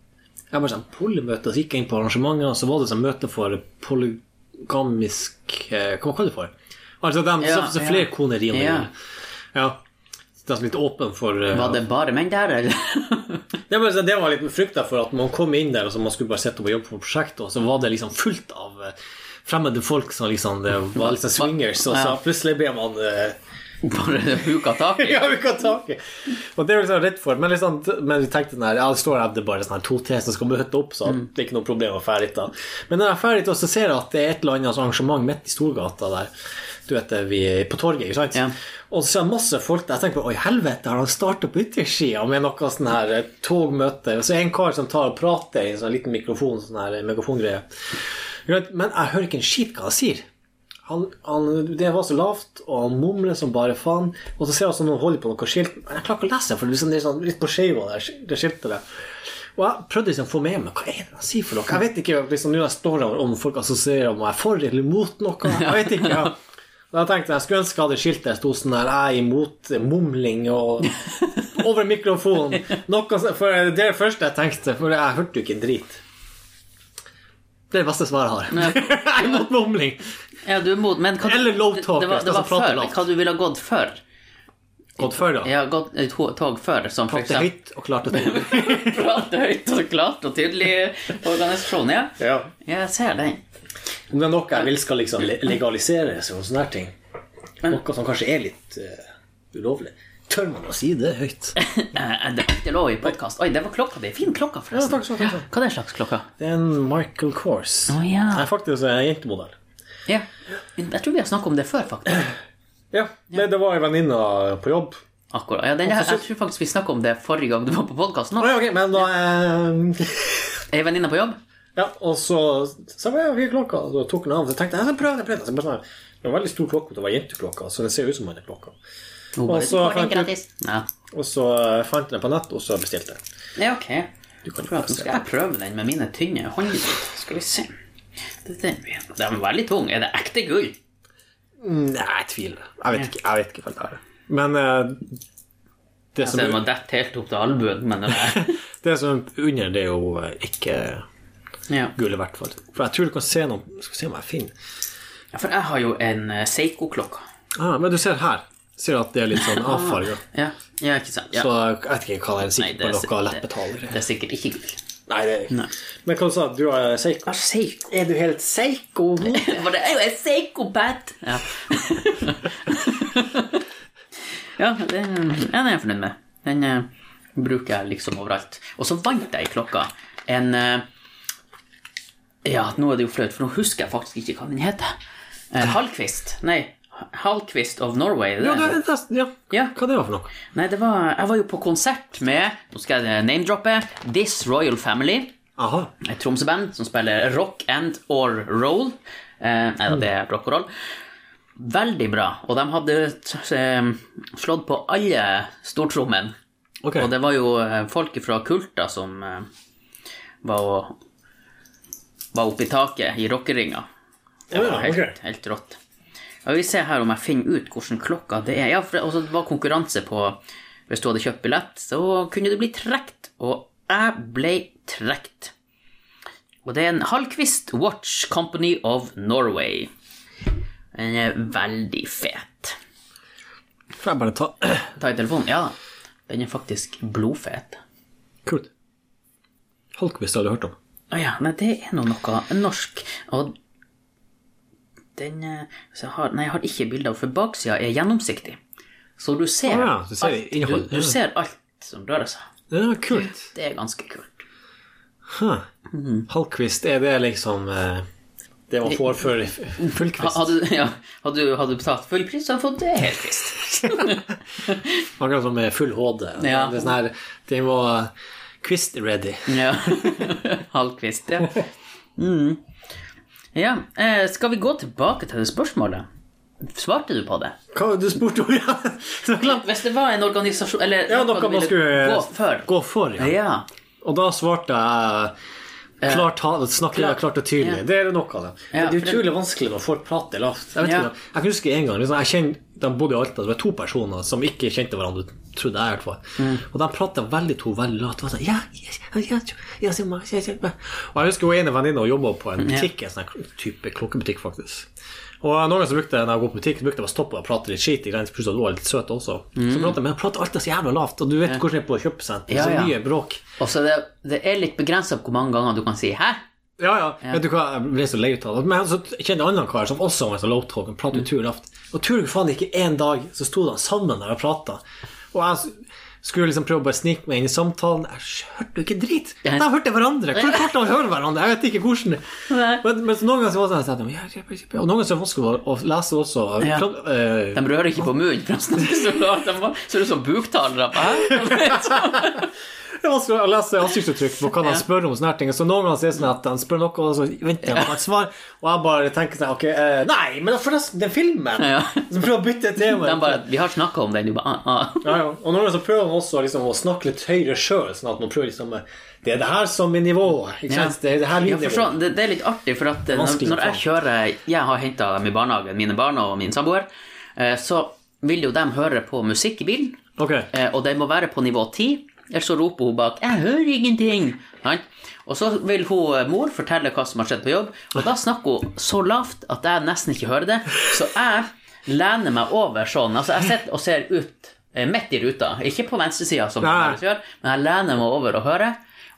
[SPEAKER 2] Jeg bare sånn Polymøte? Så gikk jeg inn på arrangementet, og så var det sånn møte for polygamisk eh, Hva kaller du det for? Altså de
[SPEAKER 1] Ja,
[SPEAKER 2] så, så
[SPEAKER 1] ja.
[SPEAKER 2] flere koner i og med.
[SPEAKER 1] Ja.
[SPEAKER 2] ja. De som er litt åpne for eh,
[SPEAKER 1] Var det bare menn der, eller?
[SPEAKER 2] det var, liksom- det var en liten frykt der for at man kom inn der og så man skulle bare sitte og jobbe på prosjektet, og så var det liksom fullt av eh, fremmede folk som liksom Det var liksom swingers, og så
[SPEAKER 1] Ja.
[SPEAKER 2] plutselig ble man eh,
[SPEAKER 1] Bare huka tak i?
[SPEAKER 2] Ja, vi kan ta i! Og det er liksom rett for Men liksom, men vi tenkte den her Ja, det står her det er bare sånn her to til som skal møte opp, så det er ikke noe problem å ferdig da. Men når jeg er ferdig da, så ser jeg at det er et eller annet sånn arrangement midt i Storgata der. Du vet det, vi er på torget, ikke sant?
[SPEAKER 1] Ja.
[SPEAKER 2] Og så ser jeg masse folk der. Jeg tenker på Oi, helvete, har han startet på yttersida med noe sånn her eh, togmøte? Og så er det en kar som tar og prater i en sånn liten mikrofon, sånn her eh, megafongreie. Ikke sant? Men jeg hører ikke en skit hva han sier. Han, han, det var så lavt, og han mumler som bare faen. Og så ser jeg også noen holder på noe skilt. Men jeg klarer ikke å lese det, for det er sånn- det er sånn litt på skeiva, det sk- det skiltet der. Og jeg prøvde liksom å få med meg hva er det han sier for noe. Jeg vet ikke liksom, nå jeg står her om folk assosierer om jeg er for eller imot noe. Jeg vet ikke. Ja. Og Jeg tenkte jeg skulle ønske jeg hadde skiltet sto sånn her jeg er imot mumling og over mikrofonen. Noe, så- for det er det første jeg tenkte, for jeg hørte jo ikke en drit. Det er det beste svaret jeg har. jeg er imot mumling.
[SPEAKER 1] Ja, du er mot, men hva, du-
[SPEAKER 2] Eller low talkers,
[SPEAKER 1] det var, det
[SPEAKER 2] de som
[SPEAKER 1] var
[SPEAKER 2] prater
[SPEAKER 1] før,
[SPEAKER 2] lavt.
[SPEAKER 1] hva du ville ha gått før.
[SPEAKER 2] Godt før, da.
[SPEAKER 1] Ja, gått i to- tog før, som for
[SPEAKER 2] Prate
[SPEAKER 1] eksempel
[SPEAKER 2] høyt og klart og tydelig.
[SPEAKER 1] prate høyt og klart og tydelig organisasjon, ja. Ja, jeg ser den.
[SPEAKER 2] Om det er noe jeg vil skal liksom le- legaliseres og sånne her ting, noe som kanskje er litt eh, ulovlig, tør man å si det høyt?
[SPEAKER 1] Eh, Det er ikke lov i podkast. Oi, det var klokka di. Fin klokka, forresten.
[SPEAKER 2] Ja, takk skal du ha, takk skal du ha.
[SPEAKER 1] Hva er det slags klokka?
[SPEAKER 2] Det er en Michael Kors.
[SPEAKER 1] Å, ja.
[SPEAKER 2] Jeg er faktisk en jentemodell.
[SPEAKER 1] Ja. Jeg tror vi har snakket om det før, faktisk.
[SPEAKER 2] Ja, det, det var ei venninne på jobb.
[SPEAKER 1] Akkurat. Ja, den, jeg, jeg tror faktisk vi snakket om det forrige gang du var på podkast nå.
[SPEAKER 2] Å, ja, ok, men da eh,
[SPEAKER 1] Ei venninne på jobb?
[SPEAKER 2] Ja, og så Så var jeg fire klokka, og da tok hun av. Så tenkte jeg, jeg prøv det, prøv det. Så bare sånn, Det var en veldig stor klokke, det var jenteklokka, så det ser ut som en klokke.
[SPEAKER 1] Hun bare,
[SPEAKER 2] Og
[SPEAKER 1] du
[SPEAKER 2] så
[SPEAKER 1] får den
[SPEAKER 2] fant
[SPEAKER 1] gratis. Ja.
[SPEAKER 2] Og så eh, fant jeg den på nett, og så bestilte jeg.
[SPEAKER 1] ja, ok.
[SPEAKER 2] Du kan jo
[SPEAKER 1] Nå skal jeg prøve den med mine tynne hånder. Skal vi se. Det er den vi Den er veldig tung. Er det ekte gull?
[SPEAKER 2] Nei, jeg tviler. Jeg vet ikke, jeg vet ikke hva det er. Men eh, det,
[SPEAKER 1] Så
[SPEAKER 2] som,
[SPEAKER 1] den må dette helt opp til albuen, men det er
[SPEAKER 2] det som er under, det er jo eh, ikke
[SPEAKER 1] ja.
[SPEAKER 2] gul i hvert fall. For jeg tror du kan se noe Skal vi se om jeg finner
[SPEAKER 1] For jeg har jo en eh, Seiko-klokke.
[SPEAKER 2] ah, Men du ser her. Ser du at det er litt sånn avfarga?
[SPEAKER 1] Ja, ja ikke sant. Ja.
[SPEAKER 2] Så jeg vet ikke hva jeg er
[SPEAKER 1] Nei,
[SPEAKER 2] sikker
[SPEAKER 1] det er
[SPEAKER 2] på noe
[SPEAKER 1] sikkert-
[SPEAKER 2] leppetalere.
[SPEAKER 1] Det er sikkert ikke gull.
[SPEAKER 2] Nei, det er ikke.
[SPEAKER 1] Nei.
[SPEAKER 2] Men hva sa du? Du er psycho? Er du helt psycho?
[SPEAKER 1] For det er jo en psykopat! Ja. ja, det, ja, den er jeg fornøyd med. Den eh, bruker jeg liksom overalt. Og så vant jeg i klokka en eh, Ja, nå er det jo flaut, for nå husker jeg faktisk ikke hva den heter. Eh, Hallquist. Nei, Hallquist of Norway. er det
[SPEAKER 2] Ja,
[SPEAKER 1] den
[SPEAKER 2] det
[SPEAKER 1] heter?
[SPEAKER 2] er nesten, ja.
[SPEAKER 1] Ja.
[SPEAKER 2] Hva det var for noe?
[SPEAKER 1] Nei, det var, jeg var jo på konsert med Nå skal jeg name-droppe This Royal Family.
[SPEAKER 2] Aha.
[SPEAKER 1] Et Tromsø-band som spiller rock and or roll. Eh, nei da, det er rock og roll. Veldig bra. Og de hadde t- eh, slått på alle stortrommene.
[SPEAKER 2] Ok.
[SPEAKER 1] Og det var jo eh, folk fra kulta som eh, var, og- var oppe i taket i rockeringa.
[SPEAKER 2] ja,
[SPEAKER 1] Helt,
[SPEAKER 2] ok.
[SPEAKER 1] helt rått. Jeg vil se her om jeg finner ut hvordan klokka det er. Ja, for det, også, det var konkurranse på Hvis du hadde kjøpt billett, så kunne du bli trukket. Og jeg ble trukket. Og det er en Hallquist Watch Company of Norway. Den er veldig fet.
[SPEAKER 2] Får jeg bare ta
[SPEAKER 1] Ta i telefonen. Ja da. Den er faktisk blodfet.
[SPEAKER 2] Kult. Holkvist har du hørt om?
[SPEAKER 1] Å ja, nei, det er nå noe norsk. Og den eh, så jeg har, Nei, jeg har ikke bilde av, for baksida er gjennomsiktig. Så du ser,
[SPEAKER 2] Å ja, du ser
[SPEAKER 1] alt,
[SPEAKER 2] innhold.
[SPEAKER 1] du, du ser alt som rører seg.
[SPEAKER 2] Det var kult.
[SPEAKER 1] Det er ganske kult.
[SPEAKER 2] Huh.
[SPEAKER 1] Mm.
[SPEAKER 2] Holkvist, er det liksom eh, det man får for
[SPEAKER 1] Ha-
[SPEAKER 2] fullkvist?
[SPEAKER 1] Hadde, ja, hadde, du- hadde du betalt full pris, så hadde du fått det helt visst.
[SPEAKER 2] Akkurat som med full HD.
[SPEAKER 1] Ja.
[SPEAKER 2] Det er sånn her, de må Quist ready.
[SPEAKER 1] Ja. Halvkvist, ja. Mm. Ja, eh, skal vi gå tilbake til det spørsmålet? Svarte du på det?
[SPEAKER 2] Hva du spurte om igjen? Så klart.
[SPEAKER 1] Hvis det var en organisasjon Eller
[SPEAKER 2] Ja, noe
[SPEAKER 1] du
[SPEAKER 2] man
[SPEAKER 1] ville
[SPEAKER 2] skulle
[SPEAKER 1] gå for.
[SPEAKER 2] Gå for, ja.
[SPEAKER 1] Ja.
[SPEAKER 2] Og da svarte jeg klart, ta- snakket jeg klart og tydelig.
[SPEAKER 1] Ja.
[SPEAKER 2] Det er det nok av det.
[SPEAKER 1] Ja,
[SPEAKER 2] det er
[SPEAKER 1] for det-
[SPEAKER 2] utrolig vanskelig når folk prater lavt. Jeg, vet
[SPEAKER 1] Ja.
[SPEAKER 2] ikke, jeg kan huske en gang liksom, jeg kjenner, De bodde i Alta. Det var to personer som ikke kjente hverandre, trodde jeg i hvert fall.
[SPEAKER 1] Mm.
[SPEAKER 2] Og de prata veldig to veldig lavt. Det var sånn, ja, ja, ja, ja, ja, ja, ja, ja, ja. Og jeg husker hun ene venninna jobba på en butikk, en sånn type klokkebutikk, faktisk. Og noen som brukte når jeg går på butikk, så brukte jeg å stoppe og prate litt skit. i grensen, Plutselig at hun var litt søt også. Så prater jeg med henne, prater alltid så jævla lavt. Og du vet hvordan det er på kjøpesenter.
[SPEAKER 1] Mm. Ja, ja.
[SPEAKER 2] Så mye bråk.
[SPEAKER 1] Og så er det, det er litt begrenset hvor mange ganger du kan si 'hæ'?
[SPEAKER 2] Ja, ja, Vet du hva, jeg ble så lei ut av det. Men så kjenner jeg en annen kar som også var så lowtalk
[SPEAKER 1] Mm.
[SPEAKER 2] og pratet utrolig lavt. Og tror du faen ikke en dag så sto de sammen der og prata. Og jeg s- skulle liksom prøve å bare snike meg inn i samtalen. Jeg s- hørte jo ikke drit! De hørte hverandre! Hvordan klarte de å høre hverandre? Jeg vet ikke hvordan.
[SPEAKER 1] Nei.
[SPEAKER 2] Men, men så noen ganger så var det sånn at jeg, ja, ja, ja, Og noen ganger så var det vanskelig å- å lese også.
[SPEAKER 1] Ja.
[SPEAKER 2] Klart,
[SPEAKER 1] De
[SPEAKER 2] eh,
[SPEAKER 1] rører ikke på munnen, for de snakker så lavt. De bare- Så er det sånn buktalere. Hæ?
[SPEAKER 2] Det er vanskelig å lese ansiktsuttrykk på hva de
[SPEAKER 1] Ja.
[SPEAKER 2] spør om. sånne her ting Så Noen ganger så er det sånn at de spør noe, og så venter de på et svar. Og jeg bare tenker sånn Ok, eh, nei, men forresten, den filmen!
[SPEAKER 1] Ja.
[SPEAKER 2] Så prøver jeg å bytte tema.
[SPEAKER 1] De bare 'Vi har snakka om den', du bare ah, ah.
[SPEAKER 2] Ja, ja. Og noen ganger så prøver man også liksom, å snakke litt høyere sjøl, sånn at man prøver liksom Det er det her som er nivået. Ikke
[SPEAKER 1] Ja.
[SPEAKER 2] sant? Det er det her
[SPEAKER 1] Ja, for
[SPEAKER 2] mitt nivå.
[SPEAKER 1] sånn, det, det er litt artig, for at eh, når,
[SPEAKER 2] Vanskelig
[SPEAKER 1] når jeg kjører Jeg har henta dem i barnehagen, mine barn og min samboer, eh, så vil jo de høre på musikk i bilen,
[SPEAKER 2] Ok.
[SPEAKER 1] eh, og den må være på nivå 10. Ellers så roper hun bak 'Jeg hører ingenting'. sant? Og så vil hun eh, mor fortelle hva som har skjedd på jobb, og da snakker hun så lavt at jeg nesten ikke hører det. Så jeg lener meg over sånn. Altså, jeg sitter og ser ut eh, midt i ruta. Ikke på venstresida, som
[SPEAKER 2] Nei.
[SPEAKER 1] jeg ellers gjør, men jeg lener meg over og hører.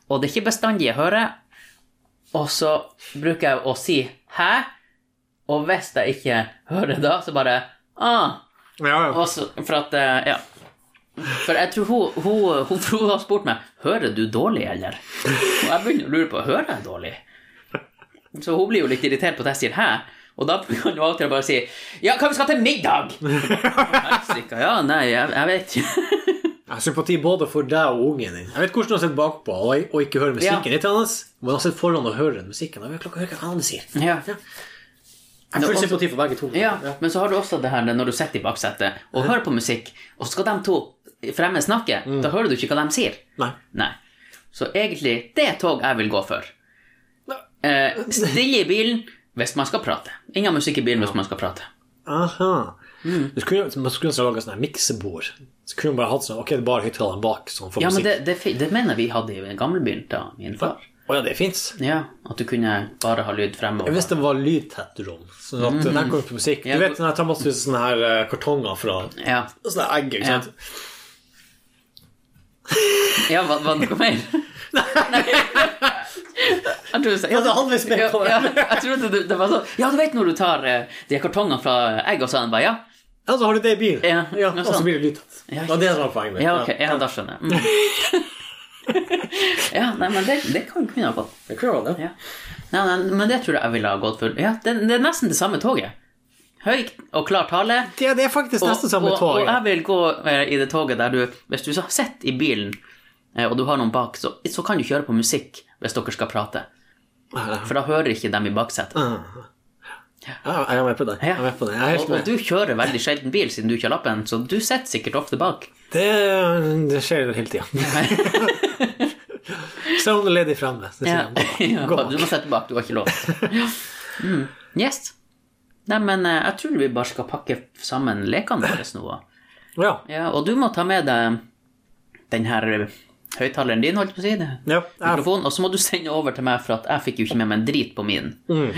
[SPEAKER 1] Og det er ikke bestandig jeg hører. Og så bruker jeg å si 'hæ?' Og hvis jeg ikke hører da, så bare ah,
[SPEAKER 2] Ja, ja.
[SPEAKER 1] og så- for at eh, Ja. For jeg tror hun, hun, hun, hun har spurt meg Hører du dårlig, eller? Og jeg begynner å lure på Hører jeg dårlig? Så hun blir jo litt irritert på at jeg sier hæ? Og da kan du av og til bare si Ja, hva vi skal til middag? Helsike, ja, nei, jeg, jeg vet ikke.
[SPEAKER 2] Jeg har sympati både for deg og ungen din. Jeg vet hvordan du har sett bakpå og, og ikke hører musikken.
[SPEAKER 1] Ja.
[SPEAKER 2] Litt annet, men jeg har sett foran og hører musikken. Jeg vet klokka hører hva han sier.
[SPEAKER 1] Ja.
[SPEAKER 2] Jeg har
[SPEAKER 1] Nå,
[SPEAKER 2] full
[SPEAKER 1] også-
[SPEAKER 2] sympati for begge to.
[SPEAKER 1] ja, Men så har du også det her når du sitter i baksetet og hører på musikk, og så skal de to fremme snakke, da hører du ikke hva de sier.
[SPEAKER 2] Nei.
[SPEAKER 1] Nei. Så egentlig, det er tog jeg vil gå for. Eh, stille i bilen hvis man skal prate. Ingen musikk i bilen hvis man skal prate.
[SPEAKER 2] Aha.
[SPEAKER 1] Mm.
[SPEAKER 2] Du skulle, man skulle også lage sånne her miksebord. Så kunne man bare hatt sånn Ok, det er bare høyttaleren bak som får
[SPEAKER 1] Ja, men det,
[SPEAKER 2] musikk.
[SPEAKER 1] det, fi- det mener vi hadde i gamlebilen til min far.
[SPEAKER 2] Å Å ja, det fins.
[SPEAKER 1] Ja, at du kunne bare ha lyd fremover.
[SPEAKER 2] Hvis det var lydtett rom, sånn at den her kommer på musikk Du
[SPEAKER 1] Mm. Ja,
[SPEAKER 2] vet den her tar masse sånne her eh, kartonger fra
[SPEAKER 1] Ja,
[SPEAKER 2] Sånne egg, ikke
[SPEAKER 1] Ja.
[SPEAKER 2] sant?
[SPEAKER 1] ja var, var det noe mer? Nei. Jeg trodde,
[SPEAKER 2] Ja, det er halvveis med på det.
[SPEAKER 1] ja, jeg trodde det, det var sånn Ja, du vet når du tar eh, de kartongene fra egg og sånn? Bare, ja.
[SPEAKER 2] Ja, så har du det i bilen.
[SPEAKER 1] Ja,
[SPEAKER 2] og
[SPEAKER 1] noe
[SPEAKER 2] så
[SPEAKER 1] sånt.
[SPEAKER 2] blir det lydtett.
[SPEAKER 1] Ja,
[SPEAKER 2] Det var det som var poenget mitt.
[SPEAKER 1] Ja, ok, ja, da skjønner jeg. Mm. Ja, nei, men det, det kan vi kunne ha fått.
[SPEAKER 2] Det kunne være det.
[SPEAKER 1] Ja. Nei, nei, men det tror jeg jeg ville ha gått for. Ja, det, det er nesten det samme toget. Høyt og klar tale.
[SPEAKER 2] Ja, det er faktisk nesten samme
[SPEAKER 1] og,
[SPEAKER 2] tog.
[SPEAKER 1] Og jeg vil gå eh, i det toget der du Hvis du så sitter i bilen, eh, og du har noen bak, så, så kan du kjøre på musikk hvis dere skal prate. For da hører ikke dem i baksetet.
[SPEAKER 2] Ja, jeg er med på det. Jeg er med på det. Jeg er helt
[SPEAKER 1] og, og
[SPEAKER 2] med.
[SPEAKER 1] du kjører veldig sjelden bil siden du ikke har lappen, så du sitter sikkert ofte bak.
[SPEAKER 2] Det, det skjer hele tida. Se om det leder fremme. så sier
[SPEAKER 1] Ja.
[SPEAKER 2] jeg, Gå
[SPEAKER 1] Ja,
[SPEAKER 2] bak.
[SPEAKER 1] du
[SPEAKER 2] Gå
[SPEAKER 1] må
[SPEAKER 2] bak.
[SPEAKER 1] sitte bak, du har ikke lov. Mm. Yes. Nei, men eh, jeg tror vi bare skal pakke sammen lekene våre nå. da.
[SPEAKER 2] Ja.
[SPEAKER 1] Ja, og du må ta med deg den her eh, høyttaleren din, holdt jeg på å si. det.
[SPEAKER 2] ja. Jeg,
[SPEAKER 1] mikrofon, og så må du sende over til meg, for at jeg fikk jo ikke med meg en drit på min.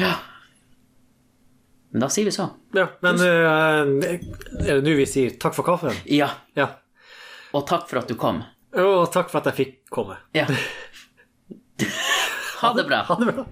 [SPEAKER 1] Ja. Men da sier vi så.
[SPEAKER 2] ja. Men eh, er det nå vi sier takk for kaffen?
[SPEAKER 1] Ja,
[SPEAKER 2] Ja.
[SPEAKER 1] og takk for at du kom.
[SPEAKER 2] Og takk for at jeg fikk komme.
[SPEAKER 1] Ja. Ha det bra.
[SPEAKER 2] Ha det bra.